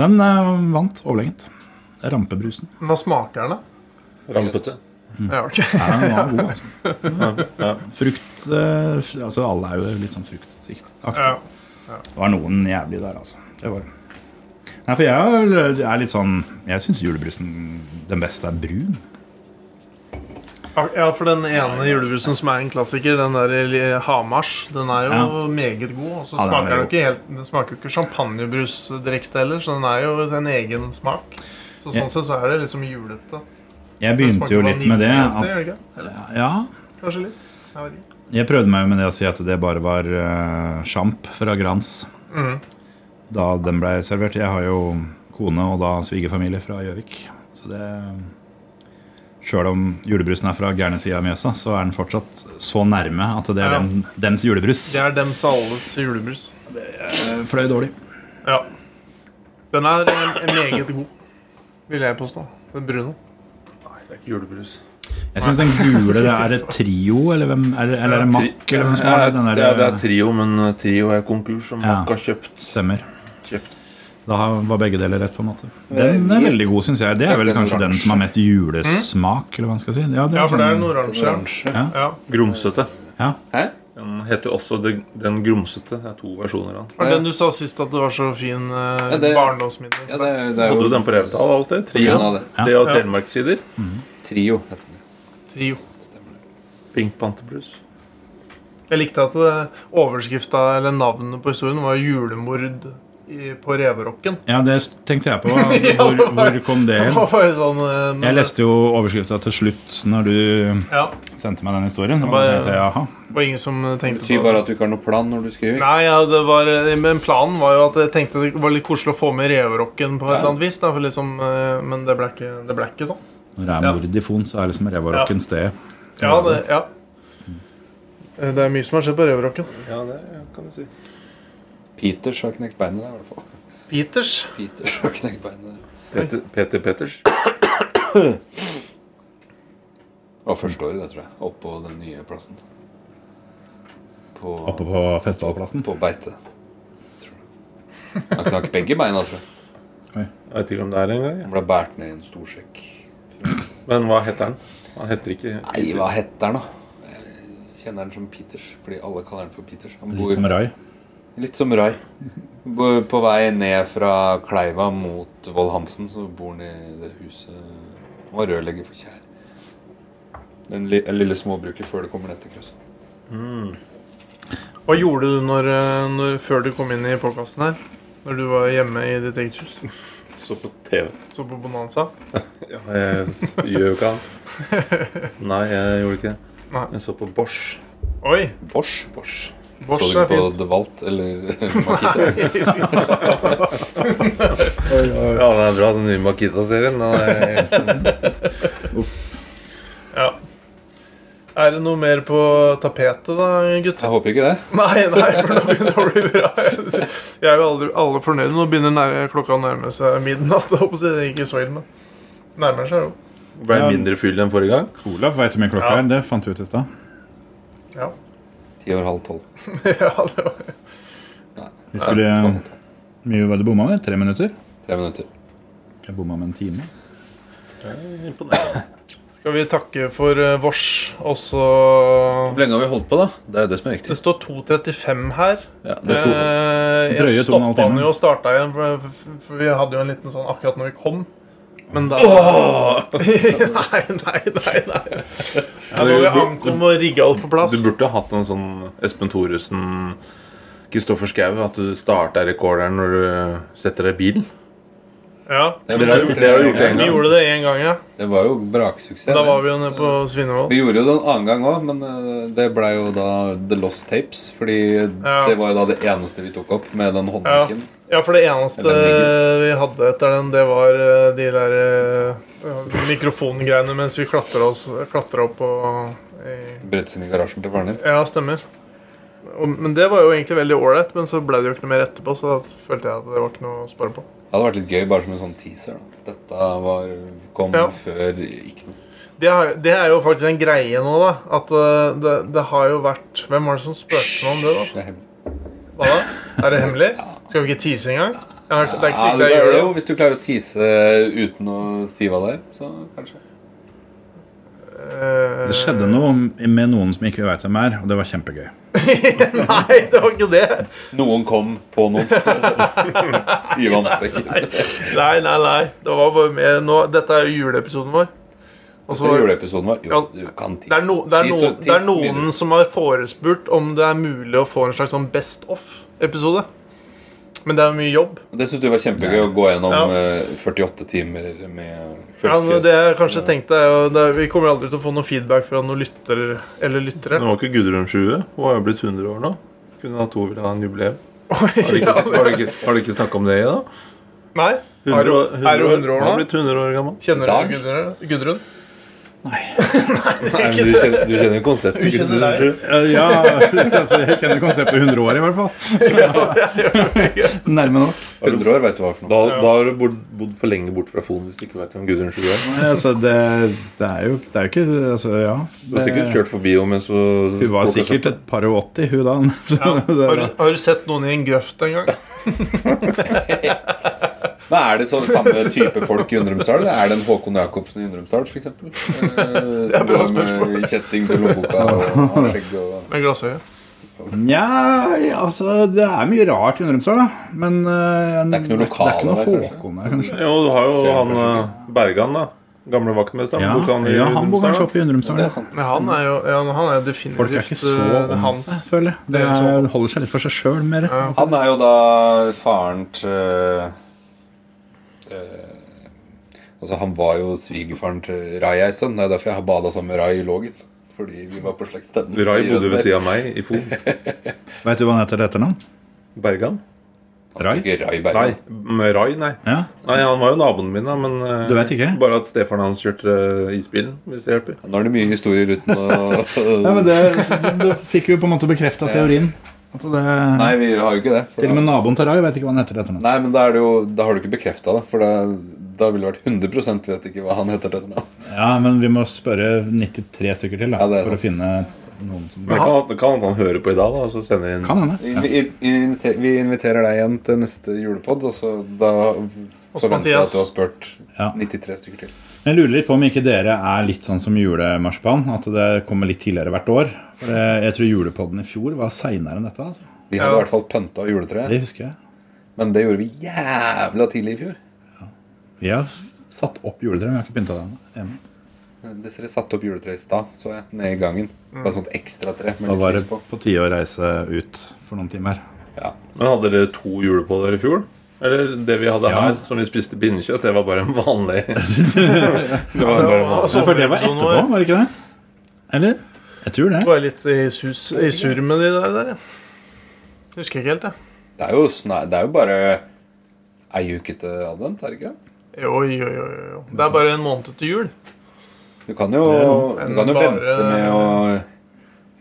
C: Den eh, vant overlegent. Rampebrusen.
B: Men hva smaker den, da?
F: Rampete.
B: Ja, ok.
C: Ja, den var god, altså. Frukt eh, f- altså Alle er jo litt sånn fruktsikt-aktig.
B: Ja.
C: Det var noen jævlig der, altså. Det var Nei, for jeg er- er litt sånn Jeg syns julebrusen den beste er brun.
B: Ja, for den ene julebrusen som er en klassiker, den der li- Hamars, den er jo
C: Ja.
B: meget god. Og så
C: Ja, den er
B: smaker den jo
C: veldig
B: ikke helt Den smaker jo ikke champagnebrus direkte heller, så den er jo en egen smak. Så
C: Ja.
B: sånn sett så er det liksom julete. Den
C: Jeg begynte
B: smaker
C: jo litt med det.
B: vaniljeaktig,
C: At,
B: gjør den ikke? Eller
C: ja,
B: kanskje litt? Jeg vet ikke.
C: Jeg prøvde meg med det å si at det bare var eh, sjamp fra Grans.
B: Mhm.
C: Da den ble servert. Jeg har jo kone og da svigerfamilie fra Gjøvik. Så det Sjøl om julebrusen er fra gærne sida av Mjøsa, så er den fortsatt så nærme at det er
B: Ja.
C: dem, dems julebrus.
B: Det er dems alles julebrus.
C: Fløy dårlig.
B: Ja. Den er eh, meget god, vil jeg påstå. Den brune.
F: Det er ikke julebrus.
C: Jeg syns den gule det er et trio, eller, hvem, er det- eller er det Mack? Eller hvem som
F: Ja,
C: har den
F: det,
C: der, eh,
F: er, det er trio, men eh, trio er konkurs, som
C: Ja.
F: Mack har kjøpt.
C: Stemmer.
F: kjøpt.
C: Da har- var begge deler rett, på en måte. Den er veldig god, syns jeg. Det er vel
A: Den
C: kanskje den som har mest julesmak, eller hva man skal si. Ja, det
B: Ja, for det er
C: sånn-
B: den oransje.
A: Oransje.
B: Ja.
F: Grumsete.
C: Ja.
A: Hæ?
F: Den heter også det, Den grumsete. Det er to versjoner av den.
B: Var det den du sa sist at det var så fin eh,
A: Ja, det-
B: barndomsminne?
A: Ja, det, er- det er
F: Hadde
A: jo
F: du den på Revetal alltid? Trio.
A: Ja, det.
F: Det og Telemarkssider.
A: trio, heter det.
B: Trio.
A: Stemmer det.
F: Pink Panther Blues.
B: Jeg likte at det- overskrifta eller navnet på historien var 'Julemord i, på Reverokken'.
C: ja, det tenkte jeg på. Altså,
B: det var-
C: Hvor, hvor kom det
B: Det
C: inn?
B: var bare sånn eh, men-
C: Jeg leste jo overskrifta til slutt når du
B: Ja,
C: sendte meg den historien. Og da
B: Bare-
C: tenkte jeg, jaha
B: det var ingen som eh,
A: Det
B: tenkte
A: betyr
B: på
A: bare
B: det.
A: at du ikke har noe plan når du skriver.
B: Nei, ja, det var, eh, men planen var jo at jeg tenkte det var litt koselig å få med Reverokken på et eller annet vis. Da, for liksom, eh, men det ble ikke, det ble ikke sånn.
C: Når det er
B: Ja.
C: mord i Fon, så er liksom Revarokken stedet.
B: Ja, det, ja. Eh, det er mye som har skjedd på Reverokken.
F: Ja, det kan du si.
A: Peters har knekt beinet der, i hvert fall.
B: Peters.
A: Peters har knekt beinet der.
F: Peter, Peter Peters.
A: Det var første året, det, tror jeg. Oppå den nye plassen. På,
C: Oppe på festivalplassen.
A: på beite. Tror jeg. Han knakk begge beina, tror jeg.
F: Jeg vet ikke om det er engang. jeg.
A: Han ble båret ned i en stor sekk.
F: Men hva heter den? Han heter ikke
A: Nei, hva heter han, da? Jeg kjenner han som Peters, fordi alle kaller han for Peters. Han bor
C: Litt som Rai.
A: Litt som Rai. Bo- På vei ned fra Kleiva mot Vold Hansen, så bor han i det huset Han var rørlegger for Kjær. Den li- lille småbruket før det kommer ned til krysset.
B: Hva gjorde du når, eh, når, før du kom inn i podkasten her? Når du var hjemme i ditt eget hus?
F: Så på TV.
B: Så på Bonanza?
F: Ja, jeg s- gjør jo ikke han. Nei, jeg gjorde ikke det.
B: Nei.
F: Jeg så på Bosch.
B: Oi!
A: Bosch. Bosch. Så
B: Bosch
A: du
B: er
A: på
B: fint.
A: The Walt eller Makita?
F: Ja, den er bra, den nye Makita-serien. Den er-
B: Ja. Er det noe mer på tapetet, da, gutter?
A: Jeg håper ikke det.
B: Nei, nei, for nå begynner det å bli bra. Jeg er jo aldri, alle fornøyde. Nå begynner nær- klokka å nærme seg midnatt. Jeg håper det ikke så ille, men nærmer seg jo.
F: Ble det mindre fyll enn forrige gang.
C: Olav veit hvor mye klokka
B: Ja.
C: er. Det fant vi ut i stad.
B: Ja.
A: Ti over halv tolv.
B: ja, det var
C: Vi skulle Mye var det bomma med? Tre minutter?
A: Tre minutter.
C: Jeg bomma med en time.
F: Imponerende.
B: Skal vi takke for eh, vårs, og så
A: Hvor lenge har vi holdt på, da? Det er jo det som er
B: Det
A: viktig.
B: står 2.35 her.
A: Ja, det er to.
B: Eh,
C: Drøye
B: jeg
C: to og en halv
B: stoppa den
C: time.
B: jo og starta igjen, for, for- for vi hadde jo en liten sånn akkurat når vi kom. Men da Nei, nei, nei. nei. Ja, når vi ankom og rigga alt på plass.
F: Du burde hatt en sånn Espen Thoresen, Kristoffer Schou, at du starter rekorderen når du setter deg i bilen.
B: Ja,
A: Det,
F: Dere har gjort det, dere har gjort det en
B: Vi
F: gang.
B: gjorde det én gang, ja.
A: det var jo braksuksess.
B: Da
A: det.
B: var vi jo nede på Svinevoll.
A: Vi gjorde jo det en annen gang òg, men eh, det ble jo da The Lost Tapes. Fordi
B: Ja.
A: det var jo da det eneste vi tok opp med den håndduken.
B: Ja, for det eneste
A: Eller
B: vi hadde etter den, det var eh, de der eh, mikrofongreiene mens vi klatra oss klatra opp på i-
A: Brøt seg inn i garasjen til faren din.
B: Ja, stemmer. Og, men det var jo egentlig veldig ålreit, men så ble det jo ikke noe mer etterpå, så da følte jeg at det var ikke noe å spare på.
A: Det hadde vært litt gøy bare som en sånn teaser. da. Dette var, kom
B: Ja.
A: før ikke noe.
B: Det, har, det er jo faktisk en greie nå, da. At eh, det, det har jo vært Hvem var det som spurte meg om det, da?
A: Det er hemmelig.
B: Hva da? Er det hemmelig? Skal vi ikke tease engang? Jeg har, det er ikke
A: Ja,
B: sikkert
A: du
B: jeg
A: klarer
B: gjør det.
A: jo, hvis du klarer å tease uten å stive av der, så kanskje.
B: Eh,
C: Det skjedde noe med noen som ikke vi veit hvem er, og det var kjempegøy.
B: Nei, det var ikke det.
A: Noen kom på noen. I vannspekken.
B: Nei, nei, nei. Det var bare mer nå, Dette er jo juleepisoden vår. Og så
A: Så juleepisoden var Jo, du kan tease.
B: det er, no, det, er
A: Tease
B: no,
A: og
B: det er
A: tease mye
B: noen som har forespurt om det er mulig å få en slags sånn best off-episode. Men det er jo mye jobb.
A: Og Det syns du var kjempegøy å gå gjennom
B: Ja.
A: eh, 48 timer med
B: Ja, men
A: kveldsfjes.
B: det jeg kanskje tenkte er jo det er, Vi kommer aldri til å få noe feedback fra noen lytter eller lyttere.
F: Det var ikke Gudrun 20. Hun har jo blitt 100 år nå. Kunne hatt hun ville ha en jubileum. Har du ikke,
B: Ja, men-
F: har du ikke, har du ikke snakka om det i dag?
B: Nei? Er du er du 100
F: Hun har
B: år nå?
F: blitt 100 år
A: I
F: gammel.
B: Kjenner
A: dag?
B: du Gudrun? Gudrun?
A: Nei, men du, kjenner, du kjenner konseptet? ikke sant?
C: Eh, Ja, altså, jeg kjenner konseptet 100 år, i hvert fall. Nærme nok.
A: 100 år, vet du hva for noe.
F: Da, da har du bod- bodd for lenge bort fra fonen hvis du ikke vet hvem Gudrun Sjue er.
C: Nei, altså, det, det, er jo, det er jo ikke altså, Ja.
F: Du har sikkert kjørt forbi henne mens hun
C: Hun var sikkert et par og 80, hun da. Så, det,
B: Har, du- har du sett noen i en grøft en gang?
A: Men er det sånn samme type folk i Undrumsdal? eller Er det en Håkon Jacobsen i Undrumsdal, f.eks.? Det
B: er bra spørsmål.
A: Med kjetting til lommeboka og har skjegg og
B: Med glassøye?
C: Nja, altså, det er mye rart i Undrumsdal, da. Men eh,
A: Det er ikke noe lokale
C: det er ikke
A: der,
C: noe Håkon der, kanskje.
F: Jo, du har jo
A: Ser
F: han
A: han kanskje
F: eh, Bergan, da. Gamle vaktmesteren.
C: Ja,
F: Bor ikke han i
C: ja, han bor
F: Romsdal,
C: kanskje
F: da?
C: oppe i Undrumsdal.
A: Det
C: ja.
A: er sant.
B: Men han er jo, ja, men han er jo definitivt
C: Folk er ikke så
B: eh,
C: om
B: hans.
C: seg, føler jeg. Det
B: Det er
C: er, holder seg litt for seg sjøl mer.
A: Han er jo da faren til eh, Altså, han var jo svigerfaren til Rai ei stund. Det er derfor jeg har bada sammen med Rai i Lågen. Fordi vi var på slektsstevne.
F: Rai bodde ved siden av meg i Fon.
C: Veit du hva han heter etternavn?
F: Bergan?
A: Rai?
C: Rai?
A: Ikke Rai
F: Nei,
A: Bergen.
F: med Rai, nei.
C: Ja.
F: Nei, Han var jo naboen min, da. Men eh,
C: Du vet ikke?
F: bare at stefaren hans kjørte eh, isbilen, hvis det hjelper.
A: Nå er det mye historier uten å
C: ja men det, det fikk jo på en måte bekrefta teorien. At det,
A: Nei, vi har jo ikke det. for
C: til
A: da-
C: og med naboen til Rai veit ikke hva han heter etternavn.
A: Nei, men da, er det jo, da har du ikke bekrefta det. For da, da ville det vært 100 vet ikke hva han heter. Dette. nå.
C: Ja, men vi må spørre 93 stykker til da,
A: Ja, det er
C: for
A: sant.
C: å finne noen som
F: Men det kan, det kan at han hører på i dag, da, og så sender inn
C: Kan hende.
A: Vi, vi- vi inviter- vi inviterer deg igjen til neste julepod, og så da forventer jeg
B: Mathias.
A: at du har spurt
C: Ja.
A: 93 stykker til.
C: Jeg lurer litt på om ikke dere er litt sånn som julemarsipan. At det kommer litt tidligere hvert år. For eh, jeg tror julepodden i fjor var seinere enn dette. altså.
A: Vi hadde
B: Ja.
A: i hvert fall pønta juletreet,
C: Det husker jeg.
A: men det gjorde vi jævla tidlig i fjor.
C: Vi har satt opp juletre, men vi har ikke pynta det ennå. hjemme.
A: Dessverre satte opp juletreet i stad, så jeg, nede i gangen. Bare sånt ekstra tre med
C: Da
A: litt
C: var det
A: lys på.
C: på tide å reise ut for noen timer.
A: Ja.
F: Men hadde dere to jul på dere i fjor? Eller det vi hadde
C: Ja.
F: her, som vi spiste pinnekjøtt, det var bare en vanlig Det var bare en vanlig
B: Altså,
C: for det var etterpå, var det ikke det? Eller? Jeg tror det.
B: Var jeg litt i, sus, i surr med de der, der, ja. Husker jeg ikke helt, jeg.
A: Det, er jo sna- det er jo bare ei uke til advent, er det ikke? det?
B: Jo, jo, jo, jo, jo. Det er bare en måned til jul.
A: Du kan jo,
C: Det
A: du kan jo
B: Bare-
A: vente med å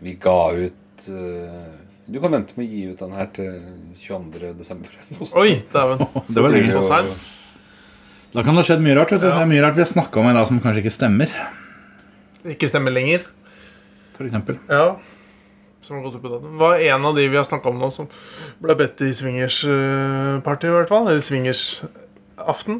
A: Vi ga ut eh, Du kan vente med å gi ut den her til 22. desember. eller noe sånt.
B: Oi, dæven.
C: Det var lenge.
B: Så seint.
C: Da kan det ha skjedd mye rart. vet du. Det er mye rart vi har snakka om i dag som kanskje ikke stemmer.
B: Ikke stemmer lenger.
C: For eksempel.
B: Ja. Som har gått opp i dato. Var en av de vi har snakka om nå, som ble bedt i swingers-party, i hvert fall. Eller swingers-aften.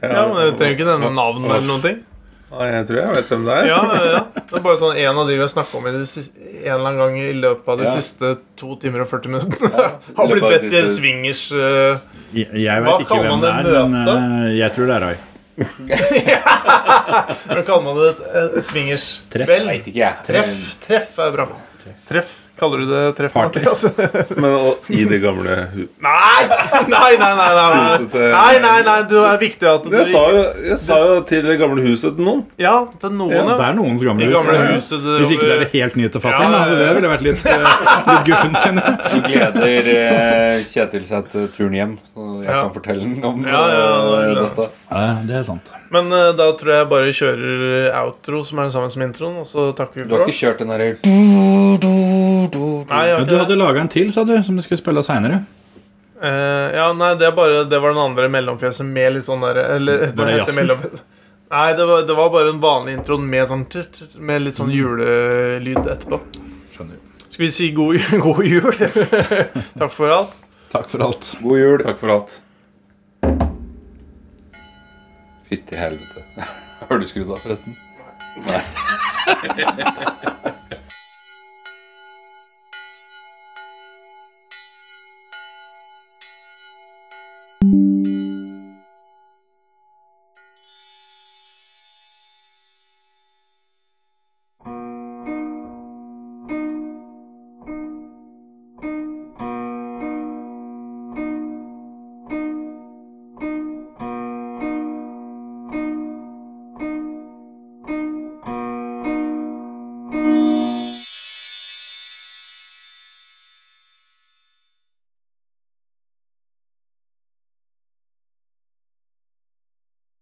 B: Ja, men Jeg trenger ikke nevne navn eller noen ting.
F: Nei, jeg tror jeg vet hvem det er.
B: Ja, ja, ja. Det er bare sånn en av de vi har snakka om i det sis- en eller annen gang i løpet av de
A: Ja.
B: siste to timer og 40 minuttene. Har
A: løpet av de
B: blitt bedt i en
A: siste-
B: swingers eh,
C: Jeg, jeg
B: Hva
C: vet ikke
B: kaller
C: hvem det
B: man
C: er,
B: det
C: men eh, jeg tror det er Rai.
B: Hva kaller man det? Et- Et swingers-kveld?
A: Veit ikke jeg.
B: Treff. Eh, Treff er bra. Treff. Kaller du det treff?
C: Party.
B: Martin, altså?
F: Men og, i det gamle hu-
B: Nei! Nei, nei, nei, nei, nei.
F: Huset til-
B: nei, nei, nei. Du er viktig at du
F: jeg sa, jo, jeg sa jo til det gamle huset til noen.
B: Ja, til noen,
C: Det
B: ja.
C: er noens gamle
B: I
C: hus.
B: gamle
C: ja.
B: huset det-
C: Hvis ikke det er helt nytt og fattig.
B: Ja,
C: da,
B: ja, ja.
C: Det ville vært litt, eh, litt guffent. kjenner jeg.
A: Nå gleder eh, Kjetil seg til turen hjem, så jeg
B: Ja.
A: kan fortelle ham om
B: Ja, ja,
A: eh,
B: det er det.
A: dette.
C: Ja, det er sant.
B: Men eh, da tror jeg bare kjører outro, som er den samme som introen, og så takker vi
A: Du har ikke
B: for oss.
A: kjørt den her
B: Nei, jeg
C: Ja,
B: har
C: du
B: ikke det.
C: hadde laga en til, sa du, som du skulle spille av seinere.
B: Eh, ja, nei, det er bare Det var den andre mellomfjeset med litt sånn derre Eller
C: Var
B: den
C: det
B: heter
C: jazzen?
B: mellom... Nei, det var, det var bare en vanlig intro med sånn tut, tut, Med litt sånn julelyd etterpå.
C: Mm. Skjønner.
B: Skal vi si god, ju- god jul? Takk for alt.
C: Takk for alt.
A: God jul.
F: Takk for alt.
A: Fytti helvete. Har du skrudd av, forresten?